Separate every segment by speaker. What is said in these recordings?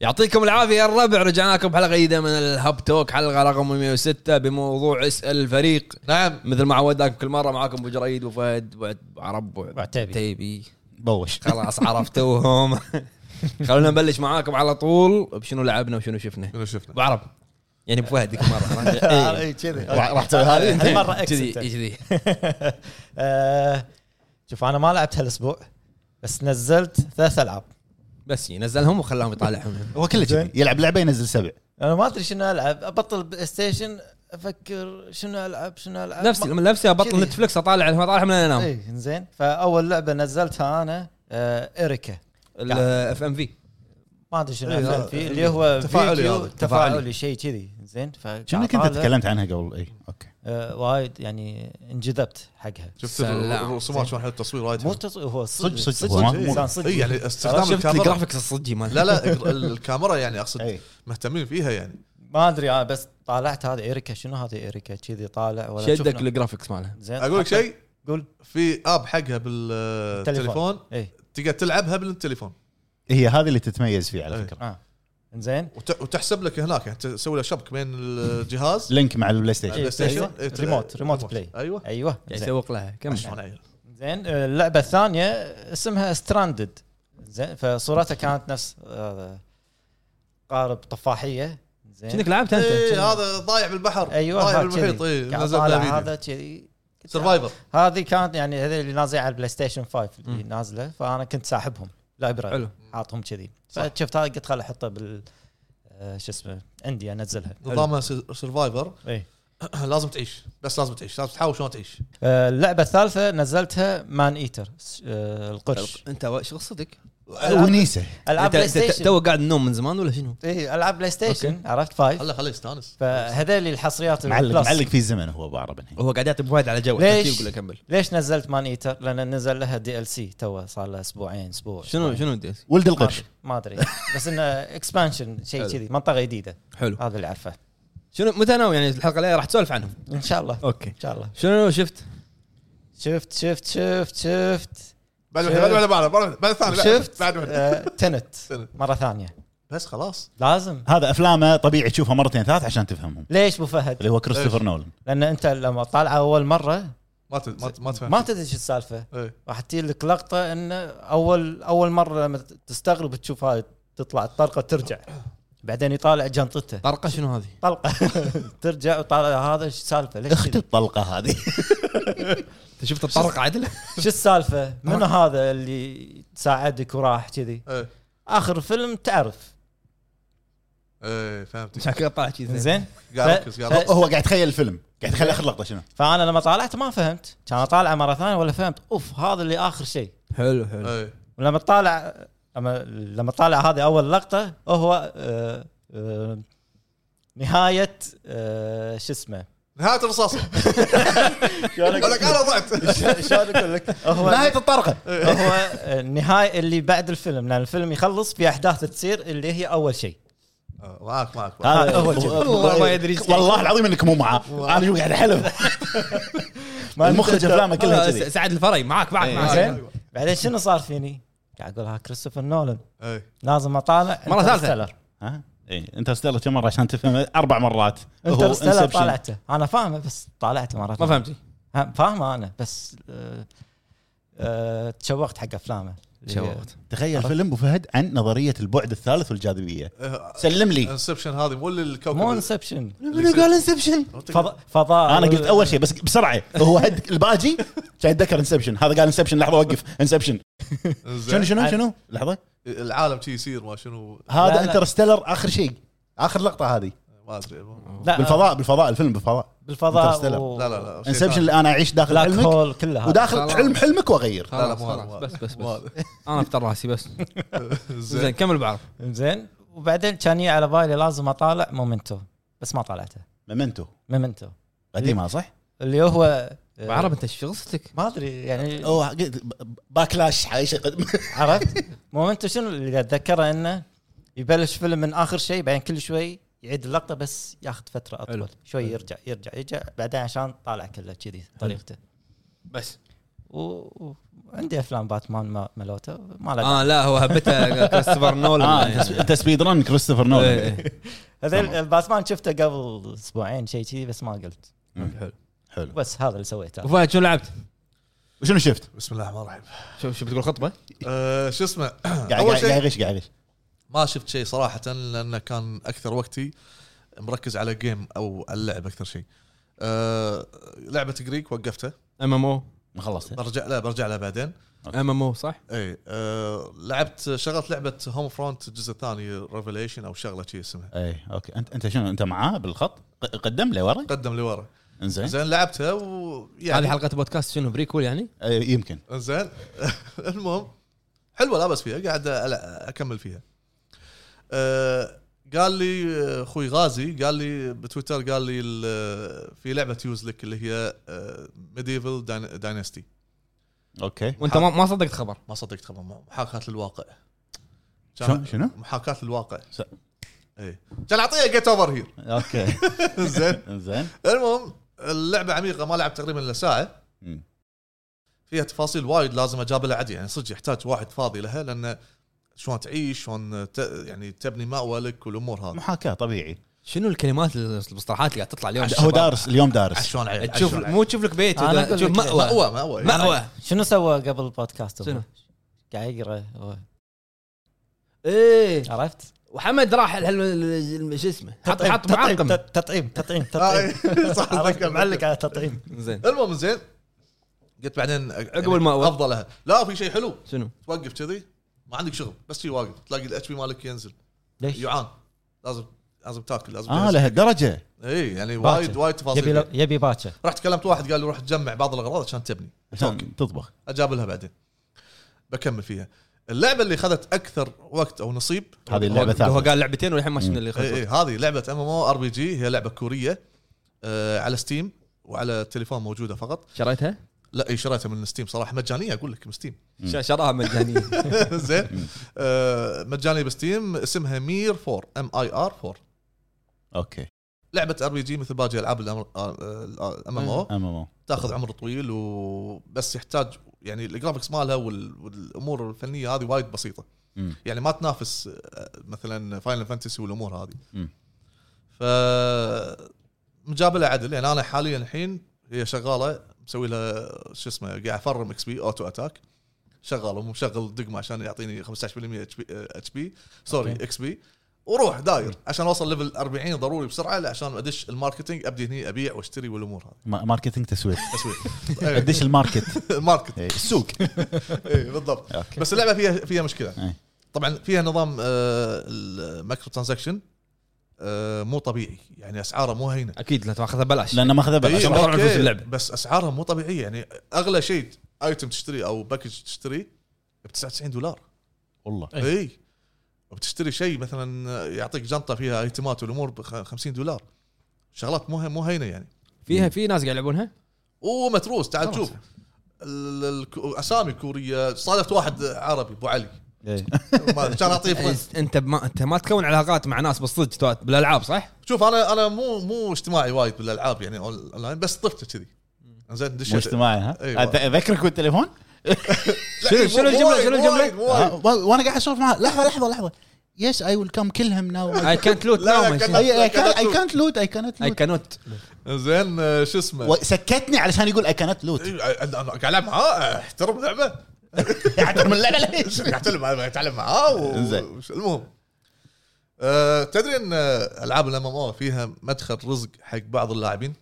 Speaker 1: يعطيكم العافيه يا الربع رجعنا لكم بحلقه جديده من الهاب توك حلقه رقم 106 بموضوع اسال الفريق
Speaker 2: نعم
Speaker 1: مثل ما عودناك كل مره معاكم ابو جريد وفهد وعد- وعرب
Speaker 3: وعتيبي.
Speaker 1: وعتيبي
Speaker 3: بوش
Speaker 1: خلاص عرفتوهم خلونا نبلش معاكم على طول بشنو لعبنا وشنو شفنا
Speaker 2: شنو شفنا إيه.
Speaker 1: ابو عرب يعني ابو فهد ذيك المره
Speaker 3: آه،
Speaker 1: عرفت؟
Speaker 3: إي، كذي
Speaker 4: راح راح تسوي هذه
Speaker 3: هذه مره اكس
Speaker 1: كذي
Speaker 3: أنت.
Speaker 1: كذي
Speaker 3: آه، شوف انا ما لعبت هالاسبوع بس نزلت ثلاث العاب
Speaker 1: بس نزلهم وخلاهم يطالعهم
Speaker 4: هو كله
Speaker 3: زين.
Speaker 4: كذي يلعب لعبه ينزل سبع
Speaker 3: انا ما ادري شنو العب ابطل بلاي ستيشن افكر شنو العب شنو العب
Speaker 1: نفسي لما نفسي ابطل
Speaker 3: كذي.
Speaker 1: نتفلكس اطالع ما اطالعها من
Speaker 2: إيه.
Speaker 1: انام
Speaker 3: اي زين فاول لعبه نزلتها انا آه، اريكا
Speaker 1: الاف ام في
Speaker 3: ما ادري شنو
Speaker 2: إيه،
Speaker 3: أعمل
Speaker 2: هذا
Speaker 3: فيه اللي هو
Speaker 2: تفاعلي
Speaker 3: فيديو
Speaker 2: هذا.
Speaker 3: تفاعلي شيء كذي زين
Speaker 4: شنو
Speaker 3: فكأنك
Speaker 4: كنت تكلمت عنها قبل إيه. اي اوكي
Speaker 3: وايد يعني انجذبت حقها
Speaker 2: شفت
Speaker 1: سلام.
Speaker 2: الرسومات شلون حلو التصوير
Speaker 3: مو
Speaker 2: وايد
Speaker 3: طيب.
Speaker 2: حلو.
Speaker 3: تصوير هو
Speaker 4: صدق صدق
Speaker 2: صدق
Speaker 4: هو ما-
Speaker 2: إي.
Speaker 4: مو-
Speaker 3: إنسان صدق.
Speaker 2: اي يعني استخدام
Speaker 1: شفت
Speaker 2: الكاميرا
Speaker 1: الجرافكس الصجي مال
Speaker 2: لا لا ال- ال- الكاميرا يعني اقصد
Speaker 4: إي.
Speaker 2: مهتمين فيها يعني
Speaker 3: ما ادري انا بس طالعت هذه اريكا شنو هذه اريكا كذي طالع ولا
Speaker 1: شدك
Speaker 3: شفنا.
Speaker 1: الجرافكس ماله
Speaker 3: زين
Speaker 2: اقول لك شيء
Speaker 3: أه، قول
Speaker 2: في اب حقها بالتليفون
Speaker 3: اي
Speaker 2: تقدر تلعبها بالتليفون
Speaker 4: إيه، هي هذه اللي تتميز فيه على
Speaker 2: إي.
Speaker 4: فكره
Speaker 3: اه زين
Speaker 2: وت- وتحسب لك هناك يعني تسوي له شبك بين الجهاز
Speaker 4: لينك مع البلاي ستيشن
Speaker 2: البلاي ستيشن.
Speaker 3: أيوة.
Speaker 2: إي، ت-
Speaker 3: ريموت- ريموت بلاي.
Speaker 2: ايوه
Speaker 3: ايوه
Speaker 1: قاعد
Speaker 3: زين.
Speaker 1: يسوق يعني لها كم
Speaker 2: شلون عيل.
Speaker 3: زين آه، اللعبه الثانيه اسمها ستراندد زين فصورتها كانت نفس آه، قارب طفاحيه زين
Speaker 1: كأنك لعبت
Speaker 2: اي
Speaker 1: انت
Speaker 2: هذا ضايع بالبحر
Speaker 3: ايوه
Speaker 2: ضايع
Speaker 3: ها
Speaker 2: بالمحيط
Speaker 3: كذي.
Speaker 2: اي
Speaker 3: قاعد
Speaker 2: نزلنا
Speaker 3: طالع
Speaker 2: فيديو
Speaker 3: هذا كذي
Speaker 2: سرفايفر
Speaker 3: هذه كانت يعني هذه اللي نازله على البلاي ستيشن 5 اللي نازله فانا كنت ساحبهم لايبراري
Speaker 1: حلو
Speaker 3: حاطهم كذي
Speaker 2: صح.
Speaker 3: فشفت هذا قلت خل احطه بال آه، شو اسمه عندي انزلها
Speaker 2: نظامها سرفايفر
Speaker 3: اي
Speaker 2: لازم تعيش بس لازم تعيش لازم تحاول شلون تعيش
Speaker 3: آه، اللعبه الثالثه نزلتها مان ايتر س- آه، القرش
Speaker 1: انت و- شو قصدك؟
Speaker 4: ونيسه
Speaker 3: العاب
Speaker 1: انت
Speaker 3: بلاي
Speaker 1: أنت
Speaker 3: ستيشن
Speaker 1: تو قاعد نوم من زمان ولا شنو؟
Speaker 3: اي العاب بلاي ستيشن إيه، عرفت فايف
Speaker 2: خله خله يستانس
Speaker 3: فهذول الحصريات
Speaker 4: معلق
Speaker 3: البلس.
Speaker 4: معلق في الزمن هو ابو عرب الحين
Speaker 1: هو قاعد يعطي بوايد على جو
Speaker 3: ليش؟
Speaker 1: يقول له كمل
Speaker 3: ليش نزلت مان ايتر؟ لان نزل لها دي ال سي تو صار لها اسبوعين اسبوع
Speaker 1: شنو شنو انت؟
Speaker 4: ولد
Speaker 3: ما
Speaker 4: القرش
Speaker 3: أدري- ما ادري بس انه اكسبانشن شيء
Speaker 1: حلو.
Speaker 3: كذي منطقه جديده
Speaker 1: حلو
Speaker 3: هذا اللي اعرفه
Speaker 1: شنو متى ناوي يعني الحلقه الجايه راح تسولف عنهم
Speaker 3: ان شاء الله
Speaker 1: اوكي
Speaker 3: ان شاء الله
Speaker 1: شنو شفت؟
Speaker 3: شفت شفت شفت شفت
Speaker 2: بعد واحده بعد واحدة، بعد واحدة، بعد ثاني
Speaker 3: شفت
Speaker 2: بعد واحدة.
Speaker 3: آه، تنت
Speaker 2: تنت.
Speaker 3: مره ثانيه
Speaker 2: بس خلاص
Speaker 3: لازم
Speaker 4: هذا افلامه طبيعي تشوفها مرتين ثلاث عشان تفهمهم
Speaker 3: ليش ابو فهد؟
Speaker 4: اللي هو كريستوفر نولان
Speaker 3: لان انت لما طالعه اول مره
Speaker 2: ما ت- ما ت- ما تفهم
Speaker 3: ما تدري شو السالفه
Speaker 2: إيه.
Speaker 3: راح تجي لك لقطه انه اول اول مره لما تستغرب تشوف هاي تطلع الطلقه ترجع بعدين يطالع جنطته
Speaker 1: طرقه شنو هذه؟
Speaker 3: طلقه ترجع وطالع هذا شو السالفه ليش
Speaker 4: اخت
Speaker 3: كذي؟
Speaker 4: الطلقه هذه
Speaker 1: انت شفت الطرقه عدل؟
Speaker 3: شو السالفه من هذا اللي ساعدك وراح كذي
Speaker 2: ايه
Speaker 3: اخر فيلم تعرف
Speaker 2: ايه فهمت
Speaker 1: عشان كذا طلع شيء زين
Speaker 3: زين
Speaker 2: قاعد ركز قاعد ركز.
Speaker 4: هو قاعد يتخيل الفيلم قاعد يتخيل اخر لقطه شنو
Speaker 3: فانا لما طالعت ما فهمت كان طالع مره ثانيه ولا فهمت اوف هذا اللي اخر شيء
Speaker 1: حلو حلو
Speaker 2: ايه
Speaker 3: ولما طالع لما لما طالع هذه اول لقطه هو آه آه نهايه آه شو اسمه
Speaker 2: نهايه الرصاصه يقول لك انا ضعت
Speaker 3: شلون اقول لك؟ هو
Speaker 4: نهايه الطرقه
Speaker 3: هو النهايه اللي بعد الفيلم لان الفيلم يخلص في احداث تصير اللي هي اول شيء
Speaker 2: آه، معاك معاك معاك.
Speaker 4: هذا
Speaker 3: هو
Speaker 1: والله ما يدري إيش
Speaker 4: والله العظيم انك مو معاه انا شو قاعد احلف المخرج افلامه كلها
Speaker 1: والله
Speaker 4: كذي
Speaker 1: آه، س- سعد الفري معك معك
Speaker 4: إيه.
Speaker 1: معك
Speaker 3: زين بعدين شنو صار فيني؟ قاعد اقول ها كريستوفر نولان
Speaker 2: ايه
Speaker 3: لازم اطالع
Speaker 1: مرة ثالثة.
Speaker 3: Interstellar.
Speaker 4: ها اي انترستيلر كم مره عشان تفهم اربع مرات هو
Speaker 3: انترستيلر
Speaker 4: Inception.
Speaker 3: طالعته انا فاهمه بس طالعته مره
Speaker 1: ما
Speaker 3: ثانية.
Speaker 1: فهمتي
Speaker 3: ها، فاهمه انا بس آه، آه، تشوقت حق افلامه اللي هي-
Speaker 1: تشوقت.
Speaker 4: تخيل فيلم ابو فهد عن نظريه البعد الثالث والجاذبيه سلم لي
Speaker 2: إيه، انسبشن هذه مو الكوكب
Speaker 3: مو انسبشن
Speaker 1: منو إيه. قال انسبشن؟
Speaker 3: فضاء فضاء
Speaker 4: انا قلت اول شيء بس بسرعه هو هد الباجي كان يتذكر انسبشن هذا قال انسبشن لحظه وقف انسبشن شنو
Speaker 2: زين.
Speaker 4: شنو شنو لحظه
Speaker 2: العالم شي يصير ما شنو
Speaker 4: هذا
Speaker 3: لا.
Speaker 4: انترستيلر اخر شيء اخر لقطه هذه
Speaker 2: ما ادري مو-
Speaker 3: لا
Speaker 4: بالفضاء بالفضاء الفيلم بالفضاء
Speaker 3: بالفضاء
Speaker 4: Interstellar.
Speaker 3: و-
Speaker 2: لا لا لا شي
Speaker 4: انسبشن
Speaker 2: ثاني.
Speaker 4: اللي انا اعيش داخل
Speaker 3: بلاك
Speaker 4: حلمك
Speaker 3: هول كله هذا.
Speaker 4: وداخل
Speaker 1: خلاص.
Speaker 4: حلم حلمك واغير
Speaker 2: لا لا
Speaker 1: خلاص
Speaker 2: مو هذا،
Speaker 1: خلاص
Speaker 2: مو
Speaker 1: بس بس
Speaker 2: مو
Speaker 1: بس
Speaker 2: هذا.
Speaker 1: انا افتر راسي بس زين
Speaker 2: زين
Speaker 1: كمل بعض
Speaker 3: زين وبعدين كان يجي على بالي لازم اطالع مومنتو بس ما طالعته
Speaker 4: ميمنتو
Speaker 3: مومنتو
Speaker 4: قديمها صح؟
Speaker 3: اللي هو آه،
Speaker 1: بعرب انت شو قصتك؟
Speaker 3: ما ادري يعني
Speaker 4: اوه قلت ب- باكلاش هاي شيء قد-
Speaker 3: عرفت مومنتو شنو اللي اتذكره انه يبلش فيلم من اخر شيء بعدين كل شوي يعيد اللقطه بس ياخذ فتره
Speaker 1: حلو.
Speaker 3: اطول شوي يرجع يرجع يرجع بعدين عشان طالع كله كذي طريقته
Speaker 1: بس
Speaker 3: وعندي افلام باتمان ما ملوته ما له
Speaker 1: اه لا هو هبته كريستوفر نولان
Speaker 4: اه
Speaker 1: يعني.
Speaker 4: أنت س- انت سبيد رن كريستوفر نولان
Speaker 1: إيه.
Speaker 3: هذا الباتمان شفته قبل اسبوعين شيء كذي بس ما قلت
Speaker 1: حلو
Speaker 4: حلو
Speaker 3: بس هذا اللي سويته
Speaker 1: وفهد شنو لعبت؟
Speaker 4: وشنو شفت؟
Speaker 2: بسم الله الرحمن الرحيم
Speaker 1: شو شو بتقول خطبه؟
Speaker 2: أه، شو اسمه
Speaker 4: قاعد
Speaker 2: اول
Speaker 4: قاعد
Speaker 2: شيء
Speaker 4: قاعد يغش قاعد يغش
Speaker 2: ما شفت شيء صراحه لانه كان اكثر وقتي مركز على جيم او على اللعب اكثر شيء أه لعبه جريك وقفتها
Speaker 1: ام ام او
Speaker 4: ما خلصت
Speaker 2: برجع لا برجع لها بعدين
Speaker 1: ام ام او صح؟
Speaker 2: اي أه لعبت شغلت لعبه هوم فرونت الجزء الثاني ريفليشن او شغله شيء اسمها
Speaker 4: اي اوكي انت انت شنو انت معاه بالخط ق- قدم لي ورا
Speaker 2: قدم لورا
Speaker 4: انزين
Speaker 2: زين لعبتها ويعني
Speaker 1: هذه حلقه بودكاست شنو بريكول يعني؟
Speaker 4: أي، يمكن
Speaker 2: زين المهم حلوه لا بس فيها قاعد ألع- اكمل فيها أه قال لي آه، اخوي غازي قال لي بتويتر قال لي ال- آه، في لعبه يوز لك اللي هي آه، ميديفل داينستي
Speaker 4: اوكي
Speaker 1: وانت ما ما صدقت خبر
Speaker 2: ما صدقت خبر محاكاه للواقع
Speaker 4: شو- شنو؟
Speaker 2: محاكاه للواقع إيه.
Speaker 4: س-
Speaker 2: اي كان اعطيها جيت اوفر هير
Speaker 4: اوكي
Speaker 2: زين
Speaker 4: انزين
Speaker 2: المهم اللعبه عميقه ما لعبت تقريبا الا ساعه
Speaker 4: مم.
Speaker 2: فيها تفاصيل وايد لازم اجاب لها عدل يعني صدق يحتاج واحد فاضي لها لان شلون تعيش شلون ت... يعني تبني مأوى لك والامور هذه
Speaker 4: محاكاه طبيعي
Speaker 1: شنو الكلمات المصطلحات اللي قاعد تطلع اليوم
Speaker 4: هو
Speaker 1: للشباب؟
Speaker 4: دارس اليوم دارس
Speaker 2: عشان عيل
Speaker 1: تشوف
Speaker 2: عشان عيل.
Speaker 1: مو تشوف لك بيت
Speaker 3: أنا
Speaker 1: ولا
Speaker 3: أقول
Speaker 1: تشوف
Speaker 3: لك
Speaker 1: مأوى
Speaker 2: مأوى مأوى يعني.
Speaker 1: مأوى
Speaker 3: شنو سوى قبل البودكاست
Speaker 1: شنو؟
Speaker 3: هو؟ قاعد يقرا هو.
Speaker 1: ايه
Speaker 3: عرفت؟
Speaker 1: وحمد راح الحل- ال- ال- شو اسمه حط
Speaker 3: تطعيم،
Speaker 1: حط
Speaker 3: تطعيم،
Speaker 1: معقم
Speaker 3: تط- تطعيم تطعيم تطعيم
Speaker 2: آه، صح
Speaker 3: عرفت؟
Speaker 2: أتذكر.
Speaker 3: معلق على تطعيم
Speaker 1: زين
Speaker 2: يعني المهم زين قلت بعدين
Speaker 1: عقب المأوى.
Speaker 2: افضل لها لا في شيء حلو
Speaker 1: شنو؟
Speaker 2: توقف كذي ما عندك شغل بس شي واقف تلاقي الاتش بي مالك ينزل
Speaker 3: ليش؟
Speaker 2: جوعان لازم لازم تاكل لازم
Speaker 4: اه لهالدرجه
Speaker 2: اي يعني وايد
Speaker 3: آه، باكر.
Speaker 2: وايد
Speaker 3: يبي لو-
Speaker 2: تفاصيل
Speaker 3: يبي باكر
Speaker 2: رحت كلمت واحد قال لي روح تجمع بعض الاغراض عشان تبني
Speaker 4: عشان تطبخ
Speaker 2: اجاب لها بعدين بكمل فيها اللعبه اللي اخذت اكثر وقت او نصيب
Speaker 4: هذه
Speaker 1: هو
Speaker 4: اللعبه
Speaker 1: هو
Speaker 4: الثالثه
Speaker 1: قال لعبتين والحين ما شفنا اللي
Speaker 4: إيه،
Speaker 2: اي
Speaker 1: خلصت
Speaker 2: اي هذه لعبه ام ام او ار بي جي هي لعبه كوريه آه على ستيم وعلى التليفون موجوده فقط
Speaker 1: شريتها؟
Speaker 2: لا اي شريتها من ستيم صراحه مجانيه اقول لك من ستيم
Speaker 1: ش- شراها مجانيه
Speaker 2: زين آه مجانيه بستيم اسمها مير 4 ام اي ار 4
Speaker 4: اوكي
Speaker 2: لعبه ار بي جي مثل باقي آه، العاب الام ام او
Speaker 4: ام ام
Speaker 2: تاخذ عمر طويل وبس يحتاج يعني الجرافكس مالها وال- والامور الفنيه هذه وايد بسيطه
Speaker 4: مم.
Speaker 2: يعني ما تنافس آه، مثلا فاينل فانتسي والامور هذه
Speaker 4: مم.
Speaker 2: ف مجابله عدل يعني انا حاليا الحين هي شغاله مسوي لها شو اسمه قاعد افرم اكس بي اوتو اتاك شغال ومشغل دقمه عشان يعطيني 15% اتش بي سوري
Speaker 3: أوكي.
Speaker 2: اكس بي وروح داير عشان اوصل ليفل 40 ضروري بسرعه لا، عشان ادش الماركتينج ابدي هني ابيع واشتري والامور هذه
Speaker 4: ماركتنج تسويق
Speaker 2: تسويق إيه،
Speaker 4: قديش الماركت
Speaker 2: الماركت
Speaker 4: إيه، السوق
Speaker 2: اي إيه، بالضبط
Speaker 4: أوكي. إيه.
Speaker 2: بس اللعبه فيها فيها مشكله
Speaker 4: أي.
Speaker 2: طبعا فيها نظام آه، المايكرو ترانزاكشن آه، مو طبيعي يعني اسعاره مو هينه
Speaker 1: اكيد لا تاخذها بلاش
Speaker 4: لانه ماخذها بلاش
Speaker 2: إيه،
Speaker 1: عشان ما طلعوا
Speaker 2: أوكي،
Speaker 1: فلوس اللعبة.
Speaker 2: بس اسعارها مو طبيعيه يعني اغلى شيء ايتم تشتري او باكج تشتري ب 99 دولار
Speaker 4: والله
Speaker 3: أي.
Speaker 2: اي وبتشتري شيء مثلا يعطيك جنطه فيها ايتمات والامور ب 50 دولار شغلات مو مو هينه يعني
Speaker 1: فيها في ناس قاعد يلعبونها
Speaker 2: ومتروس تعال
Speaker 1: خلاص.
Speaker 2: تشوف ال- ال- اسامي كوريه صادفت واحد عربي ابو علي
Speaker 4: إيه.
Speaker 2: ما- كان اعطيه فرنس.
Speaker 1: أنت- انت إيه، ما انت ما تكون علاقات مع ناس بالصدق توات- بالالعاب صح؟
Speaker 2: شوف انا انا مو مو اجتماعي وايد بالالعاب يعني أون- اونلاين بس طفته كذي زين
Speaker 4: مو
Speaker 2: دشيت
Speaker 4: اجتماعي ها
Speaker 2: أيوة.
Speaker 4: أت- اذكرك بالتليفون
Speaker 2: لا،
Speaker 1: شنو-
Speaker 2: مو-
Speaker 1: شنو
Speaker 2: مو
Speaker 1: الجملة-
Speaker 2: وايد،
Speaker 1: شنو
Speaker 2: مو
Speaker 1: الجملة؟
Speaker 2: وايد، مو وايد.
Speaker 4: آه، و- وانا قاعد اسولف معاه لحظه لحظه لحظه يس اي ويل كم كل هيم ناو
Speaker 1: اي كانت لوت
Speaker 2: لا، لا، كان-
Speaker 4: اي كانت لوت اي كانت
Speaker 1: اي
Speaker 4: لوت
Speaker 1: كانوت
Speaker 2: زين آه، شو اسمه
Speaker 4: سكتني علشان يقول اي كانت لوت
Speaker 2: إيه، آه، انا أنا قاعد العب معاه آه، احترم لعبه
Speaker 4: اعتبر من اللعبه ليش؟
Speaker 2: قاعد اتعلم معاه اتعلم معاه و-
Speaker 4: زين.
Speaker 2: وش- المهم آه، تدري ان آه، العاب الام ام او فيها مدخل رزق حق بعض اللاعبين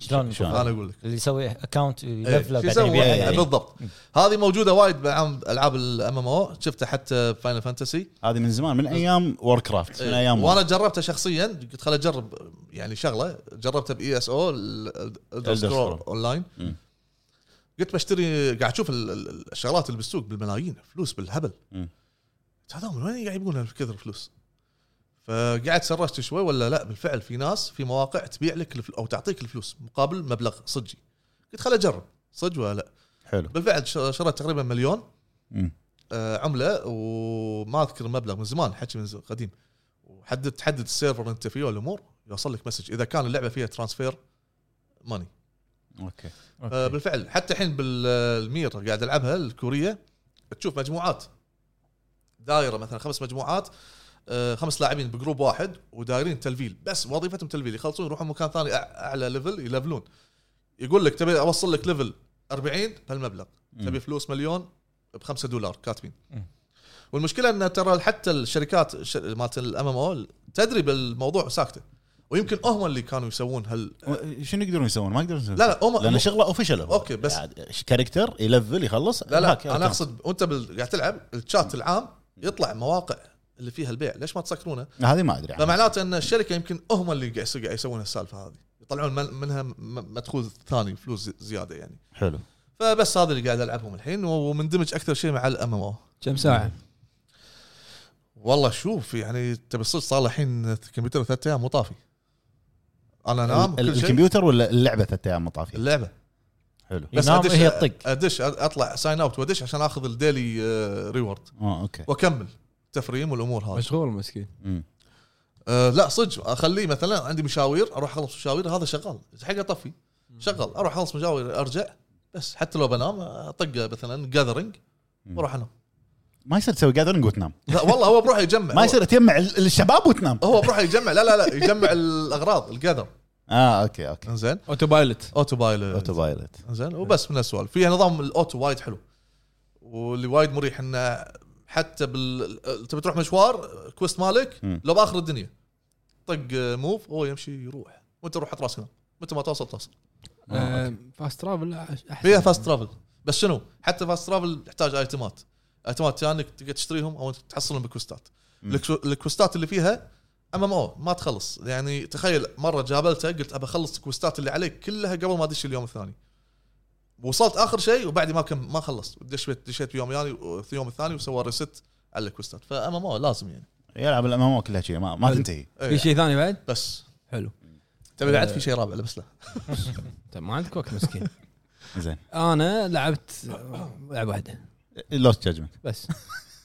Speaker 3: شلون
Speaker 4: شلون؟
Speaker 2: انا اقول لك
Speaker 3: اللي يسوي اكونت
Speaker 2: إيه،
Speaker 3: يلفله
Speaker 2: شو
Speaker 3: بعدين
Speaker 2: يسوي؟
Speaker 3: يبيعها
Speaker 2: إيه،
Speaker 3: يعني.
Speaker 2: بالضبط هذه موجوده وايد بالعاب العاب الام ام او شفتها حتى فاينل فانتسي
Speaker 4: هذه من زمان من ايام وور كرافت من ايام
Speaker 2: إيه، وانا جربتها شخصيا قلت خل اجرب يعني شغله جربتها باي اس او
Speaker 4: Scroll.
Speaker 2: اون لاين
Speaker 4: مم.
Speaker 2: قلت بشتري قاعد اشوف ال- ال- الشغلات اللي بالسوق بالملايين فلوس بالهبل
Speaker 4: مم.
Speaker 2: قلت هذول من وين قاعد يبون كثر فلوس؟ فقعدت سرشت شوي ولا لا بالفعل في ناس في مواقع تبيع لك الفل- او تعطيك الفلوس مقابل مبلغ صجي قلت خل اجرب صج ولا لا
Speaker 4: حلو
Speaker 2: بالفعل ش- شريت تقريبا مليون
Speaker 4: مم.
Speaker 2: آه، عمله وما اذكر المبلغ من زمان حكي من ز- قديم وحدد تحدد السيرفر اللي انت فيه والامور يوصل لك مسج اذا كان اللعبه فيها ترانسفير ماني
Speaker 4: اوكي
Speaker 2: آه، بالفعل حتى الحين بالمير قاعد العبها الكوريه تشوف مجموعات دايره مثلا خمس مجموعات آه، خمس لاعبين بجروب واحد ودايرين تلفيل بس وظيفتهم تلفيل يخلصون يروحون مكان ثاني أع- اعلى ليفل يلفلون يقول لك تبي اوصل لك ليفل 40 بهالمبلغ
Speaker 4: مم.
Speaker 2: تبي فلوس مليون ب 5 دولار كاتبين
Speaker 3: مم.
Speaker 2: والمشكله ان ترى حتى الشركات ش- مالت الام ام او تدري بالموضوع وساكته ويمكن هم اللي كانوا يسوون هال
Speaker 4: شنو يقدرون يسوون؟ ما يقدرون يسوون
Speaker 2: لا لا هم
Speaker 4: لان شغله اوفيشال
Speaker 2: أوكي، بس-
Speaker 4: كاركتر يلفل يخلص
Speaker 2: لا لا
Speaker 4: هاك، هاك.
Speaker 2: انا اقصد وانت بال- قاعد تلعب الشات العام يطلع مواقع اللي فيها البيع ليش ما تسكرونه؟
Speaker 4: هذه ما ادري عنها.
Speaker 2: فمعناته ان الشركه يمكن هم اللي قاعد يس- قاعد يسوون السالفه هذه يطلعون من- منها م- مدخول ثاني فلوس زي- زياده يعني
Speaker 4: حلو
Speaker 2: فبس هذا اللي قاعد العبهم الحين و- ومندمج اكثر شيء مع الام ام او
Speaker 1: كم ساعه؟
Speaker 2: والله شوف يعني تبي صدق صار الحين الكمبيوتر ثلاث ايام مو طافي انا انام
Speaker 4: ال-
Speaker 2: نعم، كل شيء
Speaker 4: الكمبيوتر ولا اللعبه ثلاث ايام مطافيه
Speaker 2: اللعبه
Speaker 4: حلو
Speaker 2: بس
Speaker 3: ينام
Speaker 2: أدش-
Speaker 3: هي تطق
Speaker 2: ادش اطلع ساين اوت وادش عشان اخذ الديلي آه، ريورد
Speaker 4: اه اوكي
Speaker 2: واكمل تفريم والامور هذه
Speaker 1: مشغول مسكين
Speaker 4: أمم.
Speaker 2: أه لا صدق اخليه مثلا عندي مشاوير اروح اخلص مشاوير هذا شغال حق اطفي شغال اروح اخلص مشاوير ارجع بس حتى لو بنام اطق مثلا جاذرنج
Speaker 4: مم.
Speaker 2: واروح انام
Speaker 4: ما يصير تسوي جاذرنج وتنام
Speaker 2: لا والله هو بروحه يجمع
Speaker 4: ما يصير تجمع ال- الشباب وتنام
Speaker 2: هو هو بروحه يجمع لا لا لا يجمع الاغراض الجذر
Speaker 4: اه اوكي اوكي
Speaker 2: زين
Speaker 1: اوتو بايلوت
Speaker 2: اوتو بايلوت
Speaker 4: اوتو بايلوت
Speaker 2: زين وبس من السؤال فيها نظام الاوتو وايد حلو واللي وايد مريح انه حتى بال تبي تروح مشوار كوست مالك
Speaker 4: مم.
Speaker 2: لو باخر الدنيا طق موف هو يمشي يروح وانت روح حط راسك متى ما توصل توصل
Speaker 1: آه، فاست ترافل احسن
Speaker 2: فيها فاست ترافل بس شنو؟ حتى فاست ترافل تحتاج ايتمات ايتمات يا انك تقدر تشتريهم او تحصلهم بكوستات
Speaker 4: مم.
Speaker 2: الكسو- الكوستات اللي فيها ام ام او ما تخلص يعني تخيل مره جابلته قلت ابى اخلص الكوستات اللي عليك كلها قبل ما ادش اليوم الثاني وصلت اخر شيء وبعدي ما كم ما خلص دشيت دشيت بيوم يعني اليوم الثاني وسوى ريست على الكوستات فام ام او لازم يعني
Speaker 4: يلعب الام ام كلها شيء ما, ما تنتهي
Speaker 1: في شيء ثاني بعد؟
Speaker 2: إيه. بس آه.
Speaker 1: حلو
Speaker 2: تبي بعد في شيء رابع لا بس لا
Speaker 1: طيب ما عندك وقت مسكين
Speaker 4: زين
Speaker 1: انا لعبت لعبه واحده
Speaker 4: لوست جادجمنت
Speaker 1: بس طيب،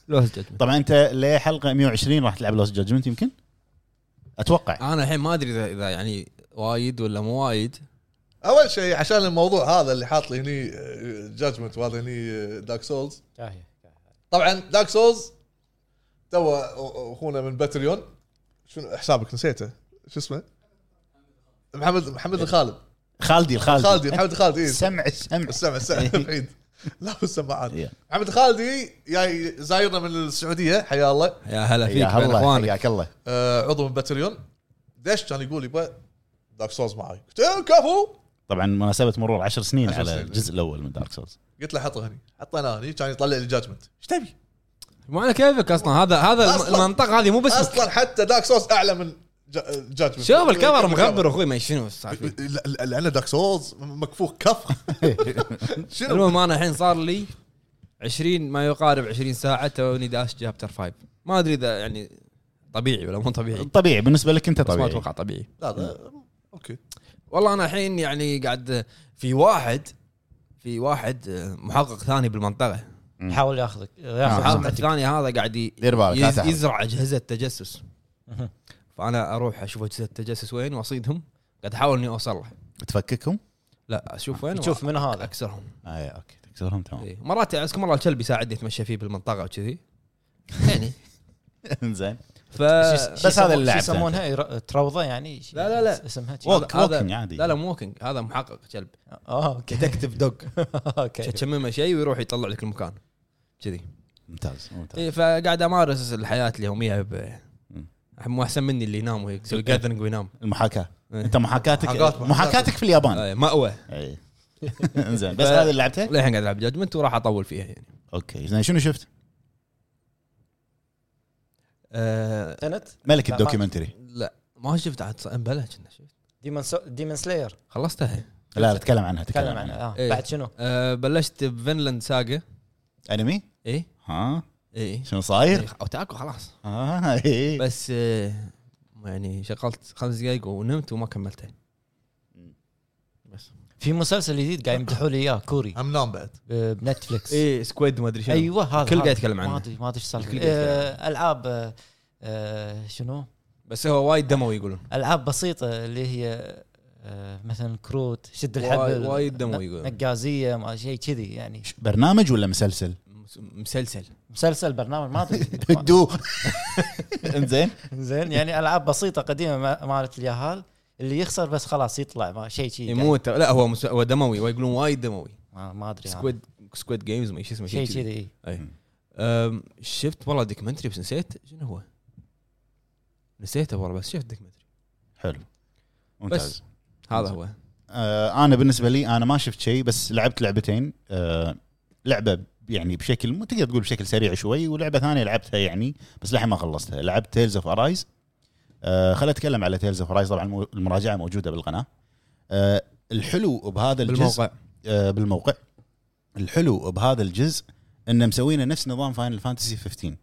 Speaker 1: لوس جدمنت
Speaker 4: طبعا انت لحلقه 120 راح تلعب لوست جادجمنت يمكن اتوقع
Speaker 1: انا الحين ما ادري اذا اذا يعني وايد ولا مو وايد
Speaker 2: اول شيء عشان الموضوع هذا اللي حاط لي هني جادجمنت وهذا هني آه، دارك سولز طبعا دارك سولز تو اخونا من باتريون شنو حسابك نسيته شو اسمه؟ محمد محمد الخالد
Speaker 4: خالدي الخالدي
Speaker 2: خالدي محمد الخالدي إيه.
Speaker 4: سمع السمع
Speaker 2: السمع السمع بعيد لا السماعات
Speaker 4: إيه.
Speaker 2: محمد الخالدي جاي زايرنا من السعوديه حيا الله
Speaker 1: يا هلا فيك
Speaker 4: يا
Speaker 1: بين
Speaker 4: الله
Speaker 1: اخوانك
Speaker 4: حياك الله
Speaker 2: آه، عضو من باتريون دش كان يقول يبا دارك سولز معي قلت إيه، كفو
Speaker 4: طبعا مناسبه مرور 10 سنين
Speaker 2: عشر
Speaker 4: على
Speaker 2: سنين.
Speaker 4: الجزء الاول من دارك سولز
Speaker 2: قلت له حطه هني حطيناه هني كان يطلع لي الجاجمنت ايش تبي؟
Speaker 1: مو على كيفك اصلا هذا هذا
Speaker 2: أصلاً.
Speaker 1: المنطقه هذه مو بس
Speaker 2: اصلا حتى دارك سولز اعلى من جاجمنت
Speaker 1: شوف الكفر مغبر اخوي ما شنو السالفه
Speaker 2: لا- لا- لان دارك سولز مكفوخ كف شنو
Speaker 1: المهم انا الحين صار لي 20 ما يقارب 20 ساعه توني داش جابتر 5 ما ادري اذا يعني طبيعي ولا مو طبيعي
Speaker 4: طبيعي بالنسبه لك انت
Speaker 1: بس ما
Speaker 4: طبيعي
Speaker 1: اتوقع طبيعي
Speaker 2: لا لا اوكي
Speaker 1: والله انا الحين يعني قاعد في واحد في واحد محقق ثاني بالمنطقه
Speaker 3: حاول ياخذك ياخذ
Speaker 1: المحقق
Speaker 3: سمعتك
Speaker 1: الثاني هذا قاعد ي-
Speaker 4: دير بالك، لا
Speaker 1: يز-
Speaker 4: تحرم.
Speaker 1: يزرع اجهزه تجسس فانا اروح اشوف اجهزه التجسس وين واصيدهم قاعد احاول اني اوصل له
Speaker 4: تفككهم؟
Speaker 1: لا اشوف وين
Speaker 3: تشوف من هذا
Speaker 1: اكسرهم
Speaker 4: آه يا اوكي تكسرهم تمام
Speaker 1: إيه. مرات اذكر مره الكلب يساعدني اتمشى فيه بالمنطقه وكذي يعني
Speaker 4: زين
Speaker 1: ف
Speaker 3: شو- شو
Speaker 4: بس هذا اللي
Speaker 3: يسمون-
Speaker 4: لعبته.
Speaker 3: شو يسمونها ير- تروضه يعني شي-
Speaker 1: لا، لا، لا.
Speaker 3: اسمها شي.
Speaker 4: ووك
Speaker 1: هذا-
Speaker 4: ووكينج عادي
Speaker 1: لا لا مو ووكينج هذا محقق كلب
Speaker 3: اه اوكي
Speaker 1: ديتكتيف دوغ
Speaker 3: اوكي
Speaker 1: تشممه شيء ويروح يطلع لك المكان كذي
Speaker 4: ممتاز ممتاز
Speaker 1: إيه فقاعد امارس الحياه اليوميه ب
Speaker 4: مم.
Speaker 1: مو احسن مني اللي ينام ويسوي جاذرنج وينام
Speaker 4: المحاكاه
Speaker 1: إيه.
Speaker 4: انت محاكاتك
Speaker 2: محاكاة-
Speaker 4: محاكاتك في اليابان
Speaker 1: آه، مأوى
Speaker 4: اي زين بس هذا اللي لعبته؟
Speaker 1: للحين قاعد العب جاجمنت وراح اطول فيها يعني
Speaker 4: اوكي زين شنو شفت؟
Speaker 1: آه،
Speaker 3: تنت
Speaker 4: ملك
Speaker 3: لا،
Speaker 4: الدوكيومنتري
Speaker 1: لا ما شفت عاد ص- بلا كنا شفت
Speaker 3: ديمون سو... ديمون سلاير
Speaker 1: خلصتها
Speaker 4: لا لا تكلم عنها
Speaker 3: تكلم عنها آه.
Speaker 1: إيه.
Speaker 3: بعد شنو؟
Speaker 1: آه، بلشت بفنلاند إيه؟ ساجا
Speaker 4: انمي؟
Speaker 1: اي
Speaker 4: ها
Speaker 1: اي
Speaker 4: شنو
Speaker 1: يعني
Speaker 4: صاير؟
Speaker 1: اوتاكو خلاص
Speaker 4: اه إيه.
Speaker 1: بس آه، يعني شغلت خمس دقائق ونمت وما كملتها بس
Speaker 3: في مسلسل جديد قاعد يمدحوا لي اياه كوري
Speaker 2: هم نام بعد
Speaker 3: ب- بنتفلكس
Speaker 1: اي سكويد ما ادري آه. إيه، شنو
Speaker 3: ايوه هذا
Speaker 1: الكل قاعد
Speaker 3: هذا.
Speaker 1: يتكلم عنه.
Speaker 3: ما ادري ما ادري ايش
Speaker 1: الكل قاعد
Speaker 3: السالفه
Speaker 1: يتكلم
Speaker 3: آه، العاب آه، آه، شنو؟
Speaker 1: بس هو وايد دموي يقولون
Speaker 3: العاب بسيطه اللي هي آه، مثلا كروت شد
Speaker 1: وايد-
Speaker 3: الحبل
Speaker 1: وايد دموي يقول.
Speaker 3: نقازيه ما شيء كذي يعني
Speaker 4: برنامج ولا مسلسل؟
Speaker 1: مس- مسلسل
Speaker 3: مسلسل برنامج ما ادري
Speaker 4: دو انزين
Speaker 3: زين يعني العاب بسيطه قديمه ما- مالت اليهال اللي يخسر بس خلاص يطلع ما شيء شيء
Speaker 1: يموت لا هو مس... هو دموي ويقولون وايد دموي
Speaker 3: ما, ما ادري أنا.
Speaker 1: سكويد سكويد جيمز ما شو اسمه
Speaker 3: شيء
Speaker 1: شيء كذي
Speaker 3: كذي
Speaker 1: أي. أم، شفت والله دوكيومنتري بس نسيت شنو هو نسيته والله بس شفت دوكيومنتري
Speaker 4: حلو ممتاز
Speaker 1: هذا هو
Speaker 4: آه انا بالنسبه لي انا ما شفت شيء بس لعبت لعبتين آه لعبه يعني بشكل مو تقدر تقول بشكل سريع شوي ولعبه ثانيه لعبتها يعني بس لحين ما خلصتها لعبت تيلز اوف ارايز آه خل اتكلم على تيلز اوف ارايز طبعا المو- المراجعه موجوده بالقناه آه الحلو بهذا الجزء
Speaker 1: بالموقع
Speaker 4: آه، بالموقع الحلو بهذا الجزء انه مسوينه نفس نظام فاينل فانتسي 15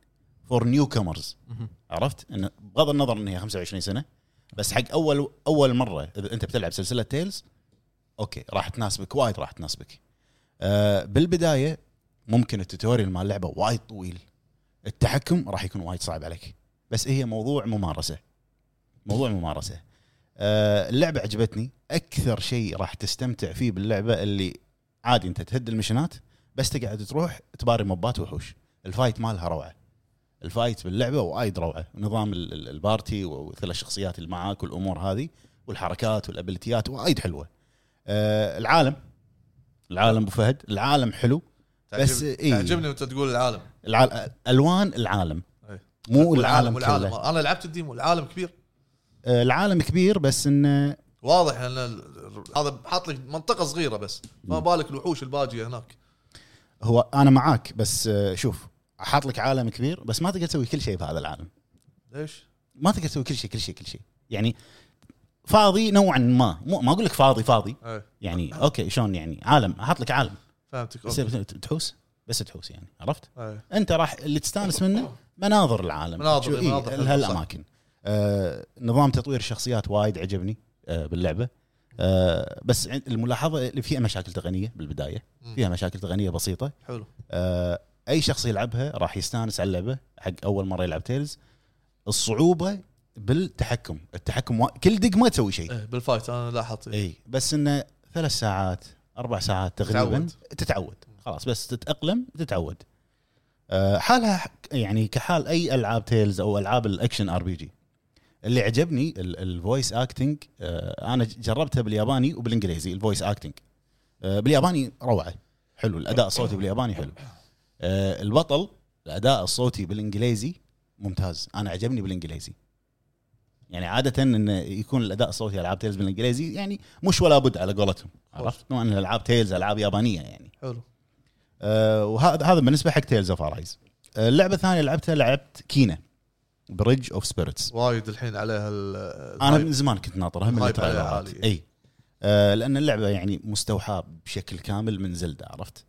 Speaker 4: فور نيو كامرز
Speaker 1: مهم.
Speaker 4: عرفت انه بغض النظر ان هي 25 سنه بس حق اول اول مره اذا انت بتلعب سلسله تيلز اوكي راح تناسبك وايد راح تناسبك آه بالبدايه ممكن التوتوريال مال اللعبه وايد طويل التحكم راح يكون وايد صعب عليك بس هي موضوع ممارسه موضوع ممارسه آه اللعبه عجبتني اكثر شيء راح تستمتع فيه باللعبه اللي عادي انت تهد المشنات بس تقعد تروح تباري مبات وحوش الفايت مالها روعه الفايت باللعبه وايد روعه نظام ال- ال- البارتي وثلاث شخصيات اللي معاك والامور هذه والحركات والابيلتيات وايد حلوه آه العالم العالم ابو فهد العالم حلو بس
Speaker 2: تعجبني-
Speaker 4: إيه.
Speaker 2: تعجبني وانت تقول العالم
Speaker 4: العال... الوان العالم
Speaker 2: أي.
Speaker 4: مو العالم
Speaker 2: إيه. والعالم آه.
Speaker 4: كله
Speaker 2: انا لعبت الديمو العالم كبير
Speaker 4: آه العالم كبير بس انه
Speaker 2: واضح ان ال- هذا حاط لك منطقه صغيره بس ما بالك الوحوش الباجيه هناك
Speaker 4: هو انا معاك بس آه شوف حاط لك عالم كبير بس ما تقدر تسوي كل شيء بهذا العالم
Speaker 2: ليش؟
Speaker 4: ما تقدر تسوي كل شيء كل شيء كل شيء يعني فاضي نوعا ما مو ما اقول لك فاضي فاضي
Speaker 2: ايه
Speaker 4: يعني اوكي شلون يعني عالم احط لك عالم
Speaker 2: فهمتك
Speaker 4: بس
Speaker 2: أوكي.
Speaker 4: تحوس بس تحوس يعني عرفت؟
Speaker 2: إيه.
Speaker 4: انت راح اللي تستانس منه مناظر العالم
Speaker 2: مناظر-
Speaker 4: شو- إيه،
Speaker 2: مناظر حلوة،
Speaker 4: هالاماكن آه نظام تطوير الشخصيات وايد عجبني آه باللعبه آه بس عند- الملاحظه اللي فيها مشاكل تقنيه بالبدايه
Speaker 2: مم.
Speaker 4: فيها مشاكل تقنيه بسيطه
Speaker 2: حلو
Speaker 4: آه اي شخص يلعبها راح يستانس على اللعبه حق اول مره يلعب تيلز الصعوبه بالتحكم التحكم وا- كل دق ما تسوي شيء
Speaker 2: ايه بالفايت انا لاحظت إيه.
Speaker 4: اي بس انه ثلاث ساعات اربع ساعات تقريبا
Speaker 2: تعود.
Speaker 4: تتعود, تتعود. خلاص بس تتاقلم تتعود أه حالها ح- يعني كحال اي العاب تيلز او العاب الاكشن ار بي جي اللي عجبني ال- الفويس اكتنج أه انا ج- جربتها بالياباني وبالانجليزي الفويس اكتنج أه بالياباني روعه حلو الاداء الصوتي بالياباني حلو أه البطل الاداء الصوتي بالانجليزي ممتاز انا عجبني بالانجليزي يعني عاده انه يكون الاداء الصوتي العاب تيلز بالانجليزي يعني مش ولا بد على قولتهم عرفت نوع ان الالعاب تيلز العاب يابانيه يعني
Speaker 2: حلو
Speaker 4: أه وهذا هذا بالنسبه حق تيلز اوف ارايز اللعبه الثانيه آه، لعبتها لعبت كينا بريدج اوف سبيرتس
Speaker 2: وايد الحين عليها ال-
Speaker 4: انا
Speaker 2: الهايب.
Speaker 4: من زمان كنت ناطرها من
Speaker 2: الهايب
Speaker 4: التريلرات
Speaker 2: عالي.
Speaker 4: اي أه لان اللعبه يعني مستوحاه بشكل كامل من زلدة عرفت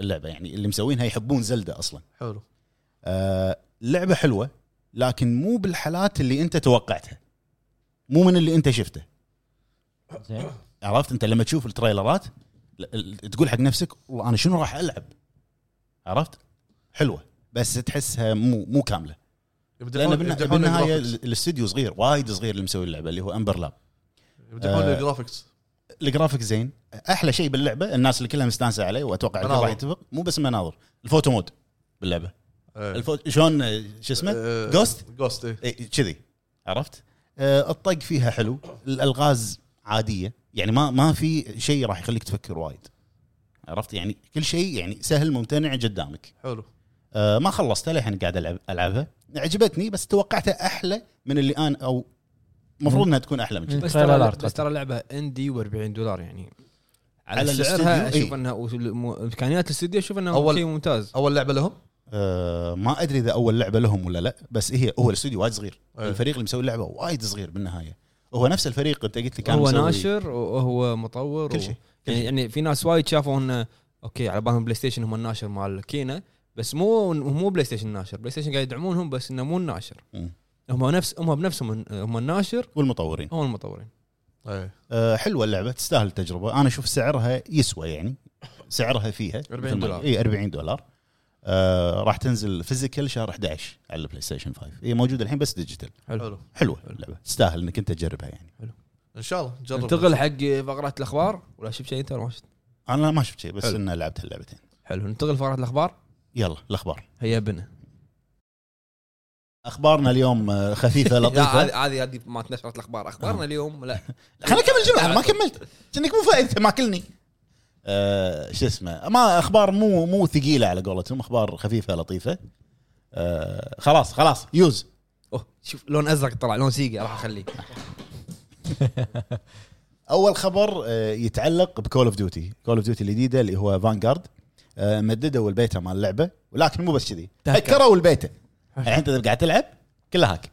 Speaker 4: اللعبه يعني اللي مسوينها يحبون زلدة اصلا
Speaker 2: حلو
Speaker 4: أه لعبه حلوه لكن مو بالحالات اللي انت توقعتها مو من اللي انت شفته
Speaker 3: زين
Speaker 4: عرفت انت لما تشوف التريلرات ل- ال- تقول حق نفسك والله انا شنو راح العب عرفت حلوه بس تحسها مو مو كامله لان
Speaker 2: يمدحون
Speaker 4: بالنا-
Speaker 2: يمدحون
Speaker 4: بالنهايه
Speaker 2: الجرافيكس
Speaker 4: ال- الاستوديو صغير وايد صغير اللي مسوي اللعبه اللي هو امبر لاب
Speaker 2: يمدحون
Speaker 4: آه.
Speaker 2: الجرافيكس
Speaker 4: الجرافيك زين احلى شيء باللعبه الناس اللي كلها مستانسه عليه واتوقع الكل
Speaker 2: مناظر.
Speaker 4: راح يتفق مو بس مناظر الفوتو مود باللعبه
Speaker 2: إيه.
Speaker 4: الفو... شلون آه، شو اسمه Ghost؟
Speaker 2: جوست ايه
Speaker 4: إيه، كذي عرفت آه، الطق فيها حلو الالغاز عاديه يعني ما ما في شيء راح يخليك تفكر وايد عرفت يعني كل شيء يعني سهل ممتنع قدامك
Speaker 2: حلو
Speaker 4: آه، ما خلصتها للحين قاعد العب العبها عجبتني بس توقعتها احلى من اللي انا او المفروض انها تكون احلى من كذي
Speaker 1: بس
Speaker 3: تريلر
Speaker 1: ترى
Speaker 3: art.
Speaker 1: بس ترى لعبه اندي و40 دولار يعني
Speaker 4: على
Speaker 1: على
Speaker 4: الاستوديو،
Speaker 1: سعرها اشوف
Speaker 4: إي.
Speaker 1: انها وال- امكانيات الاستوديو اشوف انها
Speaker 2: أول-
Speaker 1: شيء ممتاز
Speaker 2: اول لعبه لهم
Speaker 4: آه، ما ادري اذا اول لعبه لهم ولا لا بس هي هو الاستوديو وايد صغير
Speaker 2: أيوة.
Speaker 1: إيه.
Speaker 4: الفريق اللي مسوي اللعبه وايد صغير بالنهايه هو نفس الفريق انت قلت لي كان
Speaker 1: هو
Speaker 4: مسوي
Speaker 1: ناشر وهو مطور
Speaker 4: كل
Speaker 1: و-
Speaker 4: شيء كل
Speaker 1: يعني,
Speaker 4: شيء.
Speaker 1: يعني في ناس وايد شافوا انه اوكي على بالهم بلاي ستيشن هم الناشر مال كينا بس مو مو بلاي ستيشن ناشر بلاي ستيشن قاعد يدعمونهم بس انه مو الناشر
Speaker 4: مم.
Speaker 1: هم نفس هم بنفسهم هم الناشر
Speaker 4: والمطورين
Speaker 1: هم المطورين
Speaker 2: ايه
Speaker 4: آه، حلوه اللعبه تستاهل التجربه انا اشوف سعرها يسوى يعني سعرها فيها
Speaker 1: 40
Speaker 4: مثل ما-
Speaker 1: دولار.
Speaker 4: اي 40 دولار آه راح تنزل فيزيكال شهر 11 على البلاي ستيشن 5 هي موجوده إيه، الحين بس ديجيتال
Speaker 1: حلو.
Speaker 2: حلو
Speaker 4: حلوه اللعبه تستاهل انك انت تجربها يعني
Speaker 1: حلو.
Speaker 2: ان شاء الله نجرب
Speaker 1: ننتقل حق فقرات الاخبار ولا شفت شيء انت ولا ما شفت؟
Speaker 4: انا ما شفت شيء بس
Speaker 1: حلو.
Speaker 4: ان لعبت هاللعبتين
Speaker 1: حلو ننتقل لفقرات الاخبار
Speaker 4: يلا الاخبار
Speaker 1: هيا بنا
Speaker 4: اخبارنا اليوم آه، خفيفه لطيفه
Speaker 1: هذه هذه هذه ما نشرت الاخبار اخبارنا اليوم لا
Speaker 4: خليني اكمل الجمله انا ما كملت كأنك مو فايت ماكلني آه شو اسمه ما اخبار مو مو ثقيله على قولتهم اخبار خفيفه لطيفه آه خلاص خلاص يوز
Speaker 1: اوه شوف لون ازرق طلع لون سيجا راح اخليه
Speaker 4: اول خبر آه، يتعلق بكول اوف ديوتي كول اوف ديوتي الجديده اللي هو فانجارد آه، مددوا البيتا مال اللعبه ولكن مو بس كذي هكروا البيتا الحين انت قاعد تلعب كلها هاك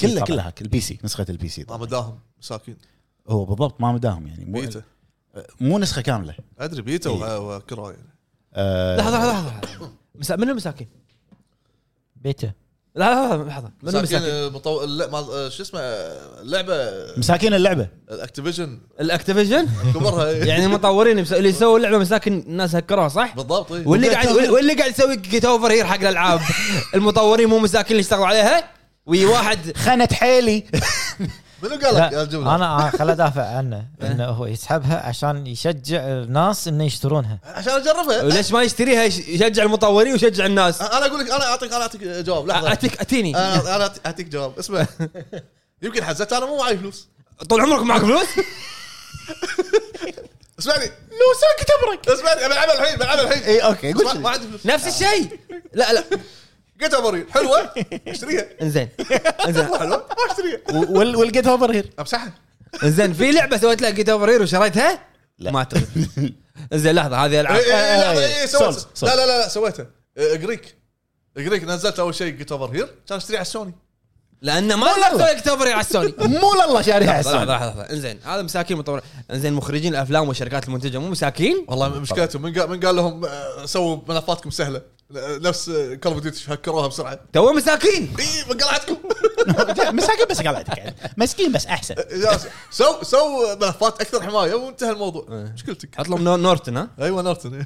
Speaker 4: كلها كلها هاك البي سي نسخه البي سي
Speaker 2: ما مداهم مساكين
Speaker 4: هو بالضبط ما مداهم يعني مو,
Speaker 2: بيتا
Speaker 4: مو نسخه كامله
Speaker 2: ادري بيتا
Speaker 4: إيه.
Speaker 2: و- وكرا يعني
Speaker 4: آه،
Speaker 1: لحظه لحظه لحظه مسا... من المساكين؟
Speaker 3: بيتا
Speaker 1: لا لحظه لحظه من المساكين؟
Speaker 2: مساكين مطو... لا، ما- شو اسمه اللعبه
Speaker 4: مساكين اللعبه
Speaker 2: الاكتيفيجن
Speaker 1: الاكتيفيجن
Speaker 2: كبرها إيه.
Speaker 1: يعني المطورين يمس- اللي سووا اللعبه مساكن الناس هكروها صح؟
Speaker 2: بالضبط إيه.
Speaker 1: واللي قاعد واللي قاعد يسوي جيت اوفر هير حق الالعاب المطورين مو مساكين اللي اشتغلوا عليها وي واحد
Speaker 4: خانت حيلي
Speaker 2: منو قال لك
Speaker 3: لا
Speaker 2: الجمله؟
Speaker 3: انا خل ادافع عنه انه هو يسحبها عشان يشجع الناس انه يشترونها
Speaker 2: عشان اجربها
Speaker 1: ليش ما يشتريها يش- يشجع المطورين ويشجع
Speaker 4: آه،
Speaker 1: الناس؟
Speaker 2: انا اقول لك انا اعطيك انا اعطيك جواب لحظه
Speaker 1: اتيك اتيني
Speaker 2: انا انا أعطيك- اعطيك جواب اسمع يمكن حزتها انا مو معي فلوس
Speaker 1: طول عمرك معك فلوس؟
Speaker 2: اسمعني لو ساكت امرك اسمعني بلعبها الحين بلعبها الحين
Speaker 4: اي اوكي قول
Speaker 2: اسمع، ما
Speaker 4: إيه، شيء.
Speaker 2: عندي فلوس
Speaker 1: نفس الشيء لا لا
Speaker 2: قلت امرين حلوه اشتريها
Speaker 1: انزين انزين
Speaker 2: حلوه ما اشتريها
Speaker 4: وال- والجيت اوفر هير
Speaker 2: امسحها
Speaker 1: انزين في لعبه سويت لها جيت اوفر هير وشريتها؟
Speaker 4: لا. إيه.
Speaker 1: ما تغري انزين لحظه هذه العاب
Speaker 2: اي اي لحظه اي
Speaker 4: سولز،
Speaker 2: سويت
Speaker 4: سولز.
Speaker 2: إيه، لا لا لا لا سويتها إيه، جريك جريك نزلت اول شيء جيت اوفر هير كان اشتريها على السوني
Speaker 1: لانه ما
Speaker 4: لا، لا.
Speaker 1: لعبت جيت اوفر هير على السوني
Speaker 4: مو لله شاريها
Speaker 1: لحظه لحظه
Speaker 4: حسان
Speaker 1: لحظه انزين هذا مساكين مطور انزين مخرجين الافلام والشركات المنتجه مو مساكين؟
Speaker 2: والله مشكلتهم من قال من قال لهم آه، سووا ملفاتكم سهله آه، نفس كول اوف ديوتي هكروها بسرعه
Speaker 1: تو مساكين
Speaker 2: اي من قلعتكم
Speaker 4: مساكين بس قلعتك يعني مسكين بس احسن
Speaker 2: سو سو ملفات اكثر حمايه وانتهى الموضوع مشكلتك
Speaker 1: حط لهم نور- نورتن ها
Speaker 2: ايوه نورتن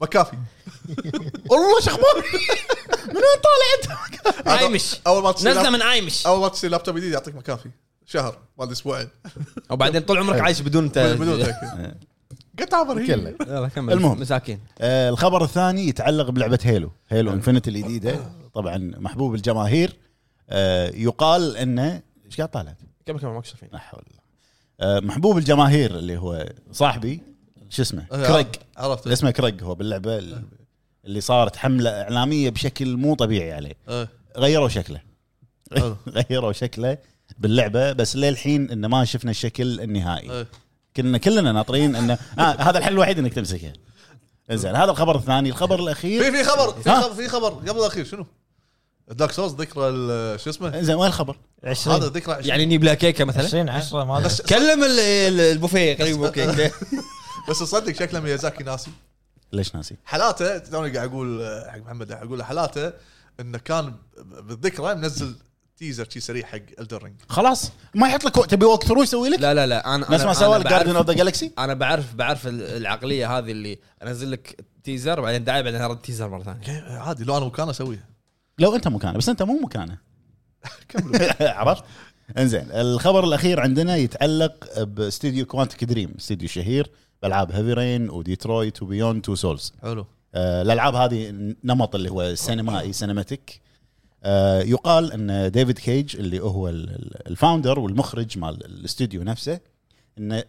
Speaker 2: ما كافي
Speaker 4: والله شو اخبارك؟ من وين طالع انت؟
Speaker 1: عايمش
Speaker 2: اول ما تصير
Speaker 1: نزله من عايمش
Speaker 2: اول ما تصير لابتوب جديد يعطيك مكافي شهر ما ادري اسبوعين
Speaker 1: وبعدين طول عمرك عايش بدون ت...
Speaker 2: بدون تاكيد قطع عبر هي
Speaker 4: كله.
Speaker 1: يلا كمل
Speaker 4: المهم.
Speaker 1: مساكين
Speaker 4: آه، الخبر الثاني يتعلق بلعبه هيلو هيلو انفنتي الجديده طبعا محبوب الجماهير آه، يقال انه ايش قاعد طالع؟
Speaker 1: كمل كمل ماكو شايفين
Speaker 4: لا حول الله. آه، محبوب الجماهير اللي هو صاحبي شو اسمه؟
Speaker 2: إيه،
Speaker 4: كريج
Speaker 2: عرفت
Speaker 4: اسمه كريج هو باللعبه اللي صارت حمله اعلاميه بشكل مو طبيعي عليه
Speaker 2: إيه.
Speaker 4: غيروا شكله
Speaker 2: حلو.
Speaker 4: غيروا شكله باللعبه بس للحين انه ما شفنا الشكل النهائي
Speaker 2: إيه.
Speaker 4: كنا كلنا ناطرين انه آه هذا الحل الوحيد انك تمسكه زين هذا الخبر الثاني الخبر
Speaker 2: في
Speaker 4: الاخير
Speaker 2: في خبر في
Speaker 4: ها؟
Speaker 2: خبر في خبر قبل الاخير شنو؟ دارك سولز ذكرى ال- شو اسمه؟
Speaker 4: زين وين الخبر
Speaker 2: هذا
Speaker 3: 20
Speaker 2: ذكرى 20
Speaker 1: يعني نجيب لها كيكه مثلا
Speaker 3: 20 10 ما ادري
Speaker 1: كلم ال- ال- البوفيه خليه يجيبوا كيكه
Speaker 2: بس تصدق شكله ميازاكي ناسي
Speaker 4: ليش ناسي
Speaker 2: حالاته توني قاعد اقول آه، حق محمد قاعد اقول له حالاته انه كان ب- بالذكرى منزل تيزر شي سريع حق الدرينج
Speaker 4: خلاص ما يحط لك وقت تبي وقت ثرو يسوي لك
Speaker 1: لا لا لا انا
Speaker 4: نفس ما
Speaker 1: أنا-
Speaker 4: سوى
Speaker 1: أنا
Speaker 4: لك
Speaker 1: بعرف-
Speaker 4: جاردن اوف ذا جالكسي
Speaker 1: انا بعرف بعرف ال- العقليه هذه اللي انزل لك تيزر بعدين دعايه بعدين ارد تيزر مره ثانيه
Speaker 2: عادي لو انا مكانه اسويها
Speaker 4: لو انت مكانه بس انت مو مكانه عرفت انزين الخبر الاخير عندنا يتعلق باستديو كوانتك دريم استديو شهير بالعاب هيفي رين وديترويت وبيوند تو سولز
Speaker 2: حلو
Speaker 4: آه، الالعاب هذه نمط اللي هو سينمائي سينماتيك آه، يقال ان ديفيد كيج اللي هو ال- ال- الفاوندر والمخرج مال الاستوديو نفسه انه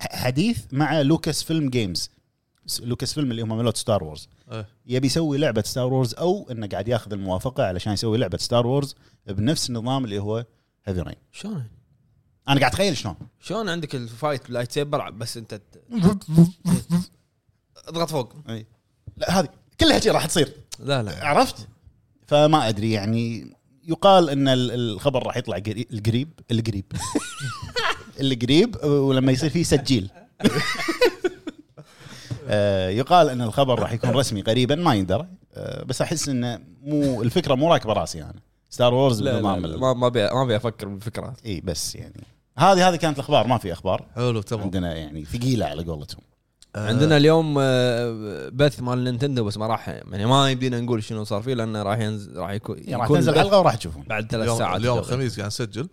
Speaker 4: ح- حديث مع لوكاس فيلم جيمز س- لوكاس فيلم اللي هم ملوت ستار وورز
Speaker 2: إيه.
Speaker 4: يبي يسوي لعبه ستار وورز او انه قاعد ياخذ الموافقه علشان يسوي لعبه ستار وورز بنفس النظام اللي هو هيفي رين
Speaker 1: شلون
Speaker 4: انا قاعد اتخيل شلون
Speaker 1: شلون عندك الفايت باللايت سيبر بس انت ت- اضغط فوق
Speaker 4: أي. لا هذه كلها شي راح تصير
Speaker 1: لا لا
Speaker 4: عرفت فما ادري يعني يقال ان ال- الخبر راح يطلع قري- القريب القريب القريب ولما يصير فيه سجيل آه، يقال ان الخبر راح يكون رسمي قريبا ما يندرى آه، بس احس انه مو الفكره مو راكبه راسي انا ستار وورز
Speaker 1: لا لا
Speaker 2: نعم.
Speaker 4: بالنظام
Speaker 1: لا،
Speaker 4: ال-
Speaker 1: ما ما ابي ما ابي افكر بالفكره
Speaker 4: اي بس يعني هذه هذه كانت الاخبار ما في اخبار
Speaker 2: حلو تمام
Speaker 4: عندنا يعني ثقيله على قولتهم
Speaker 1: عندنا اليوم آه، بث مال نينتندو بس ما راح يعني ما يبدينا نقول شنو صار فيه لانه راح ينزل راح يكون
Speaker 4: يعني راح
Speaker 1: يكون
Speaker 4: تنزل
Speaker 1: البث
Speaker 4: حلقه وراح تشوفون
Speaker 1: بعد ثلاث
Speaker 2: اليوم
Speaker 1: ساعات
Speaker 2: اليوم الخميس قاعد نسجل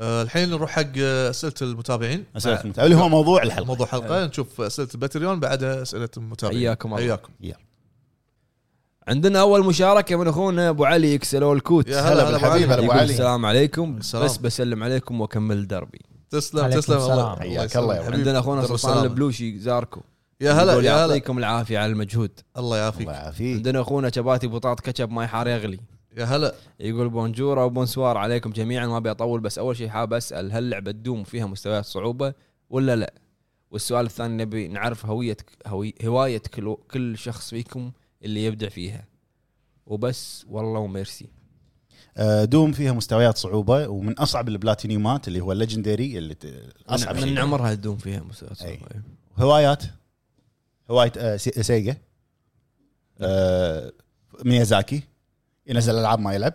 Speaker 2: آه، الحين نروح حق آه، اسئله المتابعين
Speaker 4: اسئله المتابعين. اللي هو موضوع الحلقه
Speaker 2: موضوع حلقه نشوف اسئله الباتريون بعدها اسئله المتابعين
Speaker 1: حياكم الله.
Speaker 2: حياكم
Speaker 1: عندنا اول مشاركه من اخونا ابو علي اكسلو الكوت
Speaker 2: يا هلا هلا أبو علي.
Speaker 4: هلا أبو
Speaker 1: يقول
Speaker 4: علي.
Speaker 1: السلام عليكم
Speaker 2: السلام.
Speaker 1: بس بسلم عليكم واكمل دربي
Speaker 2: تسلم
Speaker 3: عليكم
Speaker 2: تسلم
Speaker 3: السلام.
Speaker 2: والله
Speaker 4: حياك الله يا ولد.
Speaker 2: يسلمك. حبيبي.
Speaker 1: عندنا اخونا
Speaker 2: درب
Speaker 1: سلطان
Speaker 2: السلامة.
Speaker 1: البلوشي زاركو
Speaker 2: يا هلا
Speaker 1: يقول
Speaker 2: يا هلا
Speaker 1: يعطيكم العافيه على المجهود
Speaker 2: الله يعافيك
Speaker 4: الله يعافيك
Speaker 1: عندنا اخونا شباتي بطاط كتشب ما يحار يغلي
Speaker 2: يا هلا
Speaker 1: يقول بونجور او بونسوار عليكم جميعا ما ابي اطول بس اول شيء حاب اسال هل لعبه دوم فيها مستويات صعوبه ولا لا؟ والسؤال الثاني نبي نعرف هويه هوي هوايه كل كل شخص فيكم اللي يبدع فيها وبس والله وميرسي
Speaker 4: آه، دوم فيها مستويات صعوبه ومن اصعب البلاتينيومات اللي هو الليجندري اللي ت- اصعب
Speaker 1: من, من
Speaker 4: شيء
Speaker 1: عمرها دوم فيها مستويات
Speaker 4: أي.
Speaker 1: صعوبه
Speaker 4: هوايات هوايه آه، سي-
Speaker 1: نعم.
Speaker 4: سيجا آه، ميازاكي ينزل العاب ما يلعب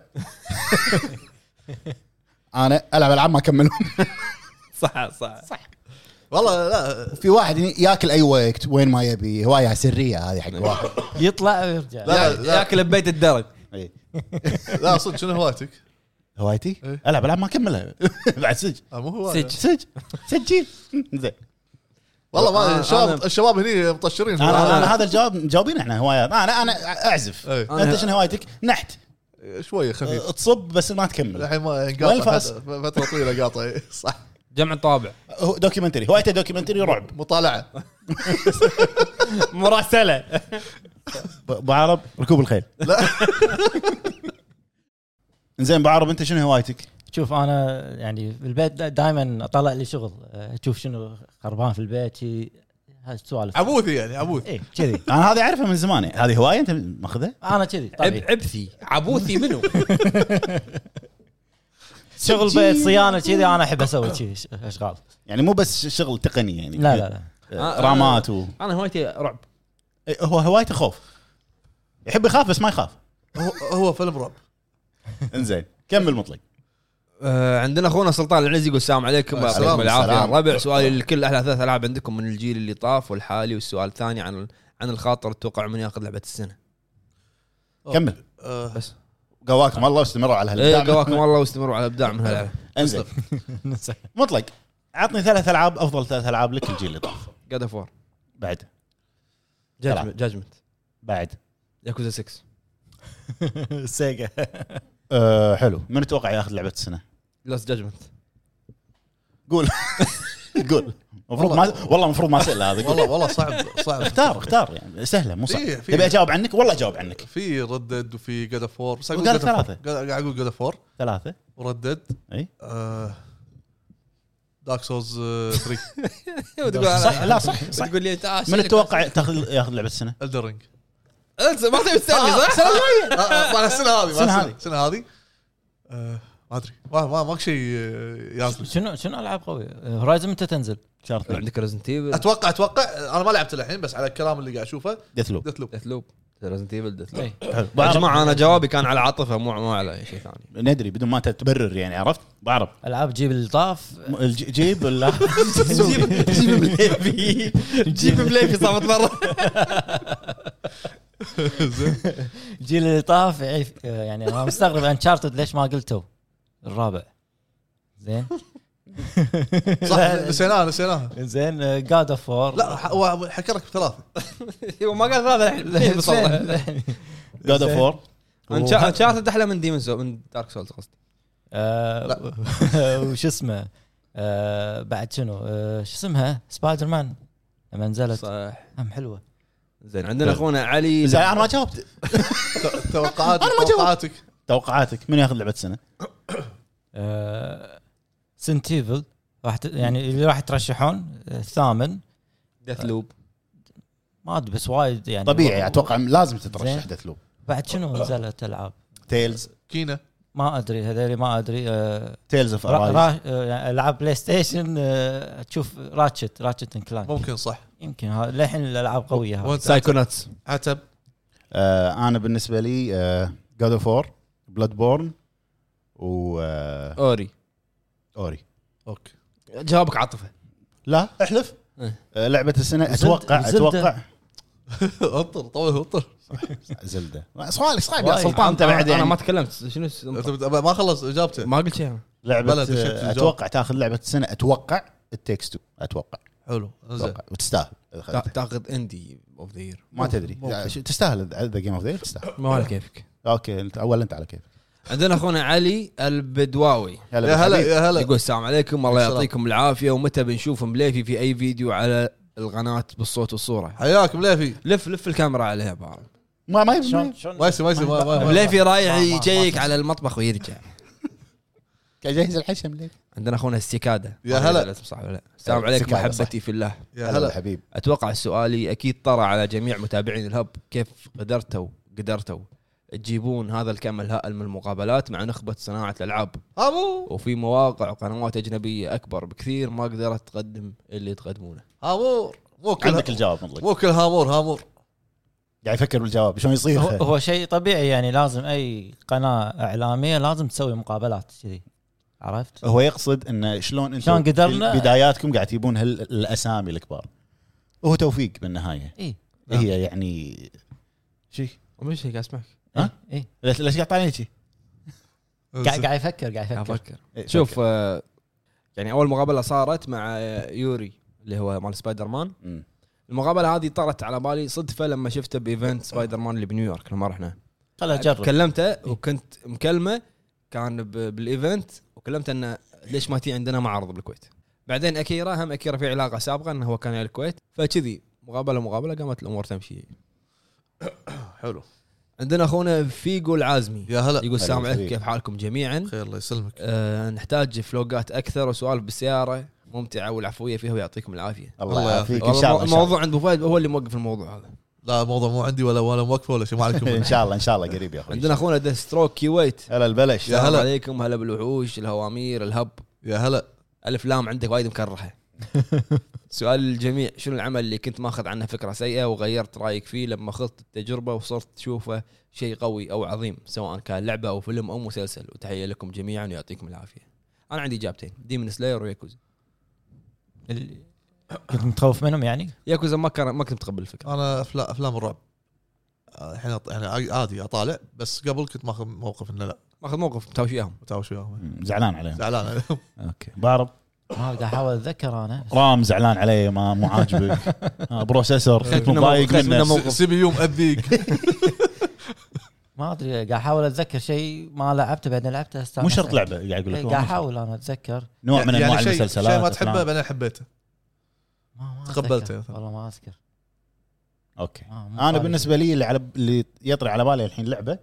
Speaker 4: انا العب العاب ما اكملهم
Speaker 1: صح صح صح
Speaker 2: والله لا
Speaker 4: في واحد ياكل اي وقت وين ما يبي هوايه سريه هذه حق واحد
Speaker 3: يطلع ويرجع
Speaker 2: لا.
Speaker 1: يعني ياكل ببيت الدرج
Speaker 4: إي.
Speaker 2: لا صدق شنو هوايتك؟
Speaker 4: إيه. هوايتي
Speaker 2: إيه.
Speaker 4: العب العاب ما اكملها بعد سج
Speaker 2: آه، مو
Speaker 1: صدق.
Speaker 2: هوايه
Speaker 4: سج سجل زين
Speaker 2: والله ما
Speaker 1: أنا-
Speaker 2: الشباب
Speaker 1: أنا-
Speaker 2: الشباب هني مطشرين
Speaker 4: انا
Speaker 1: أنا-
Speaker 4: انا هذا الجواب مجاوبين احنا آه، هوايات انا انا اعزف
Speaker 2: إيه.
Speaker 1: أنا-
Speaker 4: انت شنو هوايتك؟ نحت أه،
Speaker 2: شويه خفيف
Speaker 4: تصب بس ما تكمل
Speaker 2: الحين ما يعني
Speaker 4: وين
Speaker 2: قاطع
Speaker 4: الفاس؟
Speaker 2: فتره فترة طويله قاطع صح
Speaker 1: جمع طابع
Speaker 4: هو دوكيومنتري هوايته دوكيومنتري رعب
Speaker 2: مطالعه
Speaker 1: مراسله
Speaker 4: ب- ابو عرب ركوب الخيل
Speaker 2: لا.
Speaker 4: زين ابو عرب انت شنو هوايتك؟
Speaker 3: شوف انا يعني في البيت دائما اطلع لي شغل اشوف شنو خربان في البيت شي هالسوالف
Speaker 2: عبوثي يعني عبوث
Speaker 3: اي كذي
Speaker 4: انا هذه اعرفها من زمان يعني. هذه هوايه انت ماخذها؟
Speaker 3: انا كذي طيب. طبيعي
Speaker 1: عبثي عبوثي منو؟
Speaker 3: شغل بيت صيانه كذي انا احب اسوي كذي ش- اشغال
Speaker 4: يعني مو بس شغل تقني يعني
Speaker 3: لا لا لا
Speaker 4: آه، رامات و
Speaker 1: انا هوايتي رعب
Speaker 4: إيه، هو هوايته خوف يحب يخاف بس ما يخاف
Speaker 2: هو, هو فيلم رعب
Speaker 4: انزين كمل مطلق
Speaker 1: آه، عندنا اخونا سلطان العنزي يقول السلام عليكم
Speaker 2: السلام،
Speaker 1: يعطيكم العافيه
Speaker 4: السلام.
Speaker 1: الربع سؤالي لكل احلى ثلاث العاب عندكم من الجيل اللي طاف والحالي والسؤال الثاني عن عن الخاطر اتوقع من ياخذ لعبه السنه
Speaker 4: كمل
Speaker 2: آه،
Speaker 1: بس
Speaker 4: قواكم الله واستمروا على
Speaker 1: ايه
Speaker 4: هالابداع
Speaker 1: قواكم الله واستمروا على الابداع من هاللعبه
Speaker 4: انزين
Speaker 3: ننسى.
Speaker 4: مطلق عطني ثلاث العاب افضل ثلاث العاب لك الجيل اللي طاف
Speaker 1: جاد اوف وور
Speaker 4: بعد سلام.
Speaker 1: جاجمنت
Speaker 4: بعد
Speaker 1: ياكوزا 6
Speaker 3: سيجا
Speaker 4: أه حلو من تتوقع ياخذ لعبه السنه؟
Speaker 1: لاست جاجمنت
Speaker 4: قول قول المفروض ما والله المفروض ما اسال هذا قول
Speaker 2: والله والله صعب صعب
Speaker 4: اختار اختار يعني سهله مو صعبه
Speaker 2: في- في-
Speaker 4: تبي اجاوب عنك والله اجاوب عنك
Speaker 2: في ردد وفي جاد اوف وور بس
Speaker 4: وقال
Speaker 2: God of War.
Speaker 4: ثلاثة.
Speaker 2: قاعد اقول جاد اوف وور
Speaker 4: ثلاثه
Speaker 2: وردد
Speaker 4: اي
Speaker 2: آه، دارك سوز 3
Speaker 1: إيه،
Speaker 4: صح لا صح صح
Speaker 1: تقول لي "آه، تعال
Speaker 4: من تتوقع تاخذ ياخذ لعبه السنه؟
Speaker 2: الدرينج
Speaker 1: انسى ما تبي تسالني إيه، صح؟
Speaker 2: طبعا السنه هذه
Speaker 4: السنة
Speaker 2: ما
Speaker 4: هذه.
Speaker 2: السنه هذه آه، ما ادري ما ما ماك شيء آه، يازلي
Speaker 3: شنو شنو العاب قويه هورايزن متى تنزل؟
Speaker 4: شهر اثنين
Speaker 1: عندك ريزنت ايفل
Speaker 2: اتوقع اتوقع انا ما لعبت الحين بس على الكلام اللي قاعد اشوفه
Speaker 4: ديث لوب
Speaker 2: ديث لوب
Speaker 1: ديث لوب ريزنت ايفل ديث لوب
Speaker 3: إي.
Speaker 4: حلو
Speaker 1: يا
Speaker 4: بعرف
Speaker 1: جماعه انا جوابي كان على عاطفه مو مو على شيء ثاني
Speaker 4: ندري بدون ما تبرر يعني عرفت؟ بعرف
Speaker 3: العاب جيب الطاف
Speaker 4: م- الج- جيب ولا
Speaker 1: جيب مليفي جيب مليفي صامت مره
Speaker 3: جيل اللي طاف يعيف- يعني انا مستغرب انشارتد ليش ما قلته الرابع زين
Speaker 2: صح نسيناها نسيناها
Speaker 3: زين جاد اوف وور
Speaker 2: لا ح- هو حكرك بثلاثه
Speaker 1: هو ما قال هذا الحين بصراحه
Speaker 4: جود اوف وور
Speaker 1: انشارتد احلى من ديمون سو من دارك سولز قصدي
Speaker 3: آه، وش اسمه آه، بعد شنو آه، شو اسمها سبايدر مان لما نزلت
Speaker 1: صح
Speaker 3: هم حلوه
Speaker 1: زين عندنا اخونا علي
Speaker 4: زين انا ما جاوبت
Speaker 2: ت- توقعات
Speaker 4: أنا ما جاوبت.
Speaker 2: توقعاتك
Speaker 4: توقعاتك من ياخذ لعبه السنه؟
Speaker 3: سنتيفل آه، راح ت- يعني اللي راح يترشحون آه، الثامن
Speaker 1: ديث لوب
Speaker 3: ما ادري بس وايد يعني
Speaker 4: طبيعي اتوقع لازم
Speaker 3: زين.
Speaker 4: تترشح ديث لوب
Speaker 3: بعد شنو نزلت العاب
Speaker 4: تيلز
Speaker 2: كينا
Speaker 3: ما ادري هذول ما ادري آه،
Speaker 4: تيلز اوف
Speaker 3: را-
Speaker 4: ارايز
Speaker 3: را- آه، يعني العاب بلاي ستيشن آه، تشوف راتشت راتشت ان كلانك
Speaker 2: ممكن صح
Speaker 3: يمكن ها- للحين الالعاب قويه هاي.
Speaker 2: وانت
Speaker 1: سايكوناتس
Speaker 2: عتب
Speaker 4: آه انا بالنسبه لي آه، جاد اوف وور بلاد بورن و آه،
Speaker 1: اوري
Speaker 4: اوري
Speaker 2: اوكي
Speaker 1: جوابك عاطفه
Speaker 4: لا احلف
Speaker 1: إيه.
Speaker 4: آه لعبه السنه اتوقع
Speaker 3: زلدة.
Speaker 4: اتوقع
Speaker 2: انطر طول انطر
Speaker 4: زلده سؤالك صعب يا
Speaker 3: وايد.
Speaker 4: سلطان انت بعد
Speaker 1: انا
Speaker 4: يعني
Speaker 1: ما تكلمت شنو الس-
Speaker 2: أنت بت- ما خلص اجابته
Speaker 1: ما قلت شيء أنا.
Speaker 4: لعبه
Speaker 2: بلى، تشكل
Speaker 4: آه،
Speaker 2: الجو.
Speaker 4: اتوقع تاخذ لعبه السنه اتوقع التكست اتوقع
Speaker 2: حلو زين
Speaker 4: اتوقع وتستاهل إذا
Speaker 1: تا-
Speaker 4: أخذتها.
Speaker 1: تاخذ اندي اوف ذا يير
Speaker 4: ما تدري
Speaker 2: ممكن.
Speaker 4: يعني شو- تستاهل ذا جيم اوف ذا تستاهل
Speaker 1: ما على كيفك
Speaker 4: اوكي انت اول انت على كيف
Speaker 1: عندنا اخونا علي البدواوي
Speaker 2: يا هلا
Speaker 4: بالحبيب.
Speaker 2: يا هلا
Speaker 1: يقول السلام عليكم الله
Speaker 2: السلام.
Speaker 1: يعطيكم العافيه ومتى بنشوف مليفي في اي فيديو على القناه بالصوت والصوره
Speaker 2: حياك مليفي
Speaker 1: لف لف الكاميرا عليها بعض
Speaker 4: ما ما يبي- ما
Speaker 3: شلون
Speaker 4: يبي.
Speaker 3: شلون
Speaker 2: ما يصير ما يصير ما- ما- ما-
Speaker 1: مليفي رايح
Speaker 3: ما- ما- ما-
Speaker 1: يجيك
Speaker 3: ما-
Speaker 1: على المطبخ ويرجع
Speaker 4: جهز الحشم ليك
Speaker 1: عندنا اخونا السكاده
Speaker 2: يا
Speaker 1: ما أدري
Speaker 2: هلا.
Speaker 1: إذا اسم صح ولا لا. السلام عليكم
Speaker 4: سكادة، صح.
Speaker 1: محبتي في الله
Speaker 2: يا
Speaker 4: هلا
Speaker 2: هلا
Speaker 4: حبيب
Speaker 1: اتوقع سؤالي اكيد طرى على جميع متابعين الهب كيف قدرتوا قدرتوا تجيبون هذا الكم الهائل من المقابلات مع نخبه صناعه الالعاب
Speaker 2: هامو
Speaker 1: وفي مواقع وقنوات اجنبيه اكبر بكثير ما قدرت تقدم اللي تقدمونه
Speaker 2: هامور مو كل
Speaker 4: عندك الجواب مطلق
Speaker 2: مو كل هامور هامور
Speaker 4: قاعد يفكر بالجواب شلون يصير
Speaker 3: هو, هو شيء طبيعي يعني لازم اي قناه اعلاميه لازم تسوي مقابلات كذي عرفت؟
Speaker 4: هو يقصد انه شلون انتم
Speaker 3: شلون قدرنا؟
Speaker 4: في بداياتكم قاعد تجيبون هالاسامي الكبار وهو توفيق بالنهايه
Speaker 3: اي
Speaker 1: نعم.
Speaker 4: هي يعني شي
Speaker 1: ومش هيك اسمعك
Speaker 4: ها؟
Speaker 3: اي
Speaker 4: ليش ليش قاعد إيه، طالعني شي؟ إيه،
Speaker 3: قاعد قاعد يفكر قاعد يفكر
Speaker 1: افكر شوف آه، يعني اول مقابله صارت مع آه، يوري اللي هو مال سبايدر مان
Speaker 4: مم.
Speaker 1: المقابله هذه طرت على بالي صدفه لما شفته بايفنت سبايدر مان اللي بنيويورك لما رحنا
Speaker 3: خله اجرب
Speaker 1: كلمته وكنت مكلمه كان ب- بالايفنت وكلمته انه ليش ما تي عندنا معرض بالكويت بعدين اكيرا هم اكيرا في علاقه سابقه انه هو كان يا الكويت فكذي مقابله مقابله قامت الامور تمشي
Speaker 2: حلو
Speaker 1: عندنا اخونا فيجو العازمي
Speaker 2: يا هلا
Speaker 1: يقول السلام
Speaker 4: هلا
Speaker 1: عليكم
Speaker 4: فيك.
Speaker 1: كيف حالكم جميعا
Speaker 2: خير الله يسلمك
Speaker 1: آه نحتاج فلوقات اكثر وسوالف بالسياره ممتعه والعفويه فيها ويعطيكم العافيه
Speaker 2: الله
Speaker 4: الله يعافيك ان
Speaker 1: والله
Speaker 4: شاء الله إن شاء الله.
Speaker 1: الموضوع عند ابو فهد هو اللي موقف الموضوع هذا
Speaker 2: لا الموضوع مو عندي ولا ولا موقفه ولا شيء ما عليكم
Speaker 4: ان
Speaker 2: منه.
Speaker 4: شاء الله ان شاء الله قريب يا اخوي
Speaker 1: عندنا اخونا دستروك كويت
Speaker 4: هلا البلش
Speaker 2: يا
Speaker 1: السلام
Speaker 2: هلا.
Speaker 1: عليكم هلا بالوحوش الهوامير الهب
Speaker 2: يا هلا
Speaker 1: الف لام عندك وايد مكرهه سؤال للجميع شنو العمل اللي كنت ماخذ عنه فكره سيئه وغيرت رايك فيه لما خضت التجربه وصرت تشوفه شيء قوي او عظيم سواء كان لعبه او فيلم او مسلسل وتحيه لكم جميعا ويعطيكم العافيه انا عندي اجابتين ديمن سلاير وياكوزا
Speaker 3: ال- كنت متخوف منهم يعني؟
Speaker 1: ياكوزا ما كان ما كنت متقبل الفكره
Speaker 2: انا افلام افلام الرعب الحين أط- يعني عادي اطالع بس قبل كنت ماخذ موقف انه لا
Speaker 1: ماخذ موقف متهاوش وياهم
Speaker 2: متهاوش وياهم
Speaker 4: مم، زعلان عليهم
Speaker 2: زعلان
Speaker 4: نعم.
Speaker 2: عليهم
Speaker 4: اوكي بارب
Speaker 3: ما قاعد احاول اتذكر انا
Speaker 4: رام زعلان عليه ما مو عاجبك آه، بروسيسور كنت
Speaker 1: منه
Speaker 4: مضايق
Speaker 1: موقف، منه
Speaker 4: منه
Speaker 1: موقف.
Speaker 2: سي بي يو مأذيك
Speaker 3: ما ادري قاعد احاول اتذكر شيء ما لعبته بعدين لعبته استانست.
Speaker 4: مو شرط لعبه قاعد اقول
Speaker 3: إيه،
Speaker 4: لك
Speaker 3: قاعد احاول انا اتذكر
Speaker 4: نوع من انواع
Speaker 2: يعني شيء-
Speaker 4: المسلسلات
Speaker 2: شيء ما
Speaker 4: أفلام.
Speaker 2: تحبه بعدين حبيته
Speaker 3: ما ما أتذكر.
Speaker 2: تقبلته مثلاً.
Speaker 3: والله ما اذكر
Speaker 4: اوكي
Speaker 3: ما- ما
Speaker 4: انا
Speaker 3: طالع
Speaker 4: بالنسبه لي اللي على اللي يطري على بالي الحين لعبه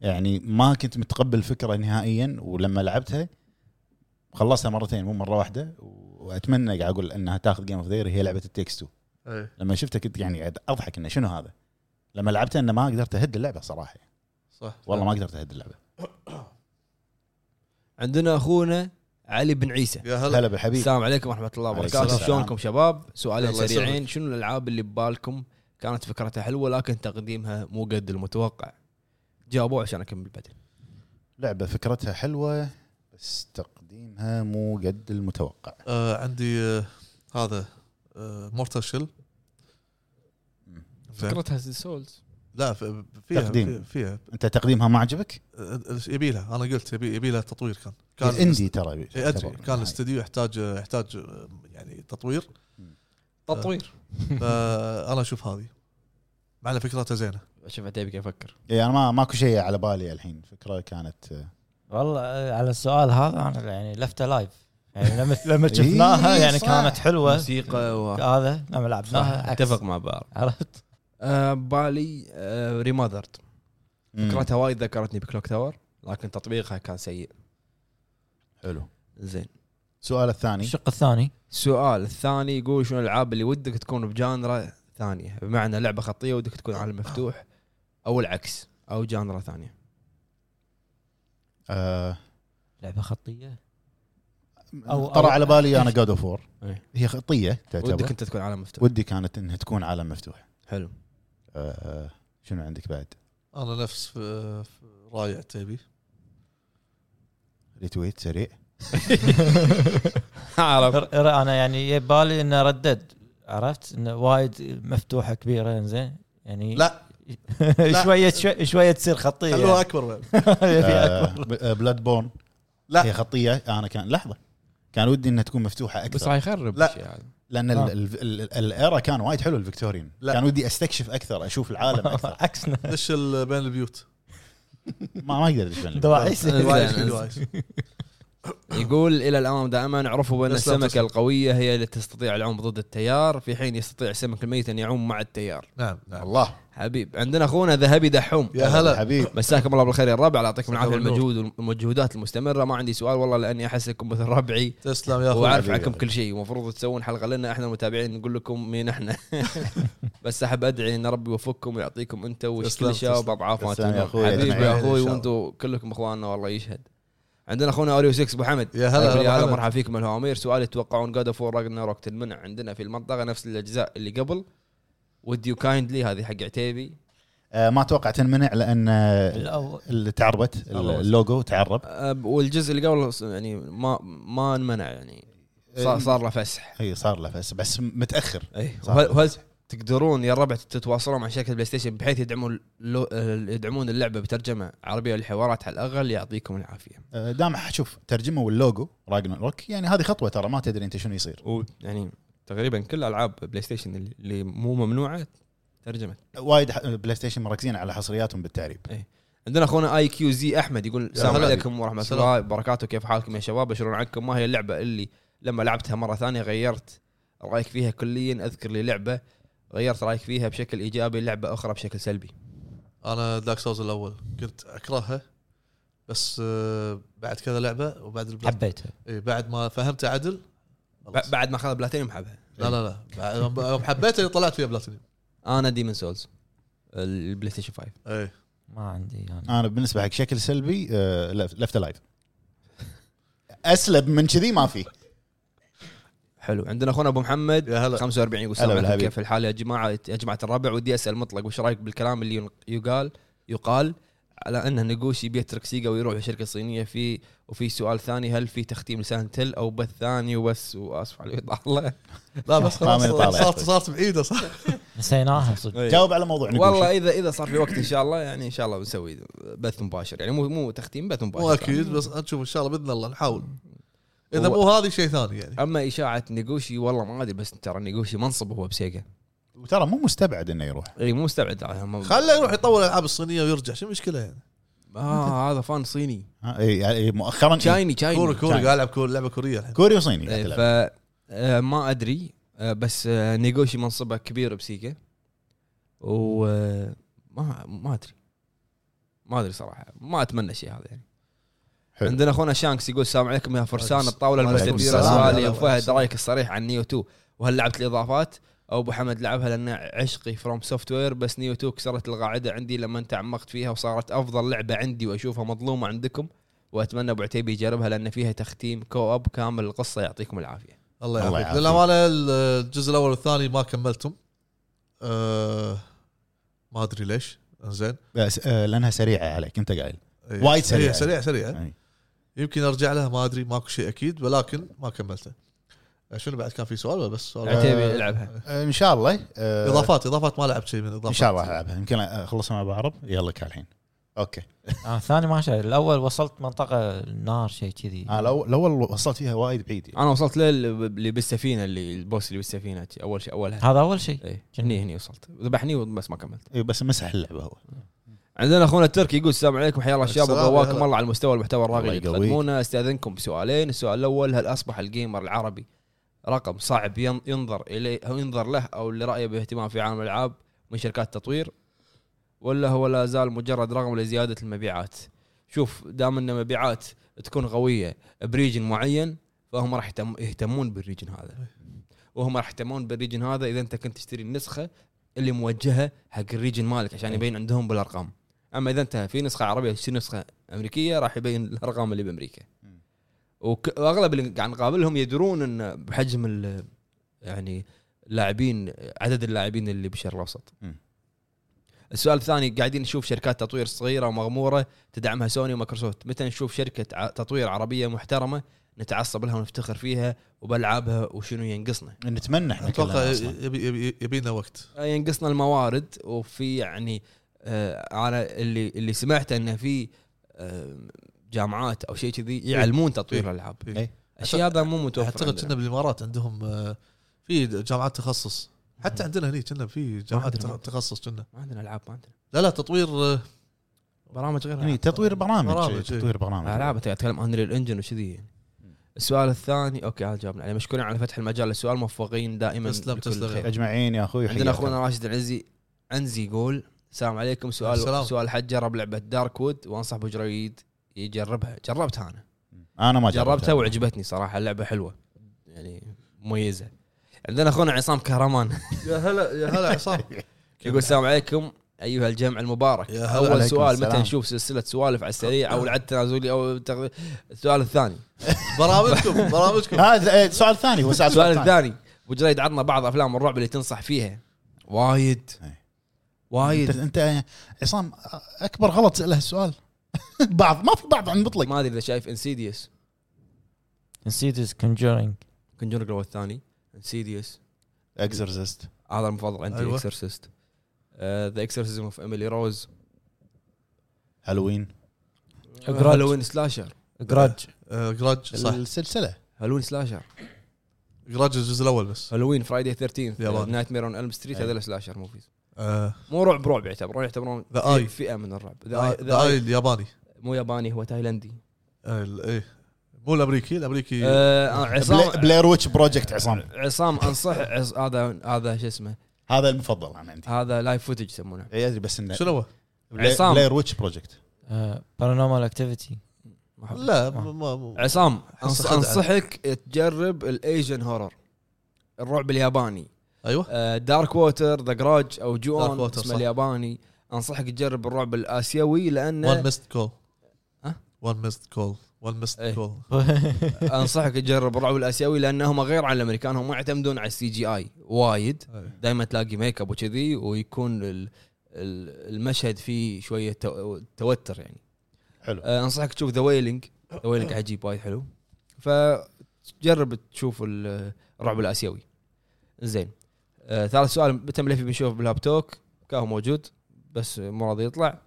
Speaker 4: يعني ما كنت متقبل الفكره نهائيا ولما لعبتها خلصتها مرتين مو مره واحده واتمنى قاعد اقول انها تاخذ جيم اوف ذير هي لعبه التكس 2
Speaker 2: إيه.
Speaker 4: لما شفتها كنت يعني قاعد اضحك انه شنو هذا لما لعبتها انه ما قدرت اهد اللعبه صراحه
Speaker 2: صح
Speaker 4: والله ما قدرت اهد اللعبه
Speaker 1: عندنا اخونا علي بن عيسى
Speaker 2: يا هلا
Speaker 4: هلا بالحبيب
Speaker 1: السلام عليكم ورحمه الله
Speaker 4: عليكم
Speaker 1: وبركاته
Speaker 4: السلام.
Speaker 1: شلونكم شباب سؤالين
Speaker 2: الله يسلمك.
Speaker 1: سريعين شنو الالعاب اللي ببالكم كانت فكرتها حلوه لكن تقديمها مو قد المتوقع جاوبوا عشان اكمل بعدين
Speaker 4: لعبه فكرتها حلوه بس تقديمها مو قد المتوقع
Speaker 2: آه عندي آه هذا آه مورتال شيل
Speaker 1: فكرتها سولز
Speaker 2: لا ف- فيها
Speaker 4: تقديم.
Speaker 2: تقديم. فيها
Speaker 4: انت تقديمها ما عجبك؟
Speaker 2: آه، يبي لها انا قلت يبي يبي لها تطوير كان كان
Speaker 4: اندي ترى
Speaker 2: إيه، ادري كان
Speaker 4: هاي.
Speaker 2: الاستديو يحتاج يحتاج آه، يعني تطوير
Speaker 1: تطوير
Speaker 2: فانا اشوف هذه مع ان فكرتها زينه
Speaker 1: اشوف عتيبي كيف افكر
Speaker 4: اي انا إيه، ما ماكو شيء على بالي الحين فكره كانت آه،
Speaker 3: والله آه، على السؤال هذا انا يعني لفته لايف يعني لما لما شفناها
Speaker 4: إيه،
Speaker 3: يعني
Speaker 4: صح.
Speaker 3: كانت حلوه
Speaker 1: موسيقى و...
Speaker 3: هذا لما
Speaker 1: آه،
Speaker 3: لعبناها عكس.
Speaker 1: اتفق مع بعض
Speaker 3: عرفت؟
Speaker 1: آه بالي آه ريماذرد
Speaker 4: مم.
Speaker 1: فكرتها وايد ذكرتني بكلوك تاور لكن تطبيقها كان سيء
Speaker 4: حلو
Speaker 1: زين
Speaker 4: السؤال الثاني
Speaker 3: الشق الثاني
Speaker 1: السؤال الثاني يقول شنو الالعاب اللي ودك تكون بجانرا ثانيه بمعنى لعبه خطيه ودك تكون
Speaker 2: آه.
Speaker 1: عالم مفتوح او العكس او جانرا ثانيه
Speaker 4: آه
Speaker 3: لعبه خطيه
Speaker 4: أو
Speaker 3: أو-
Speaker 4: طرى
Speaker 3: أو-
Speaker 4: على بالي انا جود اوف وور
Speaker 1: إيه.
Speaker 4: هي خطيه
Speaker 1: ودك
Speaker 4: تعتبر
Speaker 1: انت تكون عالم مفتوح
Speaker 4: ودي كانت انها تكون عالم مفتوح
Speaker 1: حلو
Speaker 4: آه شنو عندك بعد؟
Speaker 2: انا نفس آه، رايع تبي
Speaker 4: ريتويت سريع
Speaker 1: عرفت
Speaker 3: ر- ر- انا يعني يبالي انه ردد عرفت انه وايد مفتوحه كبيره زين يعني
Speaker 2: لا.
Speaker 3: شويه شويه شويه تصير خطيه
Speaker 2: خلوها
Speaker 3: يعني.
Speaker 4: آه،
Speaker 2: اكبر بعد
Speaker 3: في أكبر.
Speaker 4: بلاد بورن
Speaker 2: لا.
Speaker 4: هي خطيه انا كان لحظه كان ودي انها تكون مفتوحه
Speaker 1: بس
Speaker 4: اكثر
Speaker 1: راح يخرب
Speaker 2: لا.
Speaker 1: الشيء هذا
Speaker 4: لان
Speaker 3: آه.
Speaker 4: ال- ال- ال- الايرا كان وايد حلو الفيكتوريين
Speaker 2: لا.
Speaker 4: كان ودي استكشف اكثر اشوف العالم اكثر
Speaker 3: عكسنا
Speaker 2: دش ال- بين البيوت إيه،
Speaker 4: ما ما اقدر أدش من البيت.
Speaker 3: دواعيس
Speaker 1: زين.
Speaker 2: دواعش- دواعش.
Speaker 1: يقول الى الامام دائما اعرفوا بان
Speaker 2: بس لا
Speaker 1: السمكه
Speaker 2: تسلم.
Speaker 1: القويه هي التي تستطيع العوم ضد التيار في حين يستطيع السمك الميت ان يعوم مع التيار
Speaker 2: نعم نعم
Speaker 4: الله
Speaker 1: حبيب عندنا اخونا ذهبي دحوم
Speaker 2: يا هلا
Speaker 4: حبيب
Speaker 1: مساكم الله بالخير يا الربع الله يعطيكم العافيه
Speaker 2: مساك
Speaker 1: المجهود والمجهودات المستمره ما عندي سؤال والله لاني احسكم مثل ربعي
Speaker 2: تسلم يا اخوي
Speaker 1: واعرف
Speaker 4: حبيبي.
Speaker 1: عنكم كل شيء المفروض تسوون حلقه لنا احنا المتابعين نقول لكم مين احنا بس احب ادعي ان ربي يوفقكم ويعطيكم انت وكل
Speaker 2: تسلم،
Speaker 1: الشباب
Speaker 2: تسلم.
Speaker 1: اضعاف ما
Speaker 4: تسلم يا
Speaker 1: تتمنى.
Speaker 4: أخوي،
Speaker 1: حبيبي
Speaker 4: أجمعين
Speaker 1: يا
Speaker 2: إن
Speaker 1: اخوي
Speaker 2: شاء الله.
Speaker 1: وانتم كلكم اخواننا والله يشهد عندنا اخونا اوريو 6 ابو حمد
Speaker 2: يا هلا
Speaker 1: يقول
Speaker 2: أبو
Speaker 1: يا هلا
Speaker 2: حمد.
Speaker 1: مرحبا فيكم الهوامير سؤالي تتوقعون جاد اوف راجنا روك تنمنع عندنا في المنطقه نفس الاجزاء اللي قبل ود يو كايندلي هذه حق عتيبي
Speaker 4: آه، ما اتوقع تنمنع لان آه،
Speaker 3: الأول.
Speaker 4: اللي تعربت
Speaker 1: الله.
Speaker 4: اللوجو تعرب
Speaker 1: أب- والجزء اللي قبل يعني ما ما انمنع يعني صار, صار له فسح
Speaker 4: اي صار له بس بس متاخر
Speaker 1: اي
Speaker 4: صار
Speaker 1: إيه، وهل,
Speaker 4: له
Speaker 1: وهل
Speaker 4: فسح.
Speaker 1: تقدرون يا الربع تتواصلون مع شركه بلاي ستيشن بحيث يدعمون اللو... يدعمون اللعبه بترجمه عربيه والحوارات على الاقل يعطيكم العافيه
Speaker 4: آه، دام شوف ترجمه واللوجو راجنر روك يعني هذه خطوه ترى ما تدري انت شنو يصير
Speaker 1: يعني تقريبا كل العاب بلاي ستيشن اللي- اللي مو ممنوعه ترجمت
Speaker 4: وايد ح- بلاي ستيشن مركزين على حصرياتهم بالتعريب
Speaker 1: عندنا اخونا اي كيو زي احمد يقول السلام
Speaker 2: هلا
Speaker 1: عليكم ورحمه
Speaker 2: سلام.
Speaker 1: الله وبركاته كيف حالكم يا شباب بشرون عنكم ما هي اللعبه اللي لما لعبتها مره ثانيه غيرت رايك فيها كليا اذكر لي لعبه غيرت رايك فيها بشكل ايجابي لعبه اخرى بشكل سلبي
Speaker 2: انا دارك سوز الاول كنت اكرهها بس آه، بعد كذا لعبه وبعد البلات...
Speaker 3: حبيتها
Speaker 2: إيه، بعد ما فهمت عدل
Speaker 1: ب- بعد ما اخذ بلاتينيوم حبها
Speaker 2: لا لا لا بعد- يوم حبيتها طلعت فيها بلاتينيوم
Speaker 1: انا ديمن سولز البلاي ستيشن 5
Speaker 2: اي
Speaker 3: ما عندي يعني. انا
Speaker 4: انا بالنسبه حق شكل سلبي آه، لف- لفت لايف اسلب من كذي ما في
Speaker 1: حلو عندنا اخونا ابو محمد
Speaker 2: يا هلا
Speaker 1: 45 يقول
Speaker 4: هلا
Speaker 1: السلام عليكم
Speaker 4: بالحبيب.
Speaker 1: كيف الحال يا جماعه يا جماعه الربع ودي اسال مطلق وش رايك بالكلام اللي ينق- يقال يقال على انه نقوشي بيترك سيجا ويروح لشركه صينيه في وفي سؤال ثاني هل في تختيم لسان تل او بث ثاني وبس واسف على الاطاله
Speaker 2: لا بس خلاص
Speaker 4: ما يطالع.
Speaker 2: صارت صارت بعيده صح
Speaker 3: نسيناها صدق
Speaker 2: طيب.
Speaker 4: جاوب على موضوع نقول
Speaker 1: والله اذا اذا صار في وقت ان شاء الله يعني ان شاء الله بنسوي بث مباشر يعني مو مو تختيم بث مباشر
Speaker 2: مو اكيد بس نشوف ان شاء الله باذن الله نحاول اذا
Speaker 1: هو-
Speaker 2: مو هذه شيء ثاني يعني
Speaker 1: اما اشاعه نيجوشي والله ما ادري بس ترى نيجوشي منصب هو بسيجا
Speaker 4: شيء. وترى مو مستبعد انه يروح
Speaker 1: اي مو مستبعد هم-
Speaker 2: خله يروح يطور الالعاب الصينيه ويرجع شو المشكله يعني
Speaker 1: اه هذا فان صيني
Speaker 4: ها، إي- إي، مؤخرا إي.
Speaker 1: تشايني تشايني إيه،
Speaker 2: كوري كوري
Speaker 4: تعال.
Speaker 2: قاعد العب كوري لعبه كوريه الحين
Speaker 4: كوري وصيني قاعد
Speaker 1: ف
Speaker 4: تلعب.
Speaker 1: آه، ما ادري آه، بس آه، نيغوشي منصبه كبير بسيكا و آه، ما ما ادري ما ادري صراحه ما اتمنى شيء هذا يعني
Speaker 4: حلو.
Speaker 1: عندنا اخونا شانكس يقول السلام عليكم يا فرسان
Speaker 2: عليكم
Speaker 1: الطاوله
Speaker 2: السلام.
Speaker 1: المستديره
Speaker 4: عليكم السلام.
Speaker 1: سؤالي يا ابو فهد
Speaker 2: السلام.
Speaker 1: رايك الصريح عن نيو 2 وهل لعبت الاضافات او ابو حمد لعبها لان عشقي فروم سوفت وير بس نيو 2 كسرت القاعده عندي لما تعمقت فيها وصارت افضل لعبه عندي واشوفها مظلومه عندكم واتمنى ابو عتيبي يجربها لان فيها تختيم كو اب كامل القصه يعطيكم العافيه
Speaker 2: الله
Speaker 4: الله
Speaker 2: يعافيك
Speaker 4: يعافيك.
Speaker 2: للامانه الجزء الاول والثاني ما كملتهم أه ما ادري ليش زين
Speaker 4: بس آه، لانها سريعه عليك انت قايل
Speaker 2: إيه.
Speaker 4: وايد سريعة.
Speaker 2: إيه، سريعه سريعه
Speaker 4: يعني
Speaker 2: يمكن ارجع لها ما ادري ماكو شيء اكيد ولكن ما كملته أه، شنو بعد كان في سؤال ولا بس سؤال
Speaker 1: عتيبي العبها
Speaker 4: آه، ان شاء الله آه،
Speaker 2: اضافات اضافات ما لعبت شيء من الاضافات
Speaker 4: ان شاء الله العبها يمكن اخلصها مع أبو عرب يلا كان الحين اوكي
Speaker 3: انا الثاني آه، ما شايف الاول وصلت منطقه نار شيء كذي
Speaker 1: آه،
Speaker 4: انا الأول- الاول وصلت فيها وايد بعيد يعني.
Speaker 1: انا وصلت لل- اللي بالسفينه اللي البوس اللي بالسفينه اول شيء اولها
Speaker 3: هذا اول شيء
Speaker 1: اي هني هني وصلت ذبحني بس ما كملت
Speaker 4: إي، إيه، بس مسح اللعبه هو
Speaker 1: عندنا اخونا التركي يقول السلام عليكم حيا الله الشباب
Speaker 2: السلام،
Speaker 1: وقواكم
Speaker 2: هلا.
Speaker 1: الله على المستوى والمحتوى الراقي
Speaker 4: الله
Speaker 1: اللي
Speaker 4: يقويك.
Speaker 1: تقدمونه استاذنكم بسؤالين السؤال الاول هل اصبح الجيمر العربي رقم صعب ين- ينظر اليه او ينظر له او اللي رايه باهتمام في عالم الالعاب من شركات التطوير ولا هو لا زال مجرد رقم لزياده المبيعات شوف دام ان مبيعات تكون قويه بريجن معين فهم راح يهتم- يهتمون بالريجن هذا وهم راح يهتمون بالريجن هذا اذا انت كنت تشتري النسخه اللي موجهه حق الريجن مالك
Speaker 4: إيه.
Speaker 1: عشان يبين عندهم بالارقام اما اذا انت في نسخه عربيه تشتري نسخه امريكيه راح يبين الارقام اللي بامريكا
Speaker 4: م.
Speaker 1: وك- واغلب اللي قاعد نقابلهم يدرون ان بحجم ال- يعني اللاعبين عدد اللاعبين اللي بالشرق الاوسط
Speaker 4: م.
Speaker 1: السؤال الثاني قاعدين نشوف شركات تطوير صغيره ومغموره تدعمها سوني ومايكروسوفت متى نشوف شركه ع- تطوير عربيه محترمه نتعصب لها ونفتخر فيها وبالعابها وشنو ينقصنا
Speaker 4: يعني نتمنى احنا
Speaker 2: اتوقع
Speaker 4: كلنا أصلاً.
Speaker 2: يبي يبي- يبينا وقت
Speaker 1: آه، ينقصنا الموارد وفي يعني آه، انا اللي اللي سمعت انه في آه، جامعات او شيء كذي يعلمون تطوير
Speaker 2: إيه.
Speaker 1: الالعاب
Speaker 2: إيه.
Speaker 4: إيه.
Speaker 1: الشيء هذا مو متوفر
Speaker 2: اعتقد
Speaker 1: عندنا.
Speaker 2: كنا بالامارات عندهم آه، في جامعات تخصص حتى عندنا هني كنا في جامعات
Speaker 1: عندنا.
Speaker 2: تخصص كنا
Speaker 1: ما عندنا العاب ما عندنا
Speaker 2: لا لا تطوير آه،
Speaker 1: برامج غير
Speaker 4: يعني
Speaker 1: ألعاب.
Speaker 4: تطوير برامج,
Speaker 2: برامج، إيه.
Speaker 4: تطوير برامج
Speaker 1: العاب أنت قاعد تتكلم انريل انجن وكذي يعني السؤال الثاني اوكي هذا جاوبنا عليه مشكورين على فتح المجال للسؤال موفقين دائما
Speaker 2: تسلم،
Speaker 1: بكل
Speaker 2: تسلم.
Speaker 1: خير.
Speaker 4: اجمعين يا اخوي
Speaker 1: عندنا اخونا راشد العزي عنزي يقول السلام عليكم سؤال
Speaker 2: السلام.
Speaker 1: سؤال حد جرب لعبه دارك وود وانصح بجريد يجربها جربتها انا
Speaker 4: انا ما
Speaker 1: جربتها وعجبتني صراحه اللعبه حلوه يعني مميزه عندنا اخونا عصام كهرمان
Speaker 2: يا هلا يا هلا عصام
Speaker 1: يقول السلام عليكم ايها الجمع المبارك
Speaker 2: يا هلا
Speaker 1: اول
Speaker 4: عليكم
Speaker 1: سؤال
Speaker 4: السلام.
Speaker 1: متى نشوف سلسله سوالف على السريع او العد تنازلي او تغ... السؤال الثاني
Speaker 2: برامجكم برامجكم
Speaker 4: هذا إيه، سؤال ثاني هو سؤال,
Speaker 1: السؤال
Speaker 4: سؤال ثاني
Speaker 1: الثاني ابو جريد عطنا بعض افلام الرعب اللي تنصح فيها وايد
Speaker 4: إيه. انت,
Speaker 1: وايد
Speaker 4: انت يعني عصام اكبر غلط له السؤال بعض ما في بعض عن مطلق
Speaker 1: طيب، ما ادري اذا شايف انسيديوس
Speaker 3: انسيدس كونجورينج
Speaker 1: كنجورك هو الثاني انسيديوس
Speaker 4: اكزرسست
Speaker 1: هذا المفضل عندي آه،
Speaker 2: أيوة.
Speaker 1: اكسرسيست ذا اكسرسيزم اوف ايميلي روز
Speaker 4: هالوين
Speaker 1: هالوين سلاشر
Speaker 3: جراج
Speaker 2: آه، جراج صح
Speaker 4: السلسله
Speaker 1: هالوين سلاشر
Speaker 2: جراج الجزء الاول بس
Speaker 1: هالوين فرايدي 13
Speaker 2: ياباني.
Speaker 1: نايت مير اون الم
Speaker 2: أيوه.
Speaker 1: ستريت
Speaker 4: أيوة.
Speaker 1: هذول سلاشر موفيز
Speaker 2: آه،
Speaker 1: مو رعب رعب يعتبرون يعتبرون
Speaker 2: The Eye.
Speaker 1: فئه من الرعب The
Speaker 2: ذا
Speaker 1: Eye- The
Speaker 2: ذا
Speaker 1: Eye
Speaker 2: آي الياباني
Speaker 1: مو ياباني هو تايلندي
Speaker 2: آه، ال- ايه مو الامريكي الامريكي
Speaker 1: آه
Speaker 4: بلا-
Speaker 1: عصام
Speaker 4: بلاير ويتش بروجكت عصام
Speaker 1: عصام انصح عص- هذا هذا شو اسمه
Speaker 4: هذا المفضل انا عندي
Speaker 1: هذا لايف فوتج يسمونه
Speaker 4: إيه، ادري بس انه
Speaker 2: شنو هو؟
Speaker 1: عصام.
Speaker 4: بلاير ويتش بروجكت
Speaker 3: آه، بارانورمال اكتيفيتي
Speaker 1: ما أحب.
Speaker 2: لا ما- ما- ما-
Speaker 1: عصام
Speaker 2: أحس
Speaker 1: أنص-
Speaker 2: خدعة.
Speaker 1: انصحك تجرب الايجن هورر الرعب الياباني آه،
Speaker 2: ايوه
Speaker 1: دارك ووتر ذا جراج او
Speaker 2: Dark
Speaker 1: جون
Speaker 2: Water،
Speaker 1: اسمه
Speaker 2: صح.
Speaker 1: الياباني انصحك تجرب الرعب الاسيوي
Speaker 2: وان
Speaker 1: لانه
Speaker 2: ميست كول
Speaker 1: ها؟
Speaker 2: وان ميست كول وان ميست
Speaker 1: إيه.
Speaker 2: كول
Speaker 1: انصحك تجرب الرعب الاسيوي لانهم غير عن الامريكان هم يعتمدون على السي جي اي وايد دائما تلاقي ميك اب وكذي ويكون ال- ال- المشهد فيه شويه تو- توتر يعني
Speaker 4: حلو
Speaker 1: أه، انصحك تشوف ذا ويلينج ذا ويلينج عجيب وايد حلو فجرب تشوف ال- الرعب الاسيوي زين أه، ثالث سؤال متى ملفي بنشوف بالهاب توك كاهو موجود بس مو راضي يطلع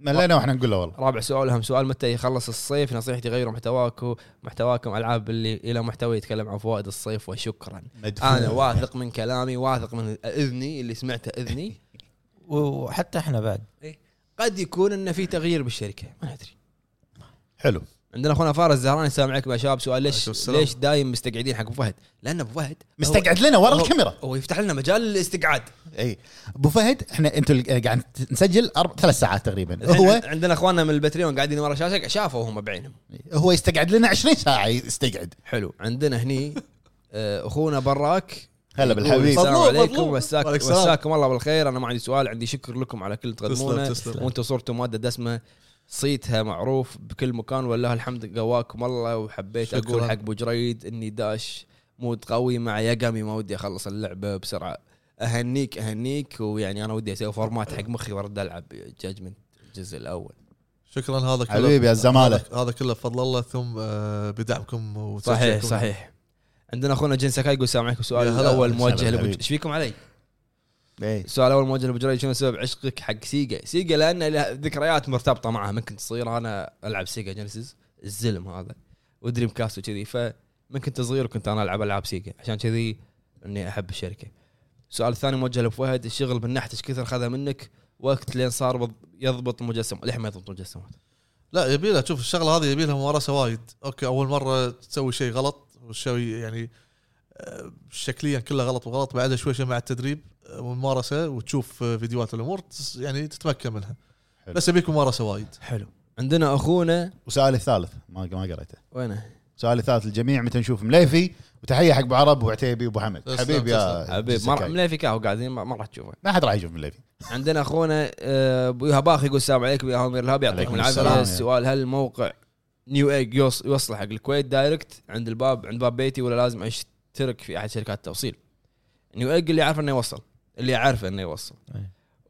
Speaker 4: ملينا واحنا نقول له والله
Speaker 1: رابع سؤال اهم سؤال متى يخلص الصيف نصيحتي غيروا محتواكم محتواكم العاب اللي الى محتوى يتكلم عن فوائد الصيف وشكرا انا واثق من كلامي واثق من اذني اللي سمعته اذني
Speaker 3: وحتى احنا بعد
Speaker 1: قد يكون انه في تغيير بالشركه ما ندري
Speaker 4: حلو
Speaker 1: عندنا اخونا فارس الزهراني السلام عليكم يا شباب سؤال
Speaker 2: عليكم
Speaker 1: ليش
Speaker 2: السلام.
Speaker 1: ليش دايم مستقعدين حق ابو فهد؟ لان ابو فهد هو-
Speaker 4: مستقعد لنا ورا
Speaker 1: هو-
Speaker 4: الكاميرا
Speaker 1: هو يفتح لنا مجال للاستقعاد
Speaker 4: اي ابو فهد احنا انتوا اللي قاعد نسجل أرب... ثلاث ساعات تقريبا هو
Speaker 1: الحين عندنا اخواننا من البتريون قاعدين ورا شاشه شافوا هم بعينهم
Speaker 4: هو يستقعد لنا 20 ساعه يستقعد
Speaker 1: حلو عندنا هني آه، اخونا براك
Speaker 4: هلا
Speaker 1: يقول
Speaker 4: بالحبيب
Speaker 1: السلام
Speaker 2: مظلوم،
Speaker 1: عليكم
Speaker 2: مظلوم.
Speaker 1: مساك
Speaker 2: وعليك السلام.
Speaker 1: مساكم الله بالخير انا ما عندي سؤال عندي شكر لكم على كل تقدمونه
Speaker 2: تسلم، تسلم.
Speaker 1: وانتم صرتوا ماده دسمه صيتها معروف بكل مكان والله الحمد قواكم الله وحبيت
Speaker 2: شكراً.
Speaker 1: اقول حق ابو جريد اني داش مود قوي مع يقامي ما ودي اخلص اللعبه بسرعه اهنيك اهنيك ويعني انا ودي اسوي فورمات حق مخي وارد العب جاجمنت الجزء الاول
Speaker 2: شكرا هذا كله
Speaker 4: حبيبي يا الزماله
Speaker 2: هذا كله بفضل الله ثم آه، بدعمكم
Speaker 1: صحيح
Speaker 2: وتشجيعكم.
Speaker 1: صحيح عندنا اخونا جن سكاي يقول السلام عليكم سؤال
Speaker 2: يا هلا.
Speaker 1: الاول
Speaker 4: هلا
Speaker 1: موجه لابو
Speaker 4: حبيبي.
Speaker 1: ايش فيكم علي؟
Speaker 4: إيه.
Speaker 1: السؤال الاول موجه لابو جريد شنو سبب عشقك حق سيجا؟ سيجا لان لها ذكريات مرتبطه معها من كنت صغير انا العب سيجا جينيسيس الزلم هذا ودريم كاست وكذي فمن كنت صغير كنت انا العب العاب سيجا عشان كذي اني احب الشركه. السؤال الثاني موجه لابو فهد الشغل من ناحيه ايش كثر خذا منك وقت لين صار بض- يضبط المجسم للحين ما يضبط المجسمات.
Speaker 2: لا يبي له شوف الشغله هذه يبي لها ممارسه وايد اوكي اول مره تسوي شيء غلط والشيء يعني آه، شكليا كله غلط وغلط بعدها شوي شوي مع التدريب آه، والممارسه وتشوف آه، فيديوهات الامور تس- يعني تتمكن منها
Speaker 4: حلو.
Speaker 2: بس يبيك ممارسه وايد
Speaker 1: حلو. عندنا اخونا
Speaker 4: وسؤالي الثالث ما ما قريته
Speaker 1: وينه؟
Speaker 4: سؤالي الثالث الجميع متى نشوف مليفي وتحيه حق ابو عرب وعتيبي وابو حمد
Speaker 2: تسلم،
Speaker 4: حبيب يا
Speaker 1: حبيب ما راح-
Speaker 4: ما
Speaker 1: مليفي كاهو قاعدين ما ما راح تشوفه.
Speaker 4: ما حد راح يشوف مليفي
Speaker 1: عندنا اخونا آه، ابو يهباخ يقول السلام عليكم يا هامير الهاب يعطيكم
Speaker 4: عليكم
Speaker 1: العافيه
Speaker 4: السلام.
Speaker 1: السؤال هل موقع نيو ايج يوص- يوصل حق الكويت دايركت عند الباب عند باب بيتي ولا لازم اشترك في احد شركات التوصيل؟ نيو ايج اللي عارف انه يوصل اللي عارفه انه يوصل
Speaker 3: أي.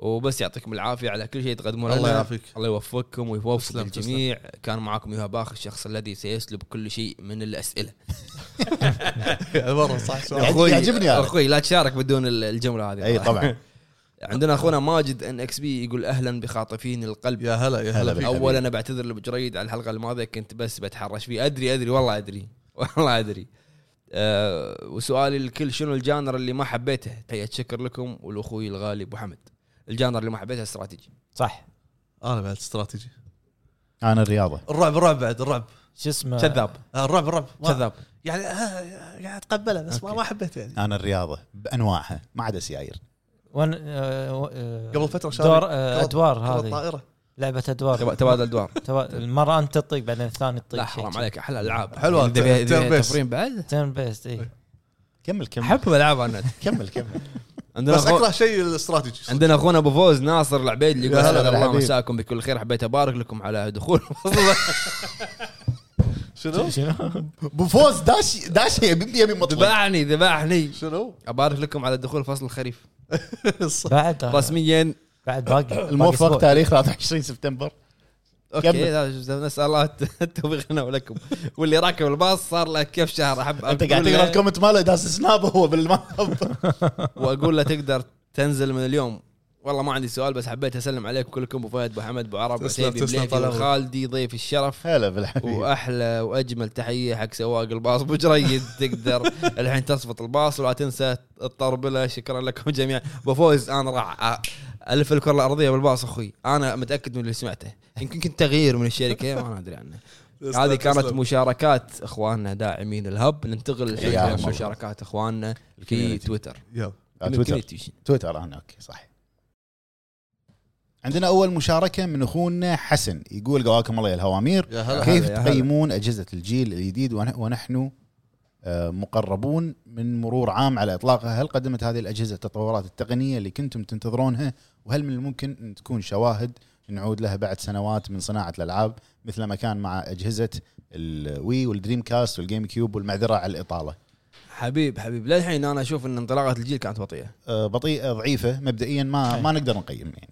Speaker 1: وبس يعطيكم العافيه على كل شيء تقدمونه
Speaker 2: الله
Speaker 1: لنا.
Speaker 2: يعافيك
Speaker 1: الله يوفقكم ويوفق
Speaker 2: تسلم، تسلم.
Speaker 1: الجميع كان معاكم يوها باخ الشخص الذي سيسلب كل شيء من الاسئله
Speaker 2: مره صح
Speaker 4: يعجبني هذا.
Speaker 1: اخوي لا تشارك بدون ال- الجمله هذه
Speaker 4: اي طبعا
Speaker 1: عندنا اخونا ماجد ان اكس بي يقول اهلا بخاطفين القلب
Speaker 2: يا هلا يا
Speaker 4: هلا
Speaker 2: هلا فيك
Speaker 4: بالحبيب.
Speaker 1: اولا انا بعتذر لبجريد على الحلقه اللي الماضيه كنت بس بتحرش فيه ادري ادري والله ادري والله ادري أه وسؤالي الكل شنو الجانر اللي ما حبيته تحيه شكر لكم والاخوي الغالي ابو حمد الجانر اللي ما حبيته استراتيجي
Speaker 3: صح
Speaker 2: انا بعد استراتيجي
Speaker 4: انا الرياضه
Speaker 2: الرعب الرعب بعد الرعب
Speaker 3: شو اسمه
Speaker 1: كذاب
Speaker 2: آه، الرعب الرعب ما-
Speaker 1: كذاب
Speaker 2: يعني آه، قاعد اتقبله بس ما
Speaker 1: أوكي.
Speaker 2: ما حبيته يعني
Speaker 4: انا الرياضه بانواعها ما عدا سياير
Speaker 3: ون... آه، آه،
Speaker 2: قبل فتره شاري
Speaker 3: دور آه،
Speaker 2: قبل-
Speaker 3: ادوار
Speaker 2: قبل
Speaker 3: هذه
Speaker 2: الطائره
Speaker 3: لعبه ادوار
Speaker 2: طيب.
Speaker 1: تبا- تبادل ادوار
Speaker 3: تبا- المره انت تطق بعدين الثاني يطق
Speaker 1: لا حرام عليك احلى العاب
Speaker 2: حلوة،
Speaker 1: إذا فيها- إذا
Speaker 2: turn
Speaker 1: فيها
Speaker 2: based.
Speaker 1: تفريم بعد
Speaker 3: تيرن بيست اي
Speaker 1: طيب.
Speaker 4: كمل كمل
Speaker 1: احب العاب انا
Speaker 4: كمل كمل نعم،
Speaker 1: عندنا
Speaker 2: بس
Speaker 1: أخو-
Speaker 2: اكره شيء الاستراتيجي صدق.
Speaker 1: عندنا اخونا ابو فوز ناصر العبيد اللي يقول
Speaker 2: يا هلا
Speaker 1: هلا الله
Speaker 2: بالحبيب.
Speaker 1: مساكم بكل خير حبيت ابارك لكم على دخول
Speaker 2: شنو؟
Speaker 4: بفوز داش داش يبي يبي مطلع
Speaker 1: ذبحني ذبحني
Speaker 2: شنو؟
Speaker 1: ابارك لكم على دخول فصل الخريف
Speaker 2: الص-
Speaker 3: بعد آه،
Speaker 1: رسميا
Speaker 3: بعد باقي
Speaker 4: الموفق
Speaker 3: باقي أسبوع.
Speaker 4: تاريخ 23 سبتمبر كمل.
Speaker 1: اوكي هذا- نسال الله الت- التوفيق لنا ولكم واللي راكب الباص صار له كيف شهر احب
Speaker 4: انت
Speaker 1: أقول
Speaker 4: قاعد
Speaker 1: له-
Speaker 4: تقرا الكومنت ماله داس سناب هو بالماب
Speaker 1: واقول له تقدر تنزل من اليوم والله ما عندي سؤال بس حبيت اسلم عليكم كلكم ابو فهد ابو حمد ابو عرب
Speaker 2: تسلم،
Speaker 1: عتيبي
Speaker 2: تسلم،
Speaker 1: بليفي
Speaker 2: طال عمرك.
Speaker 1: وخالدي ضيف الشرف
Speaker 4: هلا بالحبيب آه،
Speaker 1: واحلى واجمل تحيه حق سواق الباص ابو جريد تقدر الحين تصفط الباص ولا تنسى الطربله شكرا لكم جميعا ابو فوز انا راح أ- الف الكره الارضيه بالباص اخوي انا متاكد من اللي سمعته يمكن كنت تغيير من الشركه ما أنا ادري عنه
Speaker 2: تسلم،
Speaker 1: هذه كانت
Speaker 2: تسلم.
Speaker 1: مشاركات اخواننا داعمين الهب ننتقل
Speaker 4: يا
Speaker 1: الحين
Speaker 4: الله.
Speaker 1: لمشاركات اخواننا في
Speaker 4: الكوميونتي.
Speaker 1: تويتر
Speaker 2: يلا
Speaker 4: آه، تويتر
Speaker 1: الكوميونتي.
Speaker 4: تويتر انا اوكي صح عندنا اول مشاركه من اخونا حسن يقول قواكم الله يا الهوامير
Speaker 2: يا هلا
Speaker 4: كيف
Speaker 1: هلا، يا هلا.
Speaker 4: تقيمون اجهزه الجيل الجديد ون- ونحن آه، مقربون من مرور عام على اطلاقها هل قدمت هذه الاجهزه التطورات التقنيه اللي كنتم تنتظرونها وهل من الممكن ان تكون شواهد نعود لها بعد سنوات من صناعه الالعاب مثل ما كان مع اجهزه الوي والدريم كاست والجيم كيوب والمعذره على الاطاله
Speaker 1: حبيب حبيب للحين انا اشوف ان انطلاقه الجيل كانت بطيئه
Speaker 4: آه، بطيئه ضعيفه مبدئيا ما ما نقدر نقيم يعني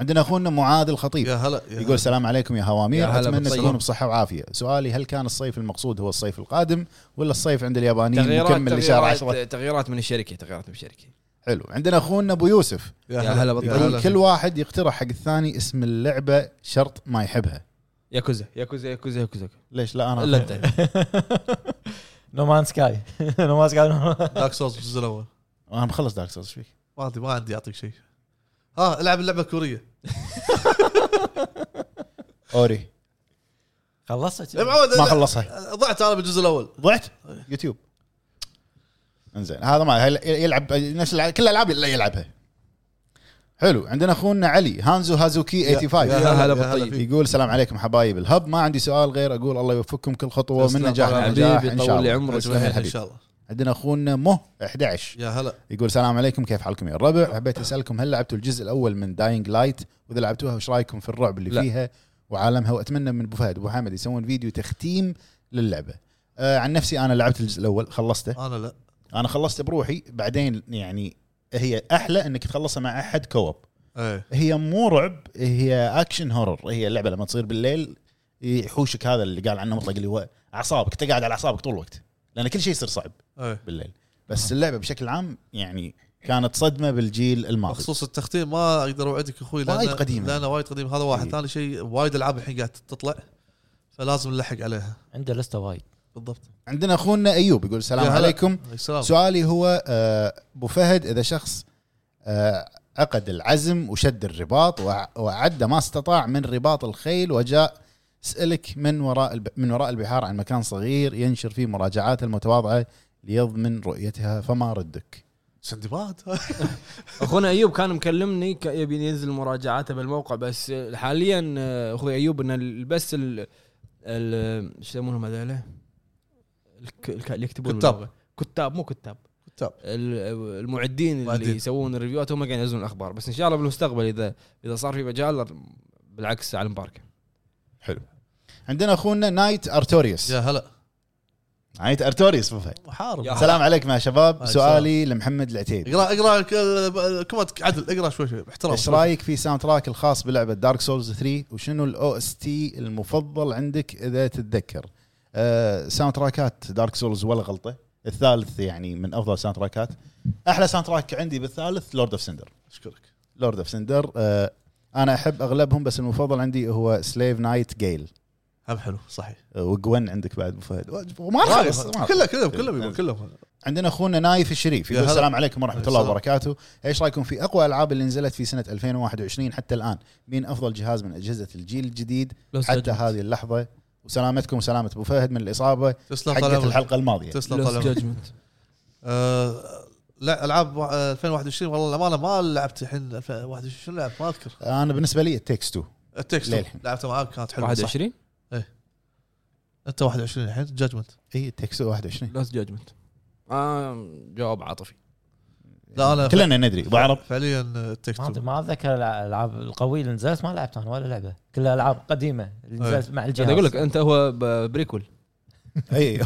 Speaker 4: عندنا اخونا معاذ الخطيب
Speaker 2: يا هلا يا
Speaker 4: طيب. يقول السلام عليكم يا
Speaker 1: يا
Speaker 4: هوامير
Speaker 1: هلا
Speaker 4: اتمنى
Speaker 1: بالطيب.
Speaker 4: تكونوا بصحه وعافيه سؤالي هل كان الصيف المقصود هو الصيف القادم ولا الصيف عند اليابانيين
Speaker 1: تغييرات
Speaker 4: مكمل لشهر 10
Speaker 1: تغييرات, تغييرات من الشركه تغييرات من الشركه
Speaker 4: حلو عندنا اخونا ابو يوسف
Speaker 2: يا
Speaker 1: يا هلا بالطيب.
Speaker 4: يقول كل واحد يقترح حق الثاني اسم اللعبه شرط ما يحبها
Speaker 1: ياكوزا ياكوزا ياكوزا ياكوزا
Speaker 4: ليش لا انا
Speaker 1: الا انت
Speaker 3: نو مان سكاي نو مان سكاي
Speaker 2: دارك سولز الجزء الاول
Speaker 4: انا مخلص دارك سولز فيك
Speaker 2: ما عندي ما عندي اعطيك شيء ها العب اللعبه الكوريه
Speaker 4: اوري
Speaker 2: يا
Speaker 1: إيه.
Speaker 3: خلصت
Speaker 2: معود
Speaker 4: ما
Speaker 2: أنا-
Speaker 4: خلصها
Speaker 2: ضعت انا بالجزء الاول
Speaker 4: ضعت يوتيوب انزين هذا ما هل- يلعب نفس الع- كل الالعاب اللي يلعبها حلو عندنا اخونا علي هانزو هازوكي 85
Speaker 2: يا
Speaker 1: هلا
Speaker 2: بالطيب.
Speaker 1: فيك.
Speaker 4: يقول السلام عليكم حبايب الهب ما عندي سؤال غير اقول الله يوفقكم كل خطوه من
Speaker 2: تسلم
Speaker 4: نجاح
Speaker 2: طال
Speaker 4: لنجاح
Speaker 1: حبيبي
Speaker 4: ان شاء
Speaker 1: طول لي
Speaker 4: الله
Speaker 1: عمرك
Speaker 4: تسلم يا
Speaker 2: ان
Speaker 4: حبيبي
Speaker 2: شاء الله
Speaker 4: عندنا اخونا مه 11
Speaker 2: يا هلا
Speaker 4: يقول السلام عليكم كيف حالكم يا الربع حبيت اسالكم هل لعبتوا الجزء الاول من داينج لايت واذا لعبتوها وش رايكم في الرعب اللي
Speaker 1: لا.
Speaker 4: لا. فيها وعالمها واتمنى من ابو فهد وابو حمد يسوون فيديو تختيم للعبه آه عن نفسي انا لعبت الجزء الاول خلصته
Speaker 2: انا لا
Speaker 4: انا خلصته بروحي بعدين يعني هي احلى انك تخلصها مع احد كوب
Speaker 2: ايه
Speaker 4: هي مو رعب هي اكشن هورر هي اللعبه لما تصير بالليل يحوشك هذا اللي قال عنه مطلق اللي هو اعصابك انت قاعد على اعصابك طول الوقت لان كل شيء يصير صعب
Speaker 2: ايه
Speaker 4: بالليل بس اللعبه بشكل عام يعني كانت صدمه بالجيل الماضي
Speaker 2: بخصوص التختيم ما اقدر اوعدك اخوي لأن-
Speaker 4: وايد قديمة.
Speaker 2: لانه وايد قديم هذا واحد
Speaker 4: إيه.
Speaker 2: ثاني شيء وايد العاب الحين قاعد تطلع فلازم نلحق عليها
Speaker 3: عنده لسته وايد
Speaker 2: بالضبط
Speaker 4: عندنا اخونا ايوب يقول السلام
Speaker 2: يا هلا.
Speaker 4: عليكم
Speaker 2: السلام
Speaker 4: سؤالي هو آه، ابو فهد اذا شخص آه، عقد العزم وشد الرباط وع- وعد ما استطاع من رباط الخيل وجاء اسالك من وراء الب... من وراء البحار عن مكان صغير ينشر فيه مراجعاته المتواضعه ليضمن رؤيتها فما ردك
Speaker 2: سندباد
Speaker 1: اخونا ايوب كان مكلمني ك- يبي ينزل مراجعاته بالموقع بس حاليا آه، اخوي ايوب ان ال- بس ال ال- شو يسمونهم هذول؟ الك- الك- اللي يكتبون
Speaker 2: كتاب.
Speaker 1: باللغة. كتاب مو كتاب
Speaker 2: كتاب.
Speaker 1: ال- المعدين اللي
Speaker 2: معدين.
Speaker 1: يسوون الريفيوات هم قاعدين ينزلون الاخبار بس ان شاء الله بالمستقبل اذا اذا صار في مجال بالعكس على المباركه
Speaker 4: عندنا اخونا نايت ارتوريوس
Speaker 2: يا هلا
Speaker 4: نايت ارتوريوس ابو فهد
Speaker 2: محارب
Speaker 1: يا
Speaker 4: السلام عليكم يا شباب
Speaker 2: عليك
Speaker 4: سؤالي لمحمد العتيبي
Speaker 2: اقرا اقرا كومنت عدل اقرا شوي شوي باحترام
Speaker 4: ايش رايك في ساوند تراك الخاص بلعبه دارك سولز 3 وشنو الاو اس تي المفضل عندك اذا تتذكر؟ آه ساوند تراكات دارك سولز ولا غلطه الثالث يعني من افضل ساوند تراكات احلى ساوند تراك عندي بالثالث لورد اوف سندر
Speaker 2: اشكرك
Speaker 4: لورد اوف سندر انا احب اغلبهم بس المفضل عندي هو سليف نايت جيل
Speaker 2: هم حلو صحيح
Speaker 4: وجوين آه، عندك بعد ابو فهد وما خلص ما
Speaker 2: كله
Speaker 4: خلص.
Speaker 2: كله كله يبون، كله
Speaker 4: عندنا اخونا نايف الشريف يقول
Speaker 2: يا هلا.
Speaker 4: السلام عليكم ورحمه الله
Speaker 2: السلام.
Speaker 4: وبركاته ايش رايكم في اقوى الالعاب اللي نزلت في سنه 2021 حتى الان مين افضل جهاز من اجهزه الجيل الجديد حتى هذه اللحظه وسلامتكم وسلامه ابو فهد من الاصابه
Speaker 2: تسلم طال
Speaker 4: حقت
Speaker 2: عمرك
Speaker 4: الحلقه الماضيه
Speaker 2: تسلم طال عمرك
Speaker 1: جادجمنت
Speaker 2: آه، لا العاب آه، 2021 والله الامانه ما لعبت الحين 2021 شنو لعبت ما اذكر
Speaker 4: انا بالنسبه لي التكس 2
Speaker 2: التكست
Speaker 4: للحين.
Speaker 2: لعبتها معاك كانت حلوه صح
Speaker 1: 21
Speaker 2: انت 21 الحين جادجمنت
Speaker 4: اي التكس 21
Speaker 1: لاست جادجمنت آه جواب عاطفي
Speaker 2: لا انا
Speaker 4: كلنا ندري ابو عرب
Speaker 2: فعليا التكست
Speaker 3: ما أدري- ما اتذكر الع- الالعاب القويه اللي نزلت ما لعبت انا ولا لعبه كلها العاب قديمه اللي
Speaker 2: أي.
Speaker 3: نزلت مع الجهاز
Speaker 1: قاعد اقول إيه. لك انت هو ب- بريكول
Speaker 4: اي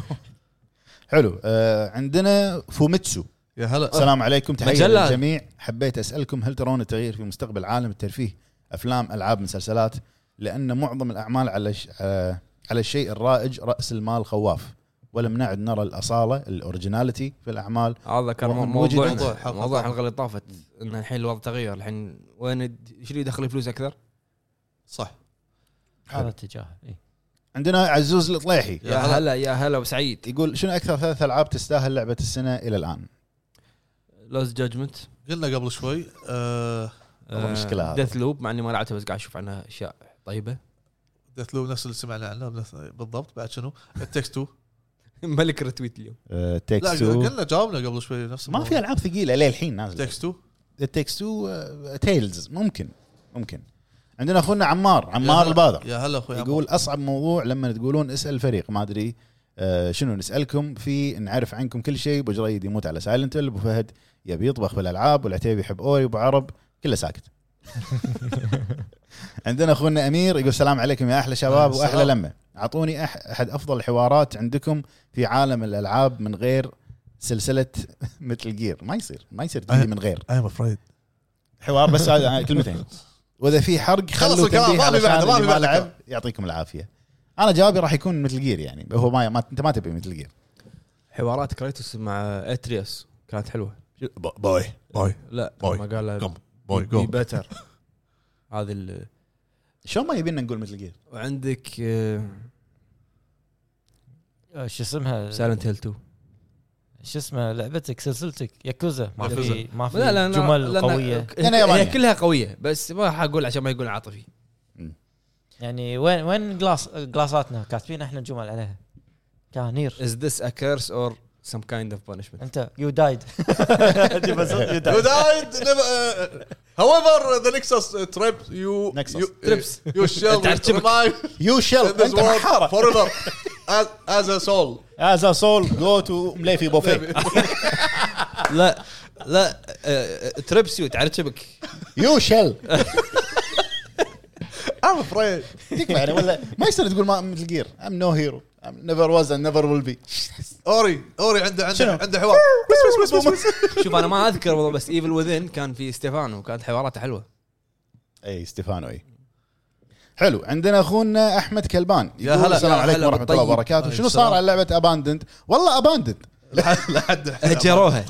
Speaker 4: حلو آه عندنا فوميتسو
Speaker 2: يا هلا
Speaker 4: السلام عليكم تحيه
Speaker 1: مجلة.
Speaker 4: للجميع حبيت اسالكم هل ترون التغيير في مستقبل عالم الترفيه افلام العاب مسلسلات لان معظم الاعمال على ش... آه على الشيء الرائج راس المال خواف ولم نعد نرى الاصاله الاوريجيناليتي في الاعمال
Speaker 1: هذا كان
Speaker 4: ومن
Speaker 1: موضوع
Speaker 4: وجهة-
Speaker 2: موضوع حلقة
Speaker 1: موضوع
Speaker 2: طبعاً.
Speaker 1: الحلقه اللي طافت ان الحين الوضع تغير الحين وين الد- ايش اللي يدخل فلوس اكثر؟
Speaker 2: صح
Speaker 3: هذا إيه. اتجاه إي.
Speaker 4: عندنا عزوز الطليحي
Speaker 1: يا
Speaker 2: هلا.
Speaker 1: هلا يا هلا وسعيد
Speaker 4: يقول شنو اكثر ثلاث العاب تستاهل لعبه السنه الى الان
Speaker 1: لاست جادجمنت
Speaker 2: قلنا قبل شوي آه
Speaker 4: والله مشكلة هذا.
Speaker 1: ديث لوب مع اني ما لعبتها بس قاعد اشوف عنها اشياء طيبه
Speaker 2: ديث لوب نفس اللي سمعنا عنه بنفس- بالضبط بعد شنو التكست 2
Speaker 1: ملك رتويت اليوم
Speaker 4: آه
Speaker 2: لا
Speaker 4: تكس
Speaker 2: قلنا جاوبنا قبل شوي نفس
Speaker 4: ما في العاب ثقيله للحين نازله
Speaker 2: تكست 2
Speaker 4: تكس 2 تيلز آه، ممكن ممكن عندنا اخونا عمار عمار البادر
Speaker 2: يا هلا اخوي
Speaker 4: يقول اصعب موضوع لما تقولون اسال فريق ما ادري آه، شنو نسالكم في نعرف عنكم كل شيء ابو جريد يموت على سايلنت ابو فهد يبي يطبخ بالالعاب والعتيبي يحب اوري ابو عرب كله ساكت عندنا اخونا امير يقول السلام عليكم يا احلى شباب
Speaker 2: السلام.
Speaker 4: واحلى لمه اعطوني أح- احد افضل الحوارات عندكم في عالم الالعاب من غير سلسله مثل جير ما يصير ما يصير تجي من غير
Speaker 2: اي ام افريد
Speaker 4: حوار بس هذا كلمتين واذا في حرق خلوا
Speaker 2: الكلام،
Speaker 4: تنبيه
Speaker 2: ما في
Speaker 4: علشان
Speaker 2: بعد، ما
Speaker 4: اللي
Speaker 2: في
Speaker 4: ما
Speaker 2: بعد
Speaker 4: لعب يعطيكم العافيه انا جوابي راح يكون مثل جير يعني هو ما, ما انت ما تبي مثل جير
Speaker 1: حوارات كريتوس مع اترياس كانت حلوه
Speaker 4: بوي
Speaker 2: باي
Speaker 1: لا
Speaker 2: باي.
Speaker 1: ما قال
Speaker 2: قم.
Speaker 1: له
Speaker 2: باي
Speaker 1: بي
Speaker 2: جو
Speaker 1: بتر هذا ال-
Speaker 4: شلون ما يبينا نقول مثل جير
Speaker 1: وعندك سايلنت
Speaker 3: آه، شو اسمها
Speaker 1: هيل 2
Speaker 3: شو اسمها لعبتك سلسلتك ياكوزا ما
Speaker 2: ياكوزا.
Speaker 3: في ما في
Speaker 1: لا لا أنا-
Speaker 3: جمل
Speaker 1: لا، أنا-
Speaker 3: قويه
Speaker 4: لأنها
Speaker 1: هي
Speaker 4: يابانية.
Speaker 1: كلها قويه بس ما حقول عشان ما يقول عاطفي
Speaker 3: يعني وين وين جلاس جلاساتنا كاتبين احنا جمل عليها كانير
Speaker 1: از ذس ا كيرس اور سم كايند اوف بانشمنت
Speaker 3: انت يو دايد
Speaker 2: however the nexus uh, trip you
Speaker 4: Nexus.
Speaker 2: you,
Speaker 1: Trips.
Speaker 2: you shall
Speaker 1: تعجبك.
Speaker 2: remain
Speaker 4: يو شيل
Speaker 2: in this
Speaker 4: انت
Speaker 2: world
Speaker 4: محاره
Speaker 2: forever as, as a soul
Speaker 4: از سول جو تو مليفي بوفي
Speaker 1: لا لا تربس يو تعرجبك
Speaker 4: يو شيل
Speaker 2: I'm afraid
Speaker 4: تكفى يعني ولا ما يصير تقول ما مثل جير ام نو هيرو نيفر واز اند نيفر ويل بي
Speaker 2: اوري اوري عنده
Speaker 4: شنو؟
Speaker 2: عنده عنده حوار بس بس بس بس, بس.
Speaker 1: شوف انا ما اذكر والله بس ايفل وذن كان في ستيفانو كانت حواراته حلوه
Speaker 4: اي ستيفانو اي حلو عندنا اخونا احمد كلبان
Speaker 2: يا
Speaker 4: يقول
Speaker 2: هلا،
Speaker 4: السلام
Speaker 1: يا
Speaker 4: عليكم
Speaker 1: هلا
Speaker 4: ورحمه الله
Speaker 1: بالطيب.
Speaker 4: وبركاته
Speaker 2: عليك
Speaker 4: شنو صار
Speaker 2: السلام.
Speaker 4: على لعبه اباندنت والله اباندنت
Speaker 2: لحد لحد الحين.
Speaker 1: هجروها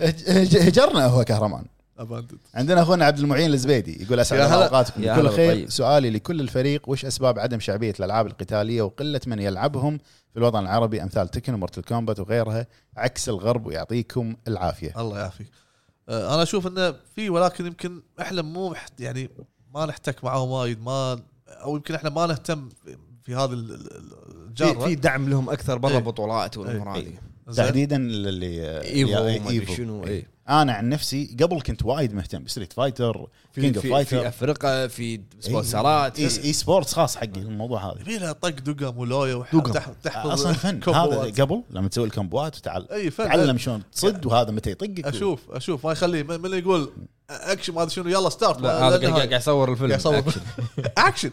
Speaker 4: هجرنا هو كهرمان
Speaker 2: Abandoned.
Speaker 4: عندنا اخونا عبد المعين الزبيدي يقول اسعد
Speaker 2: يا
Speaker 4: الله
Speaker 2: هلا.
Speaker 4: اوقاتكم
Speaker 1: يا
Speaker 4: بكل
Speaker 1: هلا طيب.
Speaker 4: خير
Speaker 1: بالطيب.
Speaker 4: سؤالي لكل الفريق وش اسباب عدم شعبيه الالعاب القتاليه وقله من يلعبهم في الوطن العربي امثال تكن ومورتل كومبات وغيرها عكس الغرب ويعطيكم العافيه
Speaker 1: أه،
Speaker 2: الله يعافيك آه، انا اشوف انه في ولكن يمكن احنا مو محت- يعني ما نحتك معاهم وايد ما او يمكن احنا ما نهتم في هذا ال- ال- ال-
Speaker 1: في,
Speaker 2: الجاره
Speaker 1: في دعم لهم اكثر برا
Speaker 2: إيه.
Speaker 1: بطولات والامور
Speaker 2: إيه.
Speaker 1: هذه
Speaker 2: زين.
Speaker 4: تحديدا للي
Speaker 1: ايفو
Speaker 4: يا-
Speaker 1: وما أدري
Speaker 4: إيفو.
Speaker 1: شنو إيه.
Speaker 4: انا عن نفسي قبل كنت وايد مهتم بستريت فايتر كينج اوف
Speaker 1: في, إيه. في
Speaker 4: فايتر
Speaker 1: افرقه في سبونسرات
Speaker 4: اي إي سبورتس خاص حقي الموضوع هذا
Speaker 2: يبي لها طق دقم ولويه وح-
Speaker 4: دقم.
Speaker 2: تح- تحفظ
Speaker 4: اصلا فن
Speaker 2: كومبوات.
Speaker 4: هذا قبل لما تسوي الكمبوات وتعال
Speaker 2: اي فن
Speaker 4: تعلم شلون تصد وهذا متى يطقك
Speaker 2: اشوف اشوف ما يخليه من من اللي يقول اكشن ما ادري شنو يلا ستارت
Speaker 1: لا هذا قاعد- قاعد يصور الفيلم
Speaker 2: يصور اكشن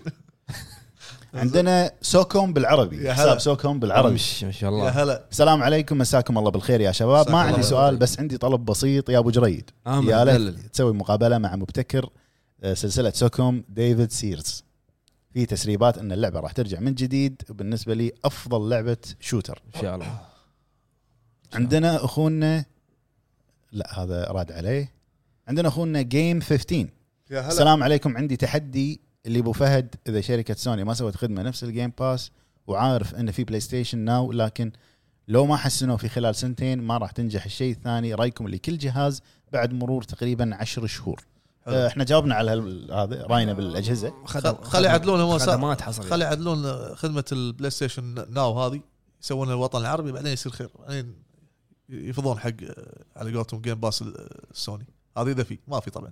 Speaker 4: عندنا سوكوم بالعربي
Speaker 2: يا
Speaker 4: حساب
Speaker 2: هلا.
Speaker 4: سوكوم بالعربي
Speaker 1: مش ما شاء
Speaker 2: يا
Speaker 1: الله
Speaker 2: هلا
Speaker 4: السلام عليكم مساكم الله بالخير يا شباب ما
Speaker 2: مساكم
Speaker 4: عندي
Speaker 2: الله
Speaker 4: سؤال
Speaker 2: بالخير.
Speaker 4: بس عندي طلب بسيط يا ابو جريد
Speaker 1: آمن،
Speaker 4: يا ليت
Speaker 1: دلل.
Speaker 4: تسوي مقابله مع مبتكر آه، سلسله سوكوم ديفيد سيرز في تسريبات ان اللعبه راح ترجع من جديد وبالنسبه لي افضل لعبه شوتر
Speaker 1: ان شاء الله
Speaker 4: عندنا اخونا لا هذا راد عليه عندنا اخونا جيم 15
Speaker 2: يا هلا
Speaker 4: السلام عليكم عندي تحدي اللي ابو فهد اذا شركه سوني ما سوت خدمه نفس الجيم باس وعارف انه في بلاي ستيشن ناو لكن لو ما حسنوا في خلال سنتين ما راح تنجح الشيء الثاني رايكم لكل جهاز بعد مرور تقريبا عشر شهور
Speaker 2: حلو.
Speaker 4: آه، احنا جاوبنا على هال- هذا راينا بالاجهزه
Speaker 1: خدم-
Speaker 2: خلي يعدلون هو صار-
Speaker 1: خدمات حصريه
Speaker 2: خلي يعدلون خدمه البلاي ستيشن ناو هذه يسوونها الوطن العربي بعدين يصير خير بعدين يفضون حق آه، على قولتهم جيم باس السوني هذه اذا في ما في طبعا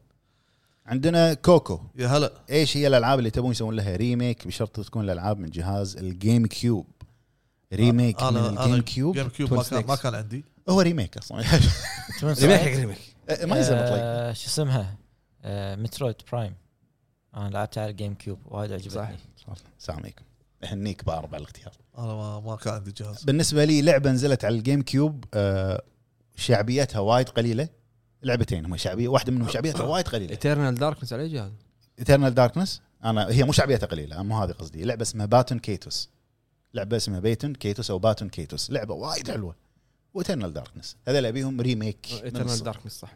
Speaker 4: عندنا كوكو
Speaker 2: يا هلا
Speaker 4: ايش هي الالعاب اللي تبون يسوون لها ريميك بشرط تكون الالعاب من جهاز الجيم كيوب ريميك
Speaker 2: آه،
Speaker 4: من الجيم كيوب
Speaker 2: جيم كيوب
Speaker 1: Twin
Speaker 2: ما كان, ما
Speaker 1: Snakes.
Speaker 2: كان عندي
Speaker 4: هو ريميك اصلا
Speaker 1: ريميك حق ريميك
Speaker 4: ما يزال مطلق
Speaker 3: آه، شو اسمها آه، مترويد برايم انا لعبتها على الجيم كيوب وايد عجبتني
Speaker 4: السلام عليكم اهنيك بارب على الاختيار
Speaker 2: انا ما, ما كان عندي جهاز
Speaker 4: بالنسبه لي لعبه نزلت على الجيم كيوب آه، شعبيتها وايد قليله لعبتين هم شعبيه واحده منهم شعبيتها وايد قليله
Speaker 1: ايترنال داركنس على اي جهاز؟
Speaker 4: ايترنال داركنس انا هي مو شعبيتها قليله مو هذه قصدي لعبه اسمها باتون كيتوس لعبه اسمها بيتون كيتوس او باتون كيتوس لعبه وايد حلوه واترنال داركنس هذا اللي ابيهم ريميك من
Speaker 1: ايترنال
Speaker 4: الصفر.
Speaker 1: داركنس صح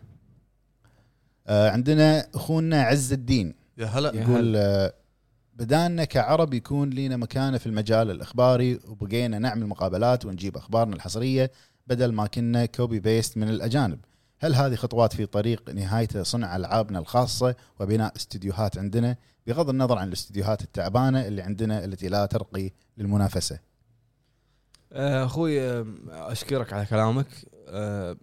Speaker 4: آه، عندنا اخونا عز الدين
Speaker 2: يا هلا
Speaker 1: يا
Speaker 4: يقول آه، بدانا كعرب يكون لنا مكانه في المجال الاخباري وبقينا نعمل مقابلات ونجيب اخبارنا الحصريه بدل ما كنا كوبي بيست من الاجانب. هل هذه خطوات في طريق نهايته صنع العابنا الخاصه وبناء استديوهات عندنا بغض النظر عن الاستديوهات التعبانه اللي عندنا التي لا ترقي للمنافسه؟
Speaker 1: آه، اخوي آه، اشكرك على كلامك آه،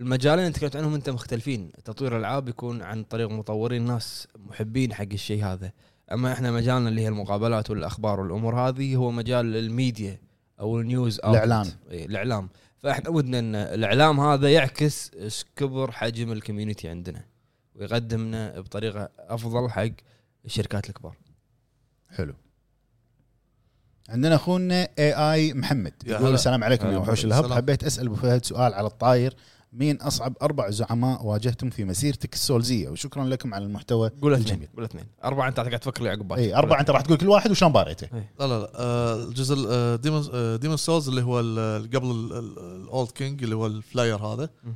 Speaker 1: المجالين اللي تكلمت عنهم انت مختلفين تطوير الالعاب يكون عن طريق مطورين ناس محبين حق الشيء هذا اما احنا مجالنا اللي هي المقابلات والاخبار والامور هذه هو مجال الميديا او النيوز outlet.
Speaker 4: الإعلام.
Speaker 1: إيه، الاعلام فاحنا ودنا ان الاعلام هذا يعكس إيش كبر حجم الكوميونتي عندنا ويقدمنا بطريقه افضل حق الشركات الكبار
Speaker 4: حلو. عندنا اخونا اي اي محمد
Speaker 2: يا
Speaker 4: يقول
Speaker 2: هلا.
Speaker 4: السلام عليكم يا
Speaker 1: هلا.
Speaker 4: وحوش الهب
Speaker 2: السلام.
Speaker 4: حبيت اسال ابو فهد سؤال على الطاير مين اصعب اربع زعماء واجهتم في مسيرتك السولزيه وشكرا لكم على المحتوى
Speaker 1: قول
Speaker 4: الجميل.
Speaker 1: اثنين قول اثنين اربعه انت قاعد تفكر لي عقب بالك.
Speaker 4: اي اربعه انت راح تقول كل واحد وشلون باريته
Speaker 2: لا لا لا آه، الجزء آه، ديمون آه، ديمون سولز اللي هو ال- ال- قبل الاولد كينج اللي هو الفلاير هذا
Speaker 1: م.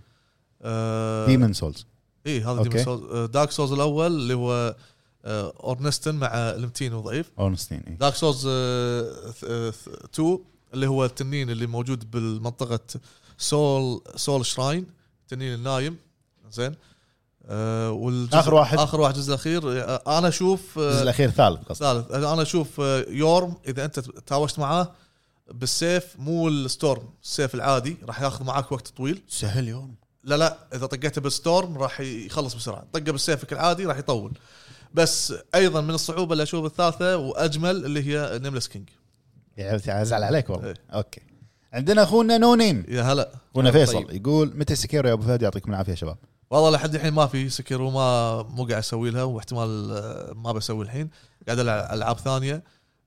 Speaker 2: آه،
Speaker 4: ديمن سولز
Speaker 2: اي هذا آه،
Speaker 4: أوكي.
Speaker 2: ديمون سولز دارك سولز الاول اللي هو آه، اورنستن مع المتين ضعيف
Speaker 4: اورنستين اي
Speaker 2: دارك سولز 2 uh, اللي هو التنين اللي موجود بالمنطقه سول سول شراين التنين النايم زين آه، والجزء-
Speaker 4: آخر واحد.
Speaker 2: اخر واحد الجزء الاخير آه، انا اشوف آه،
Speaker 4: الجزء الاخير ثالث قصدي
Speaker 2: ثالث انا اشوف آه، يورم اذا انت تاوشت معاه بالسيف مو الستورم السيف العادي راح ياخذ معاك وقت طويل
Speaker 4: سهل يوم
Speaker 2: لا لا اذا طقيته بالستورم راح يخلص بسرعه طقه بالسيفك العادي راح يطول بس ايضا من الصعوبه اللي اشوف الثالثه واجمل اللي هي نيملس كينج
Speaker 4: ازعل عليك والله
Speaker 2: إيه. آه،
Speaker 4: اوكي عندنا اخونا نو نيم
Speaker 2: يا هلا
Speaker 4: اخونا
Speaker 1: طيب.
Speaker 4: فيصل يقول متى سكيرو يا ابو فهد يعطيكم العافيه يا شباب
Speaker 2: والله لحد الحين ما في سكيرو ما مو قاعد اسوي لها واحتمال آه، ما بسوي الحين قاعد العب العاب ثانيه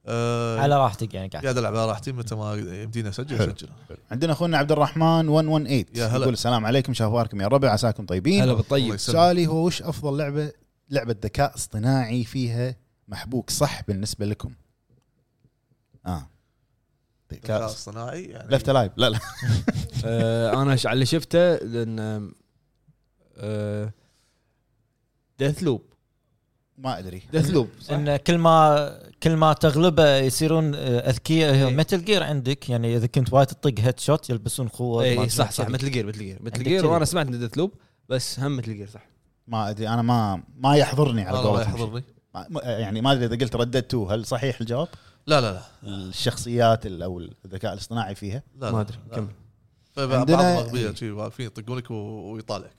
Speaker 2: آه،
Speaker 3: على راحتك يعني قاعد
Speaker 2: قاعد العب على راحتي متى ما يمديني اسجل
Speaker 4: حلو.
Speaker 2: اسجل
Speaker 4: عندنا اخونا عبد الرحمن 118
Speaker 2: يا هلا.
Speaker 4: يقول السلام عليكم شو اخباركم يا ربع عساكم طيبين
Speaker 1: هلا
Speaker 2: الله
Speaker 1: بالطيب
Speaker 2: يسلمك.
Speaker 4: سؤالي هو وش افضل لعبه لعبه ذكاء اصطناعي فيها محبوك صح بالنسبه لكم اه
Speaker 2: ذكاء
Speaker 4: ذكاء
Speaker 2: اصطناعي يعني
Speaker 4: لفت لايف لا لا
Speaker 1: آه، انا ش- على اللي شفته آه، لان ديث لوب
Speaker 4: ما ادري
Speaker 1: ديث لوب
Speaker 3: ان كل ما كل ما تغلبه يصيرون آه، اذكياء هي
Speaker 1: إيه.
Speaker 3: متل جير عندك يعني اذا كنت وايد تطق هيد شوت يلبسون خوذه ما
Speaker 1: اي
Speaker 3: أدري
Speaker 1: إيه، صح صح
Speaker 3: كذي.
Speaker 1: مثل جير مثل جير مثل
Speaker 3: عندك
Speaker 1: جير
Speaker 3: كذي.
Speaker 1: وانا سمعت ديث لوب بس هم مثل جير صح
Speaker 4: ما ادري انا ما ما يحضرني على
Speaker 2: والله ما
Speaker 4: قولتهم شيء.
Speaker 2: يحضرني
Speaker 4: ما- ما- يعني ما ادري اذا قلت رددتوا هل صحيح الجواب؟
Speaker 2: لا لا لا
Speaker 4: الشخصيات ال- او الذكاء الاصطناعي فيها
Speaker 2: لا
Speaker 1: ما ادري
Speaker 2: لا.
Speaker 1: كمل
Speaker 2: فبعض
Speaker 4: عندنا-
Speaker 2: اغبياء شي واقفين يطقونك و- ويطالعك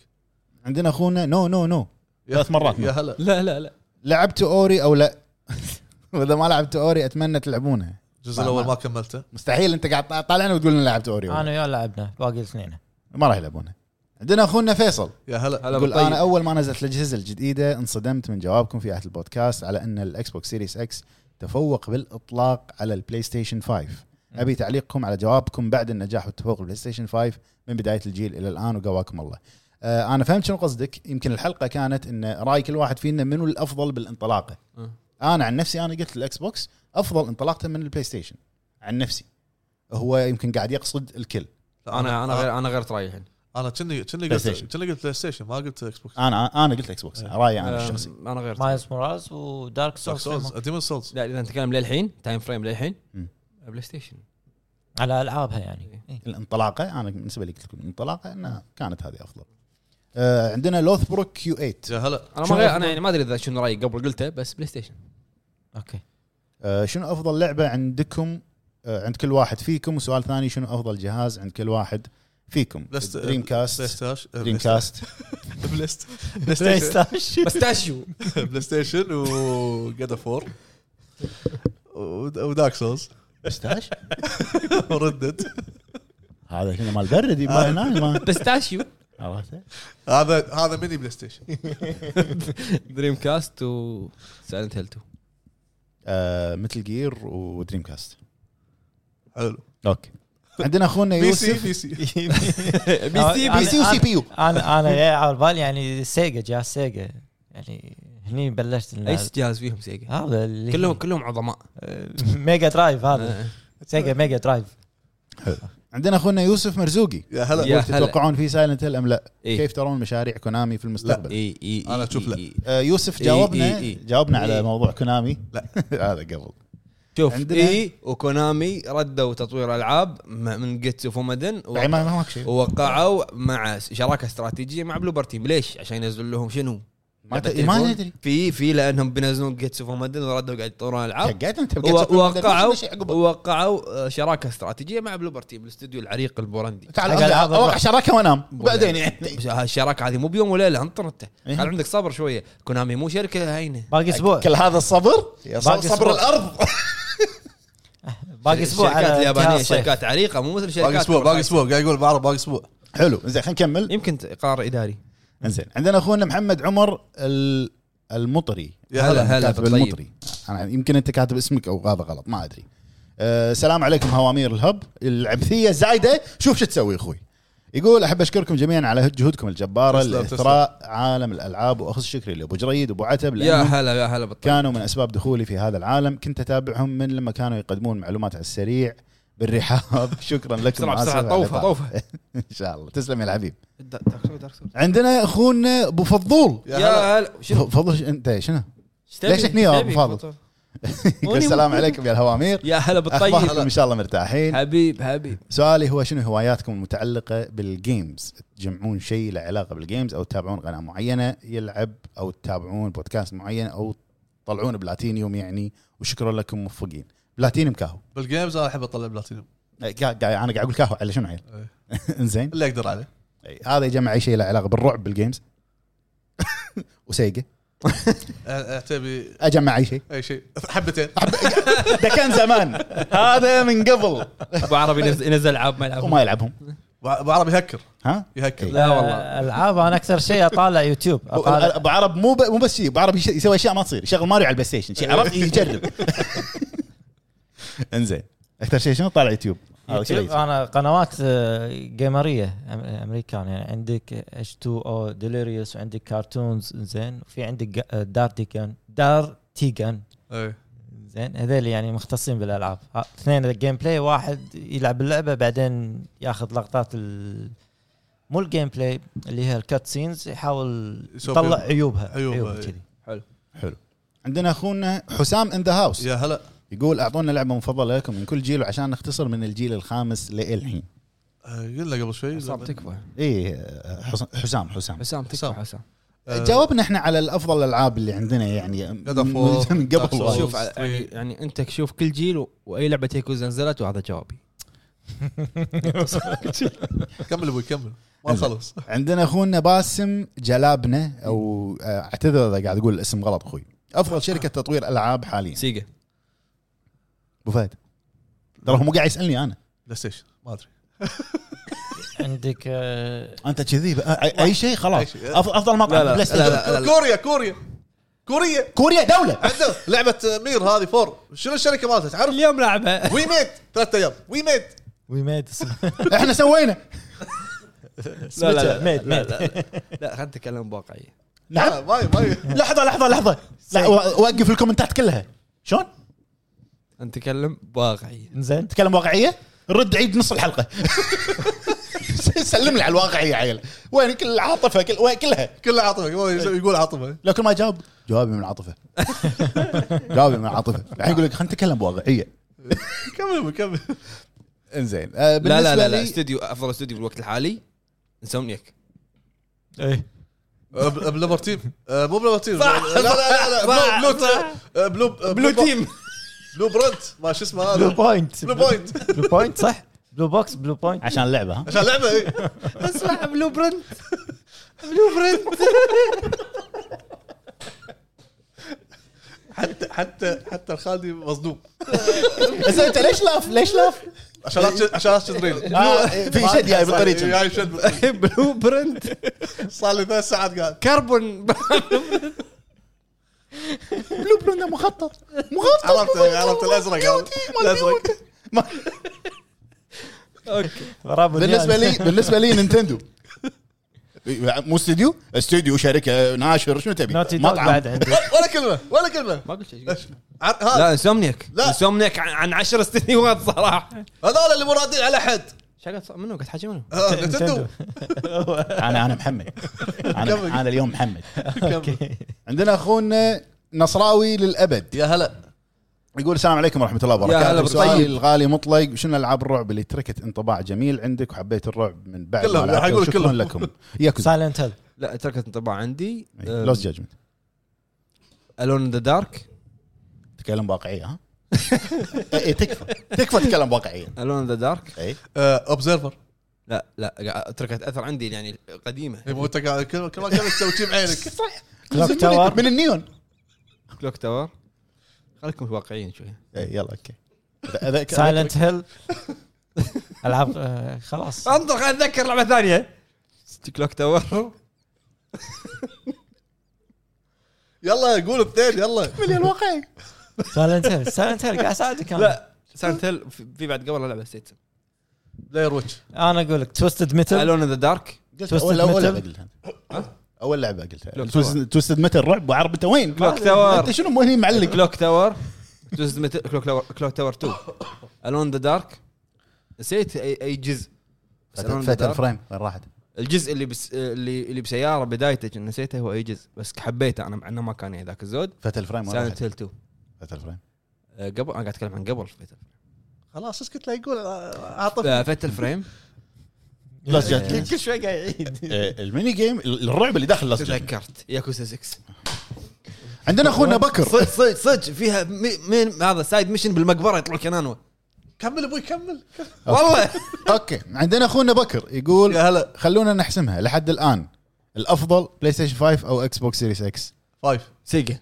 Speaker 4: عندنا اخونا نو نو نو ثلاث مرات
Speaker 2: يا هلا
Speaker 1: لا لا لا
Speaker 4: لعبت اوري او لا؟ واذا ما لعبت اوري اتمنى تلعبونها
Speaker 2: الجزء
Speaker 4: ما-
Speaker 2: الاول
Speaker 4: ما-
Speaker 2: ما كملته
Speaker 4: مستحيل انت قاعد طالعنا وتقول لنا لعبت اوري
Speaker 3: انا
Speaker 4: أنا...
Speaker 3: وياه لعبنا باقي الاثنين
Speaker 4: ما راح يلعبونها عندنا اخونا فيصل
Speaker 2: يا هلا
Speaker 1: هلا
Speaker 4: يقول
Speaker 1: بالطيب.
Speaker 4: انا اول ما نزلت الاجهزه الجديده انصدمت من جوابكم في احد البودكاست على ان الاكس بوكس سيريس اكس تفوق بالاطلاق على البلاي ستيشن 5 ابي تعليقكم على جوابكم بعد النجاح والتفوق البلاي ستيشن 5 من بدايه الجيل الى الان وقواكم الله آه انا فهمت شنو قصدك يمكن الحلقه كانت ان راي كل واحد فينا منو الافضل بالانطلاقه
Speaker 1: أه.
Speaker 4: انا عن نفسي انا قلت الاكس بوكس افضل انطلاقته من البلاي ستيشن عن نفسي هو يمكن قاعد يقصد الكل
Speaker 2: آه.
Speaker 1: انا انا غير انا غيرت رايي الحين
Speaker 2: انا كني كني
Speaker 4: بلاي
Speaker 2: قلت
Speaker 4: ستيشن.
Speaker 2: كني قلت بلاي ستيشن ما قلت اكس
Speaker 4: آه،
Speaker 2: بوكس
Speaker 4: انا انا قلت اكس بوكس رايي انا
Speaker 1: أم،
Speaker 4: يعني الشخصي
Speaker 1: انا آه، غير
Speaker 3: مايلز مورالز ودارك
Speaker 2: دارك سولز
Speaker 3: سولز
Speaker 2: ديمون سولز
Speaker 1: لا اذا نتكلم للحين تايم فريم للحين
Speaker 4: مم.
Speaker 1: بلاي ستيشن
Speaker 3: على العابها يعني إيه.
Speaker 4: الانطلاقه انا بالنسبه لي قلت لكم الانطلاقه انها كانت هذه افضل آه عندنا لوثبروك كيو 8
Speaker 2: يا هلا
Speaker 1: انا
Speaker 4: شنو
Speaker 1: ما غير
Speaker 4: أفضل؟
Speaker 1: انا يعني ما ادري اذا شنو رايي قبل قلته بس بلاي ستيشن
Speaker 3: اوكي
Speaker 4: آه، شنو افضل لعبه عندكم آه، عند كل واحد فيكم وسؤال ثاني شنو افضل جهاز عند كل واحد فيكم
Speaker 2: بلاست-
Speaker 4: دريم
Speaker 2: بلاي
Speaker 4: كاست
Speaker 2: ستيشن
Speaker 4: دريم كاست
Speaker 2: بلاي ست- بلاي
Speaker 3: بلاي
Speaker 2: ستيشن
Speaker 3: ستيشن
Speaker 1: بس تاشيو
Speaker 2: بلاي ستيشن وجاد فور ودارك سولز
Speaker 4: بستاش
Speaker 2: وردد
Speaker 4: هذا كنا مال برد
Speaker 2: آه.
Speaker 4: يبا هناك ما
Speaker 1: بس تاشيو
Speaker 4: عرفته
Speaker 2: هذا هذا ميني بلاي ستيشن
Speaker 1: دريم كاست و سايلنت هيل 2
Speaker 4: آه، مثل جير ودريم كاست
Speaker 2: حلو
Speaker 4: اوكي عندنا اخونا
Speaker 2: بي سي
Speaker 4: يوسف
Speaker 2: بي سي
Speaker 1: بي سي
Speaker 4: بي سي وسي بي يو
Speaker 3: انا انا جاي على بالي يعني سيجا جهاز سيجا يعني هني بلشت إن
Speaker 1: اي جهاز فيهم سيجا
Speaker 3: هذا اللي
Speaker 1: كلهم كلهم عظماء
Speaker 3: آه، ميجا درايف هذا
Speaker 1: آه.
Speaker 3: سيجا ميجا درايف
Speaker 4: عندنا اخونا يوسف مرزوقي
Speaker 2: يا
Speaker 1: يا
Speaker 2: هلا
Speaker 1: هلا.
Speaker 4: تتوقعون في سايلنت هيل ام لا؟
Speaker 1: إيه.
Speaker 4: كيف ترون مشاريع كونامي في المستقبل؟
Speaker 1: اي اي
Speaker 2: أنا أشوف لا.
Speaker 4: آه، يوسف جاوبنا
Speaker 1: إيه، إيه، إيه.
Speaker 4: جاوبنا
Speaker 1: إيه.
Speaker 4: على موضوع كونامي
Speaker 2: لا.
Speaker 4: هذا قبل
Speaker 1: شوف
Speaker 4: عندنا-
Speaker 1: اي وكونامي ردوا تطوير العاب م- من جيتسو فومدن
Speaker 4: يعني ما ما ماك شيء
Speaker 1: ووقعوا مع شراكه استراتيجيه مع بلوبر تيم ليش؟ عشان ينزل لهم شنو؟
Speaker 4: ما
Speaker 1: لعبة
Speaker 4: تدري- ما
Speaker 1: تليفون؟
Speaker 4: ندري.
Speaker 1: في في لانهم بينزلون جيتسو فومدن وردوا قاعد يطورون العاب
Speaker 4: حقيت انت بقيت
Speaker 1: و-
Speaker 4: تقول
Speaker 1: وقعوا
Speaker 4: مدري شيء عقبه.
Speaker 1: وقعوا آه، شراكه استراتيجيه مع بلوبر تيم الاستوديو العريق البولندي
Speaker 4: تعال
Speaker 3: حق
Speaker 4: أبدأ-
Speaker 3: ألعاب
Speaker 4: اوقع
Speaker 3: الرعب.
Speaker 4: شراكه وانام وبعدين يعني
Speaker 1: بس الشراكه هذه مو بيوم وليله انطر انت
Speaker 4: إيه.
Speaker 1: خل عندك صبر شويه كونامي مو شركه هينه
Speaker 3: باقي اسبوع
Speaker 4: كل هذا الصبر يا صبر,
Speaker 3: باقي
Speaker 4: صبر
Speaker 3: أسبوع.
Speaker 4: الارض
Speaker 3: باقي اسبوع
Speaker 1: الشركات
Speaker 3: على
Speaker 1: اليابانيه
Speaker 3: جهاز صيف.
Speaker 1: شركات عريقه مو مثل شركات
Speaker 2: باقي اسبوع باقي اسبوع قاعد يقول بعرض باقي اسبوع
Speaker 4: حلو زين خلينا نكمل
Speaker 1: يمكن قرار اداري
Speaker 4: انزين عندنا اخونا محمد عمر ال- المطري
Speaker 2: يا هلا،
Speaker 1: هلا
Speaker 4: كاتب
Speaker 1: بالطيب.
Speaker 4: المطري انا يمكن انت كاتب اسمك او هذا غلط ما ادري أه سلام عليكم هوامير الهب العبثيه الزايده شوف شو تسوي اخوي يقول احب اشكركم جميعا على جهودكم الجباره
Speaker 2: تسلم،
Speaker 4: لاثراء عالم الالعاب واخص شكري لابو جريد وابو عتب
Speaker 1: يا
Speaker 4: لانهم
Speaker 1: هلا يا هلا بالطيب
Speaker 4: كانوا من اسباب دخولي في هذا العالم كنت اتابعهم من لما كانوا يقدمون معلومات على السريع بالرحاب شكرا لكم
Speaker 1: بسرعه
Speaker 4: آسف على
Speaker 1: بسرعه طوفه
Speaker 4: الإطالة.
Speaker 1: طوفه
Speaker 4: ان شاء الله تسلم يا الحبيب
Speaker 1: دارك سول دارك سول
Speaker 4: عندنا اخونا ابو فضول
Speaker 2: يا هلا
Speaker 1: يا هلا شنو
Speaker 4: ف- فضل ش- انت شنو؟
Speaker 1: إيش تبي؟
Speaker 4: ليش هني يا
Speaker 1: إيش
Speaker 4: أبو
Speaker 1: تبي؟
Speaker 4: فاضل؟
Speaker 1: تفضل.
Speaker 4: يقول السلام عليكم يا الهوامير
Speaker 1: يا هلا
Speaker 4: اخباركم
Speaker 1: بالطيب
Speaker 4: ان شاء الله مرتاحين
Speaker 1: حبيب حبيب
Speaker 4: سؤالي هو شنو هواياتكم المتعلقه بالجيمز تجمعون شيء له علاقه بالجيمز او تتابعون قناه معينه يلعب او تتابعون بودكاست معين او تطلعون بلاتينيوم يعني وشكرا لكم موفقين بلاتينيوم كاهو
Speaker 2: بالجيمز انا احب اطلع بلاتينيوم
Speaker 4: قا- قا- انا قاعد اقول كاهو على شنو عيل انزين
Speaker 2: اللي اقدر عليه
Speaker 4: أي، هذا يجمع اي شيء له علاقه بالرعب بالجيمز وسيجا
Speaker 2: أ- اعتبي
Speaker 4: اجمع اي شيء
Speaker 2: اي شيء حبتين
Speaker 4: ده كان زمان هذا من قبل
Speaker 1: ابو عربي ينزل- ينزل العاب ما يلعبهم
Speaker 4: وما يلعبهم
Speaker 2: بع- بعرف يهكر
Speaker 4: ها
Speaker 2: يهكر
Speaker 1: لا والله.
Speaker 3: آه، العاب انا اكثر شيء اطالع يوتيوب اطالع
Speaker 4: ابو عرب مو ب... مو بس شيء ابو عرب يش- يسوي اشياء ما تصير يشغل ماريو على البلاي ستيشن شيء عرفت يجرب انزين اكثر شيء شنو طالع يوتيوب هذا كله
Speaker 3: يوتيوب
Speaker 4: يصير.
Speaker 3: انا قنوات آه، جيمريه أم- امريكان يعني عندك اتش 2 او ديليريوس وعندك كارتونز زين وفي عندك جا- آه، دار تيجان دار تيجان
Speaker 2: إي.
Speaker 3: زين هذول يعني مختصين بالالعاب ها، اثنين الجيم بلاي واحد يلعب اللعبه بعدين ياخذ لقطات ال... مو الجيم بلاي اللي هي الكات سينز يحاول
Speaker 2: يسوي
Speaker 3: يطلع
Speaker 2: فيها.
Speaker 3: عيوبها
Speaker 2: عيوبها، إيه.
Speaker 3: عيوبها
Speaker 2: إي.
Speaker 3: كذي
Speaker 4: حلو عندنا اخونا حسام ان ذا هاوس
Speaker 2: يا هلا
Speaker 4: يقول اعطونا لعبه مفضله لكم من كل جيل وعشان نختصر من الجيل الخامس للحين
Speaker 2: آه، قلنا قبل شوي
Speaker 1: حسام تكفى
Speaker 4: اي إيه، حسام حسام
Speaker 1: حسام تكفى
Speaker 2: حسام.
Speaker 1: حسام
Speaker 2: آه،
Speaker 4: جاوبنا احنا على الافضل الالعاب اللي عندنا يعني من
Speaker 2: God of War،
Speaker 4: من
Speaker 2: Dark Souls.
Speaker 4: قبل
Speaker 1: شوف على-
Speaker 2: طيب.
Speaker 1: يعني يعني انت شوف كل جيل و- واي لعبه تيكوز نزلت وهذا جوابي
Speaker 2: كمل ابوي كمل ما خلص
Speaker 4: عندنا اخونا باسم جلابنه او آه، اعتذر اذا قاعد اقول الاسم غلط اخوي افضل شركه تطوير العاب حاليا
Speaker 1: سيجا
Speaker 4: ابو فهد ترى هو مو قاعد يسالني انا
Speaker 2: بلاي ستيشن ما ادري
Speaker 3: عندك آه،
Speaker 4: انت كذي بقى- أي- اي شيء خلاص
Speaker 2: أي شيء.
Speaker 4: أف- افضل مطعم
Speaker 1: لا، لا،
Speaker 4: بلاي ستيشن.
Speaker 1: لا، لا.
Speaker 2: كوريا كوريا كوريا
Speaker 4: كوريا دوله
Speaker 2: عنده لعبه مير هذه فور شنو الشركه مالتها تعرف
Speaker 1: اليوم لعبه
Speaker 2: وي ميد ثلاث ايام وي ميد
Speaker 3: وي ميد
Speaker 4: احنا سوينا
Speaker 1: لا لا لا
Speaker 3: ميد
Speaker 1: لا
Speaker 3: ميد
Speaker 1: لا لا خلينا نتكلم بواقعيه
Speaker 4: نعم
Speaker 2: ما ما
Speaker 4: لحظه لحظه لحظه لا و- وقف الكومنتات كلها شلون
Speaker 1: نتكلم بواقعيه
Speaker 3: زين
Speaker 4: تتكلم واقعيه رد عيد نص الحلقه سلم لي على الواقع يا عيل وين كل عاطفه كل وين كلها
Speaker 2: كله عاطفه يقول- يقول عاطفه
Speaker 4: لكن ما جاوب جوابي من العاطفه جوابي من العاطفه الحين يقول لك خلينا نتكلم بواقعيه
Speaker 2: كمل كمل
Speaker 4: انزين
Speaker 1: لا لا
Speaker 4: آه، بالنسبة
Speaker 1: لا, لا
Speaker 4: لي-
Speaker 1: استوديو افضل استوديو بالوقت الحالي انسومنيك إيه.
Speaker 3: ايه
Speaker 2: بلوبر تيم آه، مو بلوبر تيم
Speaker 1: صح،
Speaker 2: لا لا لا لا بلو بلو آه، بلو آه،
Speaker 1: بلو تيم
Speaker 2: بلو برنت ما شو اسمه
Speaker 3: بلو
Speaker 2: هذا
Speaker 3: بوينت
Speaker 2: بلو بوينت
Speaker 3: بلو بوينت صح بلو بوكس بلو بوينت
Speaker 4: عشان اللعبه ها
Speaker 2: عشان لعبه إيه.
Speaker 1: اسمع بلو برنت بلو برنت
Speaker 2: حتى حتى حتى الخالدي مصدوم
Speaker 4: بس انت ليش لاف ليش لاف؟
Speaker 2: عشان لا تش- عشان لا تشترين
Speaker 4: آه، في شد جاي بالطريق
Speaker 2: جاي يعني شد بالطريق.
Speaker 1: بلو برنت
Speaker 2: صار لي ثلاث ساعات قاعد
Speaker 1: كربون
Speaker 4: بلو بلو مخطط مخطط
Speaker 2: عرفت يعني، عرفت الازرق الازرق
Speaker 1: اوكي
Speaker 3: برافو
Speaker 4: بالنسبه
Speaker 3: ديان.
Speaker 4: لي بالنسبه لي نينتندو مو استوديو استوديو شركه ناشر شنو تبي
Speaker 3: نوتي دوغ بعد عندي
Speaker 2: ولا كلمه ولا كلمه
Speaker 1: ما قلت شيء
Speaker 2: عر- هذا
Speaker 1: لا انسومنيك
Speaker 2: لا.
Speaker 1: انسومنيك عن- عن 10 سنوات صراحه
Speaker 2: هذول اللي مو راضين على حد
Speaker 1: شقت منو قاعد حاجه منو؟
Speaker 2: آه، نتندو
Speaker 4: انا انا محمد
Speaker 2: كمل.
Speaker 4: انا انا اليوم محمد
Speaker 3: اوكي
Speaker 4: عندنا اخونا نصراوي للابد
Speaker 2: يا هلا
Speaker 4: يقول السلام عليكم ورحمه الله
Speaker 1: يا هلا
Speaker 4: وبركاته
Speaker 1: بالطيب.
Speaker 2: طيب.
Speaker 4: سؤالي الغالي مطلق شنو العاب الرعب اللي تركت انطباع جميل عندك وحبيت الرعب من بعد
Speaker 2: كلهم،
Speaker 4: ما لعبته؟
Speaker 2: حيقول
Speaker 4: شكراً
Speaker 2: كلهم.
Speaker 4: لكم ياكوزا
Speaker 3: سايلنت هيل
Speaker 1: لا تركت انطباع عندي
Speaker 4: لوس جادجمنت
Speaker 1: الون ذا دارك
Speaker 4: تكلم واقعيه ها اي تكفى تكفى تتكلم واقعيه
Speaker 1: الون ذا دارك
Speaker 4: اي
Speaker 2: آه، اوبزرفر
Speaker 1: لا لا قا- تركت اثر عندي يعني قديمه
Speaker 2: انت قاعد كل كل ما قاعد تسوي شي بعينك
Speaker 4: صح
Speaker 3: Clock
Speaker 4: من-
Speaker 3: Tower.
Speaker 4: من النيون
Speaker 1: كلوك تاور خليكم واقعيين شوي
Speaker 4: إيه، يلا اوكي أذ- أذ-
Speaker 3: سايلنت هيل العاب آه، خلاص
Speaker 1: انطر خلينا اتذكر لعبه ثانيه كلوك تاور
Speaker 2: يلا قول اثنين يلا
Speaker 4: مليون واقعي
Speaker 3: سايلنت هيل سايلنت هيل قاعد اساعدك انا
Speaker 1: لا سايلنت هيل في في بعد قبل لعبه نسيت
Speaker 2: بلاير ويتش
Speaker 3: انا اقول لك توستد ميتل
Speaker 1: الون ذا دارك
Speaker 4: قلت
Speaker 3: Twisted
Speaker 4: اول اول
Speaker 3: Metal.
Speaker 4: لعبه قلتها
Speaker 1: ها؟
Speaker 4: اول لعبه قلتها
Speaker 1: Clock
Speaker 4: توستد- توستد متل رعب وعرب انت وين؟
Speaker 1: Clock Tower.
Speaker 4: انت شنو مو هني معلق
Speaker 1: كلوك تاور جزء مثل كلوك تاور كلوك تاور 2 الون ذا دارك نسيت اي اي جزء بس Alone in the
Speaker 4: فات
Speaker 1: Dark.
Speaker 4: الفريم وين راحت؟
Speaker 1: الجزء اللي بس اللي اللي بسياره بدايته كنت نسيته هو اي جزء بس حبيته انا مع انه ما كان يعني ذاك الزود
Speaker 4: فات الفريم وين
Speaker 1: سايلنت
Speaker 4: راحت؟
Speaker 1: هيل 2
Speaker 4: فات الفريم
Speaker 1: آه، قبل انا قاعد اتكلم عن قبل آه،
Speaker 2: خلاص اسكت لا يقول عاطف
Speaker 1: فت الفريم
Speaker 4: Lost Judgment.
Speaker 3: كل شوي قاعد يعيد
Speaker 4: آه، الميني جيم ال- الرعب اللي داخل Lost Judgment.
Speaker 1: تذكرت ياكوزا 6
Speaker 4: عندنا اخونا بكر
Speaker 1: صدق صدق صدق فيها مي- مين هذا سايد ميشن بالمقبره يطلع كنانوا
Speaker 2: كمل ابوي كمل
Speaker 1: والله
Speaker 4: اوكي عندنا اخونا بكر يقول
Speaker 2: يا هلا
Speaker 4: خلونا نحسمها لحد الان الافضل بلاي ستيشن 5 او اكس بوكس سيريس اكس
Speaker 2: فايف
Speaker 1: سيجا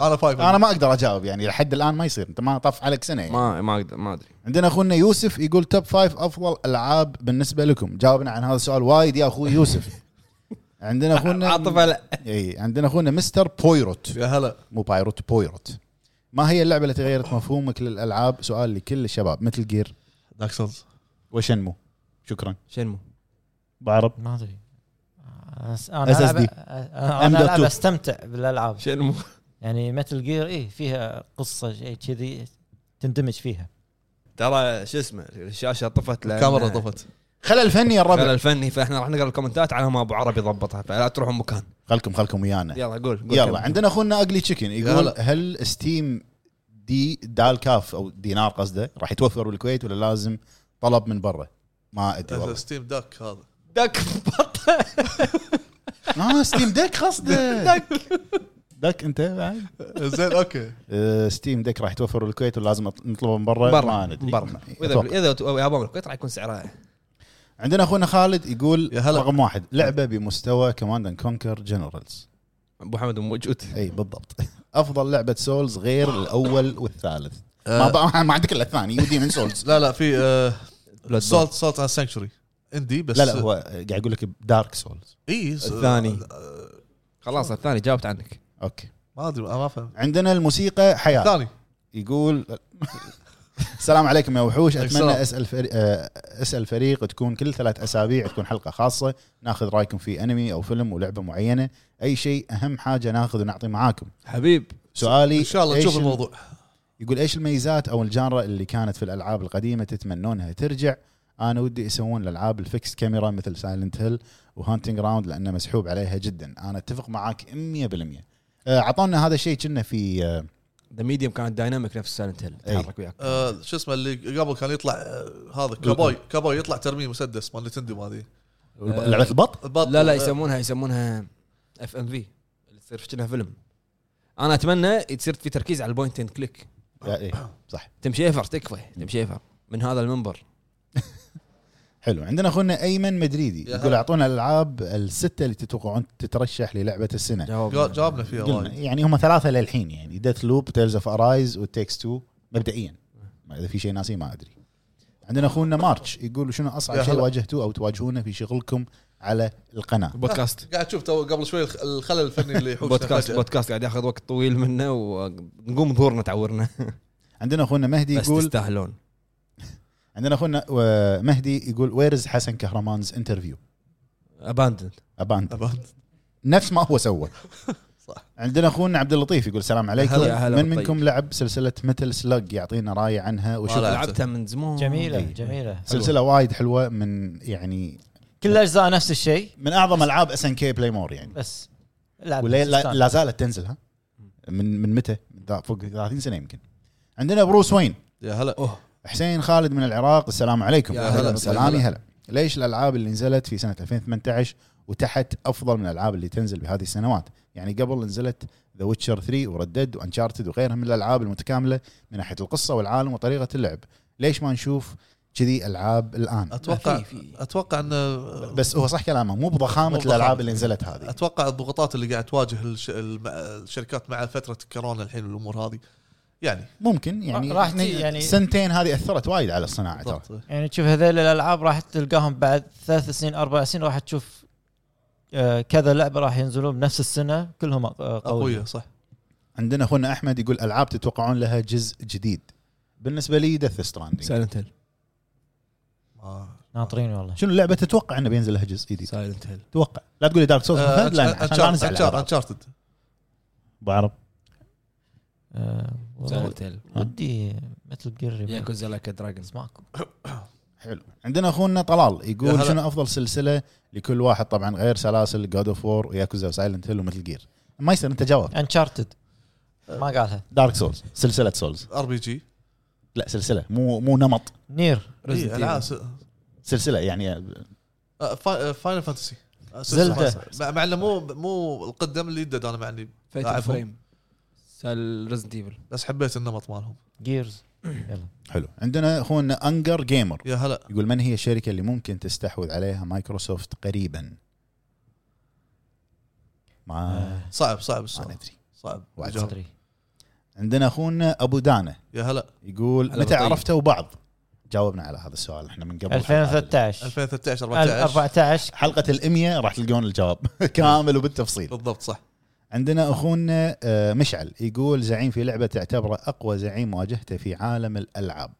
Speaker 2: انا فايف
Speaker 4: انا ما اقدر اجاوب يعني لحد الان ما يصير انت ما طاف عليك سنه يعني.
Speaker 1: ما ما اقدر ما ادري
Speaker 4: عندنا اخونا يوسف يقول توب 5 افضل العاب بالنسبه لكم جاوبنا عن هذا السؤال وايد يا اخوي يوسف عندنا اخونا
Speaker 1: عاطفه لا
Speaker 4: اي عندنا اخونا مستر بويروت
Speaker 2: يا هلا
Speaker 4: مو بايروت بويروت ما هي اللعبه التي غيرت مفهومك للالعاب سؤال لكل الشباب مثل جير
Speaker 2: دارك سولز
Speaker 4: وشنمو شكرا
Speaker 1: شنمو
Speaker 4: بعرب
Speaker 3: ما ادري انا
Speaker 4: SSD.
Speaker 3: ألعب- انا
Speaker 4: M.2.
Speaker 3: ألعب استمتع بالالعاب
Speaker 1: شنمو
Speaker 3: يعني متل جير ايه فيها قصه شيء كذي تندمج فيها
Speaker 1: ترى شو اسمه الشاشه طفت لأن-
Speaker 2: الكاميرا طفت
Speaker 4: خلل فني يا
Speaker 1: خلل
Speaker 4: الربع
Speaker 1: الفني فاحنا راح نقرا الكومنتات على ما ابو عربي ضبطها فلا تروحون مكان
Speaker 4: خلكم خلكم ويانا
Speaker 1: يلا قول, قول
Speaker 4: يلا
Speaker 1: كمل.
Speaker 4: عندنا اخونا اقلي تشيكن يقول
Speaker 2: يلا.
Speaker 4: هل ستيم دي دال كاف او دينار قصده راح يتوفر بالكويت ولا لازم طلب من برا؟ ما ادري والله
Speaker 2: ستيم داك هذا
Speaker 1: دك بطة.
Speaker 4: اه ستيم ديك قصده دك دك انت بعد
Speaker 2: زين اوكي
Speaker 4: آه، ستيم ديك راح يتوفر بالكويت ولا لازم أط- نطلبه من برا؟
Speaker 1: برا.
Speaker 4: ما ندري
Speaker 1: برا.
Speaker 4: أتوقع.
Speaker 1: واذا اذا تو- يابا من الكويت راح يكون سعرها
Speaker 4: عندنا اخونا خالد يقول
Speaker 2: يا هلا.
Speaker 4: رقم واحد لعبه بمستوى كوماند اند كونكر جنرالز
Speaker 1: ابو حمد مو موجود
Speaker 4: اي بالضبط افضل لعبه سولز غير الاول والثالث
Speaker 2: آه.
Speaker 4: ما بقى- ما عندك الا الثاني يودي من سولز
Speaker 2: لا لا في آه،
Speaker 1: Bloodborne.
Speaker 2: سولت سولت على سانكشوري اندي بس
Speaker 4: لا لا هو قاعد يقول لك دارك سولز
Speaker 2: اي س-
Speaker 1: الثاني.
Speaker 2: آه،
Speaker 1: خلاص الثاني جاوبت عنك
Speaker 4: اوكي
Speaker 2: ما ادري ما فهمت
Speaker 4: عندنا الموسيقى حياه
Speaker 2: ثاني
Speaker 4: يقول السلام عليكم يا وحوش
Speaker 2: السلام.
Speaker 4: اتمنى اسال فريق اسال فريق تكون كل ثلاث اسابيع تكون حلقه خاصه ناخذ رايكم في انمي او فيلم ولعبه معينه اي شيء اهم حاجه ناخذ ونعطي معاكم
Speaker 1: حبيب
Speaker 4: سؤالي
Speaker 2: ان شاء الله
Speaker 4: إيش
Speaker 2: نشوف
Speaker 4: ال-
Speaker 2: الموضوع
Speaker 4: يقول ايش الميزات او الجانرا اللي كانت في الالعاب القديمه تتمنونها ترجع انا ودي يسوون الالعاب الفيكس كاميرا مثل سايلنت هيل وهانتنج راوند لانه مسحوب عليها جدا انا اتفق معاك 100% آه، عطونا هذا الشيء كنا في آه،
Speaker 1: ذا ميديوم كانت دايناميك نفس سايلنت هيل
Speaker 4: أي.
Speaker 1: تحرك وياك
Speaker 2: آه شو اسمه اللي قبل كان يطلع آه هذا كابوي كابوي يطلع ترميه مسدس مال نتندو هذه
Speaker 1: آه.
Speaker 4: لعبه البط
Speaker 2: البط-
Speaker 1: لا لا
Speaker 2: آه،
Speaker 1: يسمونها يسمونها اف ام في اللي تصير كأنها فيلم انا اتمنى يصير في تركيز على البوينت اند كليك
Speaker 4: آه، إيه، صح
Speaker 1: تمشي افر تكفى تمشي افر من هذا المنبر
Speaker 4: حلو عندنا اخونا ايمن مدريدي
Speaker 2: يا
Speaker 4: يقول
Speaker 2: هلا.
Speaker 4: اعطونا الالعاب السته اللي تتوقعون تترشح للعبه السنه
Speaker 1: جاوبنا.
Speaker 2: جا- جاوبنا فيها
Speaker 4: قلنا
Speaker 2: وايد
Speaker 4: يعني هم ثلاثه للحين يعني ديث لوب تيلز اوف ارايز وتكس 2 مبدئيا ما اذا في شيء ناسي ما ادري عندنا اخونا مارتش يقول شنو اصعب
Speaker 2: يا
Speaker 4: شيء
Speaker 2: هلا.
Speaker 4: واجهتوه او تواجهونه في شغلكم على القناه
Speaker 1: بودكاست
Speaker 2: قاعد تشوف تو قبل شوي الخ- الخلل الفني اللي يحوشنا
Speaker 1: بودكاست
Speaker 2: فجأة.
Speaker 1: بودكاست قاعد ياخذ وقت طويل منه ونقوم ظهورنا تعورنا
Speaker 4: عندنا اخونا مهدي
Speaker 1: بس
Speaker 4: يقول
Speaker 1: تستاهلون
Speaker 4: عندنا اخونا آه، مهدي يقول ويرز حسن كهرمانز انترفيو
Speaker 1: اباندن
Speaker 4: ابان
Speaker 2: أبد.
Speaker 4: نفس ما هو سوى
Speaker 2: صح.
Speaker 4: عندنا اخونا عبد اللطيف يقول السلام عليكم
Speaker 1: هلا- هلا
Speaker 4: من
Speaker 1: بالطيب.
Speaker 4: منكم لعب سلسله متل سلج يعطينا راي عنها وشو
Speaker 2: ما لعبت.
Speaker 1: لعبتها من زمان
Speaker 3: جميله
Speaker 4: إيه.
Speaker 3: جميله
Speaker 4: سلسله وايد حلوه من يعني
Speaker 3: كل الاجزاء نفس الشيء
Speaker 4: من اعظم العاب اس ان كي بلاي مور يعني
Speaker 3: بس لعب
Speaker 4: ولا لا,
Speaker 3: باكستان.
Speaker 4: لا زالت تنزل ها من من متى؟ من ذا- فوق 30 سنه يمكن عندنا بروس وين
Speaker 2: يا هلا
Speaker 1: اوه
Speaker 4: حسين خالد من العراق السلام عليكم
Speaker 1: يا
Speaker 2: هلا.
Speaker 4: سلامي هلا ليش الالعاب اللي نزلت في سنه 2018 وتحت افضل من الالعاب اللي تنزل بهذه السنوات يعني قبل نزلت ذا ويتشر 3 وردد وانشارتد وغيرها من الالعاب المتكامله من ناحيه القصه والعالم وطريقه اللعب ليش ما نشوف كذي العاب الان
Speaker 2: اتوقع
Speaker 1: في- في.
Speaker 2: اتوقع ان
Speaker 4: بس هو صح كلامه مو بضخامه
Speaker 2: مو بضخامة.
Speaker 4: الالعاب اللي نزلت هذه
Speaker 2: اتوقع الضغوطات اللي قاعد تواجه الش... الم... الشركات مع فتره كورونا الحين والامور هذه يعني
Speaker 4: ممكن يعني
Speaker 3: راح
Speaker 4: راح
Speaker 3: تي- يعني-
Speaker 4: يعني سنتين هذه اثرت وايد على الصناعه ترى
Speaker 2: بالضبط.
Speaker 3: يعني تشوف هذيل الالعاب راح تلقاهم بعد ثلاث سنين اربع سنين راح تشوف آه، كذا لعبه راح ينزلون بنفس السنه كلهم آه، قويه
Speaker 2: قويه صح
Speaker 4: عندنا اخونا احمد يقول العاب تتوقعون لها جزء جديد بالنسبه لي دث ستراندنج
Speaker 1: سايلنت هيل
Speaker 2: ما-
Speaker 3: ناطرين والله
Speaker 4: شنو اللعبه تتوقع انه بينزل لها جزء جديد
Speaker 1: سايلنت هيل
Speaker 4: توقع لا تقول لي دارك سولز لا
Speaker 2: آه،
Speaker 4: لا
Speaker 2: أنشار-
Speaker 4: عشان لا نزعل
Speaker 2: أنشار-
Speaker 4: عرب.
Speaker 2: انشارتد
Speaker 4: ابو عرب
Speaker 3: آه، والله
Speaker 1: سايلنت هيل
Speaker 3: ودي مثل جير
Speaker 1: ياكوزا لايك دراجون
Speaker 3: اسمعكم
Speaker 4: حلو عندنا اخونا طلال
Speaker 2: يا
Speaker 4: يقول
Speaker 2: هلا.
Speaker 4: شنو افضل سلسله لكل واحد طبعا غير سلاسل جود اوف وور وياكوزا وسايلنت هيل ومثل جير ما يصير انت جاوب
Speaker 3: انشارتد ما قالها
Speaker 4: دارك سولز سلسله سولز
Speaker 2: ار بي جي
Speaker 4: لا سلسله مو مو نمط
Speaker 3: نير
Speaker 1: Resident Evil.
Speaker 4: سلسله يعني
Speaker 2: آه، فاينل فانتسي
Speaker 4: زلدة.
Speaker 2: آه، مع انه مو مو القدم اللي يدد انا مع اني
Speaker 1: فيت
Speaker 2: لاعبهم.
Speaker 1: فريم سال ريزنت ايفل
Speaker 2: بس حبيت النمط مالهم
Speaker 3: جيرز يلا
Speaker 4: حلو عندنا اخونا انجر جيمر
Speaker 2: يا هلا
Speaker 4: يقول من هي الشركه اللي ممكن تستحوذ عليها مايكروسوفت قريبا ما
Speaker 2: صعب صعب
Speaker 4: ما
Speaker 2: السؤال
Speaker 4: ندري
Speaker 2: صعب
Speaker 4: واحد
Speaker 2: الجواب.
Speaker 3: أدري.
Speaker 4: عندنا اخونا ابو دانه
Speaker 2: يا هلا
Speaker 4: يقول
Speaker 1: هلا
Speaker 4: متى
Speaker 1: بطيب.
Speaker 4: عرفتوا بعض؟ جاوبنا على هذا السؤال احنا من قبل حلقات
Speaker 3: 2013
Speaker 2: 2013 14
Speaker 3: 2014
Speaker 4: حلقه ال 100 راح تلقون الجواب كامل وبالتفصيل
Speaker 2: بالضبط صح
Speaker 4: عندنا اخونا آه، مشعل يقول زعيم في لعبه تعتبره اقوى زعيم واجهته في عالم الالعاب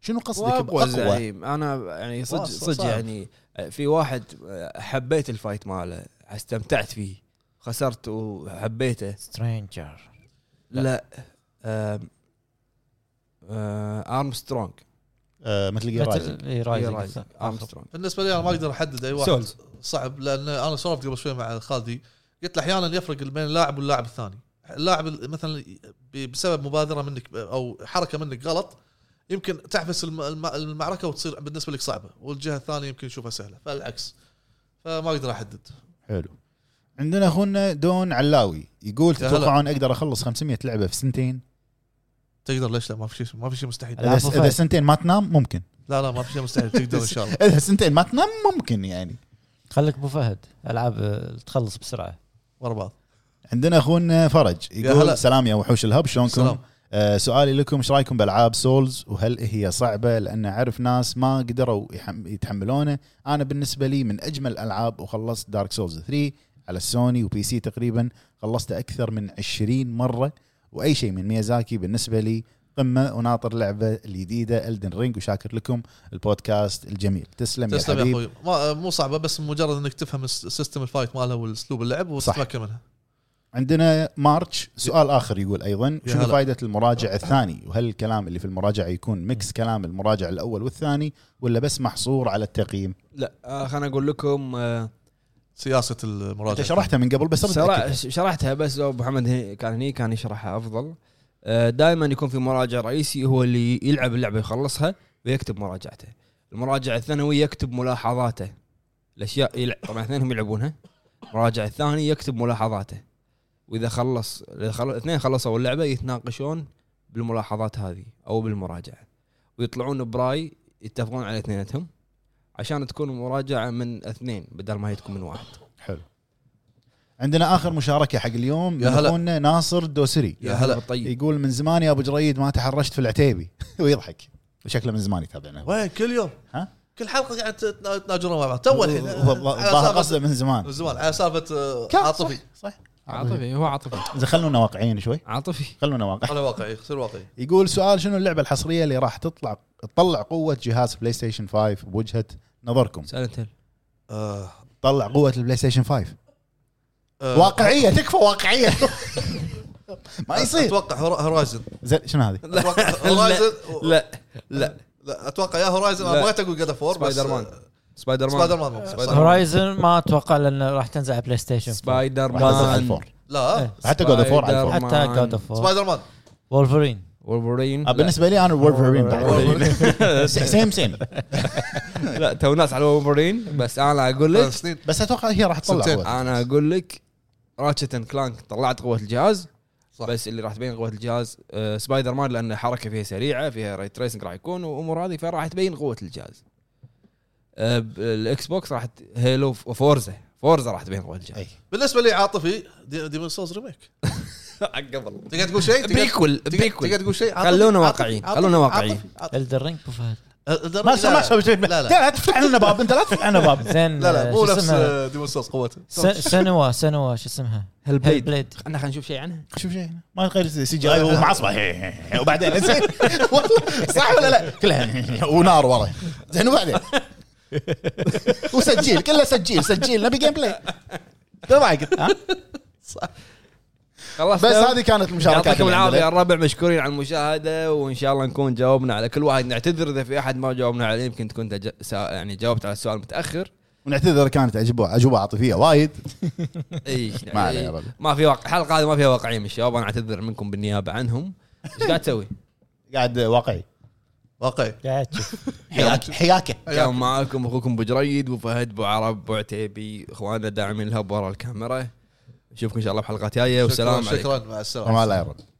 Speaker 4: شنو قصدك
Speaker 1: واقوى
Speaker 4: باقوى؟
Speaker 1: زعيم انا يعني صدق
Speaker 2: واصل
Speaker 1: صدق
Speaker 2: صعب.
Speaker 1: يعني في واحد حبيت الفايت ماله استمتعت فيه خسرت وحبيته
Speaker 3: سترينجر
Speaker 1: لا, لا. آم، آه، ارمسترونج
Speaker 4: آه، مثل جير رايزنج.
Speaker 3: رايزنج
Speaker 1: ارمسترونج
Speaker 2: بالنسبه لي انا ما اقدر احدد اي واحد
Speaker 1: Souls.
Speaker 2: صعب لان انا سولفت قبل شوي مع خالدي قلت له احيانا يفرق بين اللاعب واللاعب الثاني اللاعب ال- مثلا ب- بسبب مبادره منك او حركه منك غلط يمكن تحبس الم- الم- المعركه وتصير بالنسبه لك صعبه والجهه الثانيه يمكن يشوفها سهله فالعكس فما اقدر احدد
Speaker 4: حلو عندنا اخونا دون علاوي يقول
Speaker 2: يا هلا.
Speaker 4: تتوقعون اقدر اخلص 500 لعبه في سنتين؟
Speaker 2: تقدر ليش لا ما في شيء ما في شيء مستحيل
Speaker 3: ألعاب
Speaker 4: اذا
Speaker 3: وفاة.
Speaker 4: إذا سنتين ما تنام ممكن
Speaker 2: لا لا ما في شيء مستحيل تقدر ان شاء الله
Speaker 4: اذا سنتين ما تنام ممكن يعني
Speaker 3: خليك ابو فهد العاب آه، تخلص بسرعه
Speaker 2: ورا بعض
Speaker 4: عندنا اخونا فرج يقول
Speaker 2: هلا.
Speaker 4: سلام يا وحوش الهب شلونكم؟
Speaker 2: سلام.
Speaker 4: آه سؤالي لكم ايش رايكم بالعاب سولز وهل هي صعبه لان اعرف ناس ما قدروا يحم- يتحملونه انا بالنسبه لي من اجمل الالعاب وخلصت دارك سولز 3 على السوني وبي سي تقريبا خلصته اكثر من 20 مره واي شيء من ميازاكي بالنسبه لي قمه وناطر لعبه الجديده الدن رينج وشاكر لكم البودكاست الجميل تسلم,
Speaker 2: تسلم
Speaker 4: يا
Speaker 2: يا
Speaker 4: حبيب
Speaker 2: اخوي ما مو صعبه بس مجرد انك تفهم الس- سيستم الفايت مالها والاسلوب اللعب وتتمكن منها
Speaker 4: عندنا مارتش سؤال اخر يقول ايضا
Speaker 2: يا
Speaker 4: شنو
Speaker 2: هلا.
Speaker 4: فائده المراجع الثاني وهل الكلام اللي في المراجعه يكون ميكس كلام المراجع الاول والثاني ولا بس محصور على التقييم
Speaker 1: لا آه خليني اقول لكم آه
Speaker 2: سياسه
Speaker 4: انت
Speaker 2: المراجعه
Speaker 4: شرحتها من قبل بس أبي
Speaker 1: شرح-
Speaker 4: أتأكد.
Speaker 1: شرحتها بس لو ابو محمد هني- كان هني كان يشرحها افضل دائما يكون في مراجع رئيسي هو اللي يلعب اللعبه يخلصها ويكتب مراجعته المراجع الثانوي يكتب ملاحظاته الاشياء يلعب طبعا اثنينهم يلعبونها المراجع الثاني يكتب ملاحظاته واذا خلص إذا خل- اثنين خلصوا اللعبه يتناقشون بالملاحظات هذه او بالمراجعه ويطلعون براي يتفقون على اثنينتهم عشان تكون المراجعه من اثنين بدل ما هي تكون من واحد
Speaker 4: حلو عندنا اخر مشاركه حق اليوم
Speaker 2: يا
Speaker 4: من
Speaker 2: هلا.
Speaker 4: اخونا ناصر دوسري
Speaker 2: يا هلا.
Speaker 1: بالطيب.
Speaker 4: يقول من زمان يا ابو جريد ما تحرشت في العتيبي ويضحك شكله من زمان يتابعنا
Speaker 2: وين كل يوم
Speaker 4: ها؟
Speaker 2: كل حلقه قاعد تتنا- تناجرون مع بعض تو الحين
Speaker 4: هو- هو-
Speaker 2: على
Speaker 4: ظاهر
Speaker 2: سالفة-
Speaker 4: قصده من زمان
Speaker 2: من زمان على سالفه آه، عاطفي
Speaker 4: صح
Speaker 1: عاطفي هو عاطفي
Speaker 4: زين خلونا واقعيين شوي
Speaker 1: عاطفي
Speaker 4: خلونا واقع
Speaker 2: انا واقعي خسر واقعي
Speaker 4: يقول سؤال شنو اللعبه الحصريه اللي راح تطلع تطلع قوه جهاز بلاي ستيشن 5 بوجهه نظركم
Speaker 1: سالنت هيل
Speaker 2: آه،
Speaker 4: تطلع قوه البلاي ستيشن 5
Speaker 2: أه، آه،
Speaker 4: واقعيه تكفى واقعيه ما يصير
Speaker 2: اتوقع هورا- هورايزن
Speaker 4: زين شنو هذه
Speaker 2: اتوقع هورايزن و-
Speaker 1: لا لا
Speaker 2: لا اتوقع يا هورايزن
Speaker 1: لا.
Speaker 2: انا بغيت اقول جاد اوف وور بس- آه،
Speaker 1: سبايدر مان سبايدر مان
Speaker 2: سبايدر مان ممكن.
Speaker 1: سبايدر مان.
Speaker 3: هورايزن ما اتوقع لان راح تنزل على بلاي ستيشن
Speaker 1: سبايدر
Speaker 4: راح تنزل على
Speaker 1: مان
Speaker 4: الفور
Speaker 1: إيه.
Speaker 2: لا
Speaker 4: حتى God of War على الفور.
Speaker 1: سبايدر
Speaker 3: حتى
Speaker 1: مان.
Speaker 3: جود اوف
Speaker 2: سبايدر مان
Speaker 3: وولفرين
Speaker 1: وولفرين
Speaker 4: آه، بالنسبه لي انا وولفرين بعد. سيم سيم
Speaker 1: لا, لا تو ناس على وولفرين بس انا اقول
Speaker 2: ثلاث
Speaker 1: لك
Speaker 2: سنين
Speaker 4: بس اتوقع هي راح تطلع
Speaker 2: سنتين.
Speaker 4: قوة.
Speaker 1: انا اقول لك راتشت اند كلانك طلعت قوه الجهاز
Speaker 2: صح.
Speaker 1: صح. بس اللي راح تبين قوه الجهاز آه، سبايدر مان لان حركه فيها سريعه فيها ري تريسنج راح يكون وامور هذه فراح تبين قوه الجهاز آه، ب- الاكس بوكس راح ت- هيلو وفورزا فورزا راح تبين قوه الجهاز
Speaker 4: أي.
Speaker 2: بالنسبه لي عاطفي دي- ديمون سولز ريميك
Speaker 1: قبل
Speaker 2: تقدر تقول شيء تقدر-
Speaker 1: بيكول
Speaker 2: تقدر-
Speaker 1: بيكول
Speaker 2: تقدر تقول شيء عاطفي؟
Speaker 1: خلونا
Speaker 2: عاطفي؟
Speaker 1: واقعيين،
Speaker 2: عاطفي؟
Speaker 1: خلونا واقعيين.
Speaker 2: عاطفي؟ عاطفي؟
Speaker 3: الدرينج ابو فهد
Speaker 2: الدرجة-
Speaker 4: ما ما
Speaker 2: أه، لا،
Speaker 4: سوى شيء
Speaker 2: لا، لا.
Speaker 4: لا تفتح لنا باب انت لا تفتح لنا باب
Speaker 3: زين آه،
Speaker 2: لا لا مو
Speaker 3: شو
Speaker 2: نفس آه،
Speaker 3: اسمها؟
Speaker 2: ديمون سولز قوته
Speaker 3: س- سنوا سنوا شو اسمها؟
Speaker 1: هل
Speaker 3: هيل
Speaker 1: بليد
Speaker 3: بليد
Speaker 1: خلنا خلينا نشوف شيء عنها
Speaker 4: شوف شيء هنا. ما غير سي جي اي ومع اصبع هي- هي- هي. وبعدين زين والله، صح ولا لا؟ كلها ونار ورا زين وبعدين وسجيل كله سجيل سجيل نبي جيم بلاي تضحك ها؟
Speaker 1: خلاص
Speaker 4: بس هذه كانت المشاركات
Speaker 1: يعطيكم
Speaker 4: اللي
Speaker 1: العافيه يا
Speaker 4: عندنا.
Speaker 1: الربع مشكورين على المشاهده وان شاء الله نكون جاوبنا على كل واحد نعتذر اذا في احد ما جاوبنا عليه يمكن تكون تج... سا- يعني جاوبت على السؤال متاخر
Speaker 4: ونعتذر كانت اجوبه اجوبه عاطفيه وايد
Speaker 1: اي
Speaker 4: ما علينا يا ربع.
Speaker 1: ما في واقع الحلقه هذه ما فيها واقعيه من الشباب انا اعتذر منكم بالنيابه عنهم ايش قاعد تسوي؟
Speaker 4: قاعد واقعي
Speaker 2: واقعي
Speaker 3: قاعد تشوف
Speaker 4: حياك حياكه
Speaker 1: كان معاكم اخوكم ابو جريد ابو فهد ابو عرب ابو عتيبي اخواننا داعمين الهب ورا الكاميرا نشوفكم ان شاء الله بحلقات جايه والسلام
Speaker 2: شكراً-
Speaker 1: عليكم
Speaker 2: شكرا مع السلامه
Speaker 4: ما لا يا رب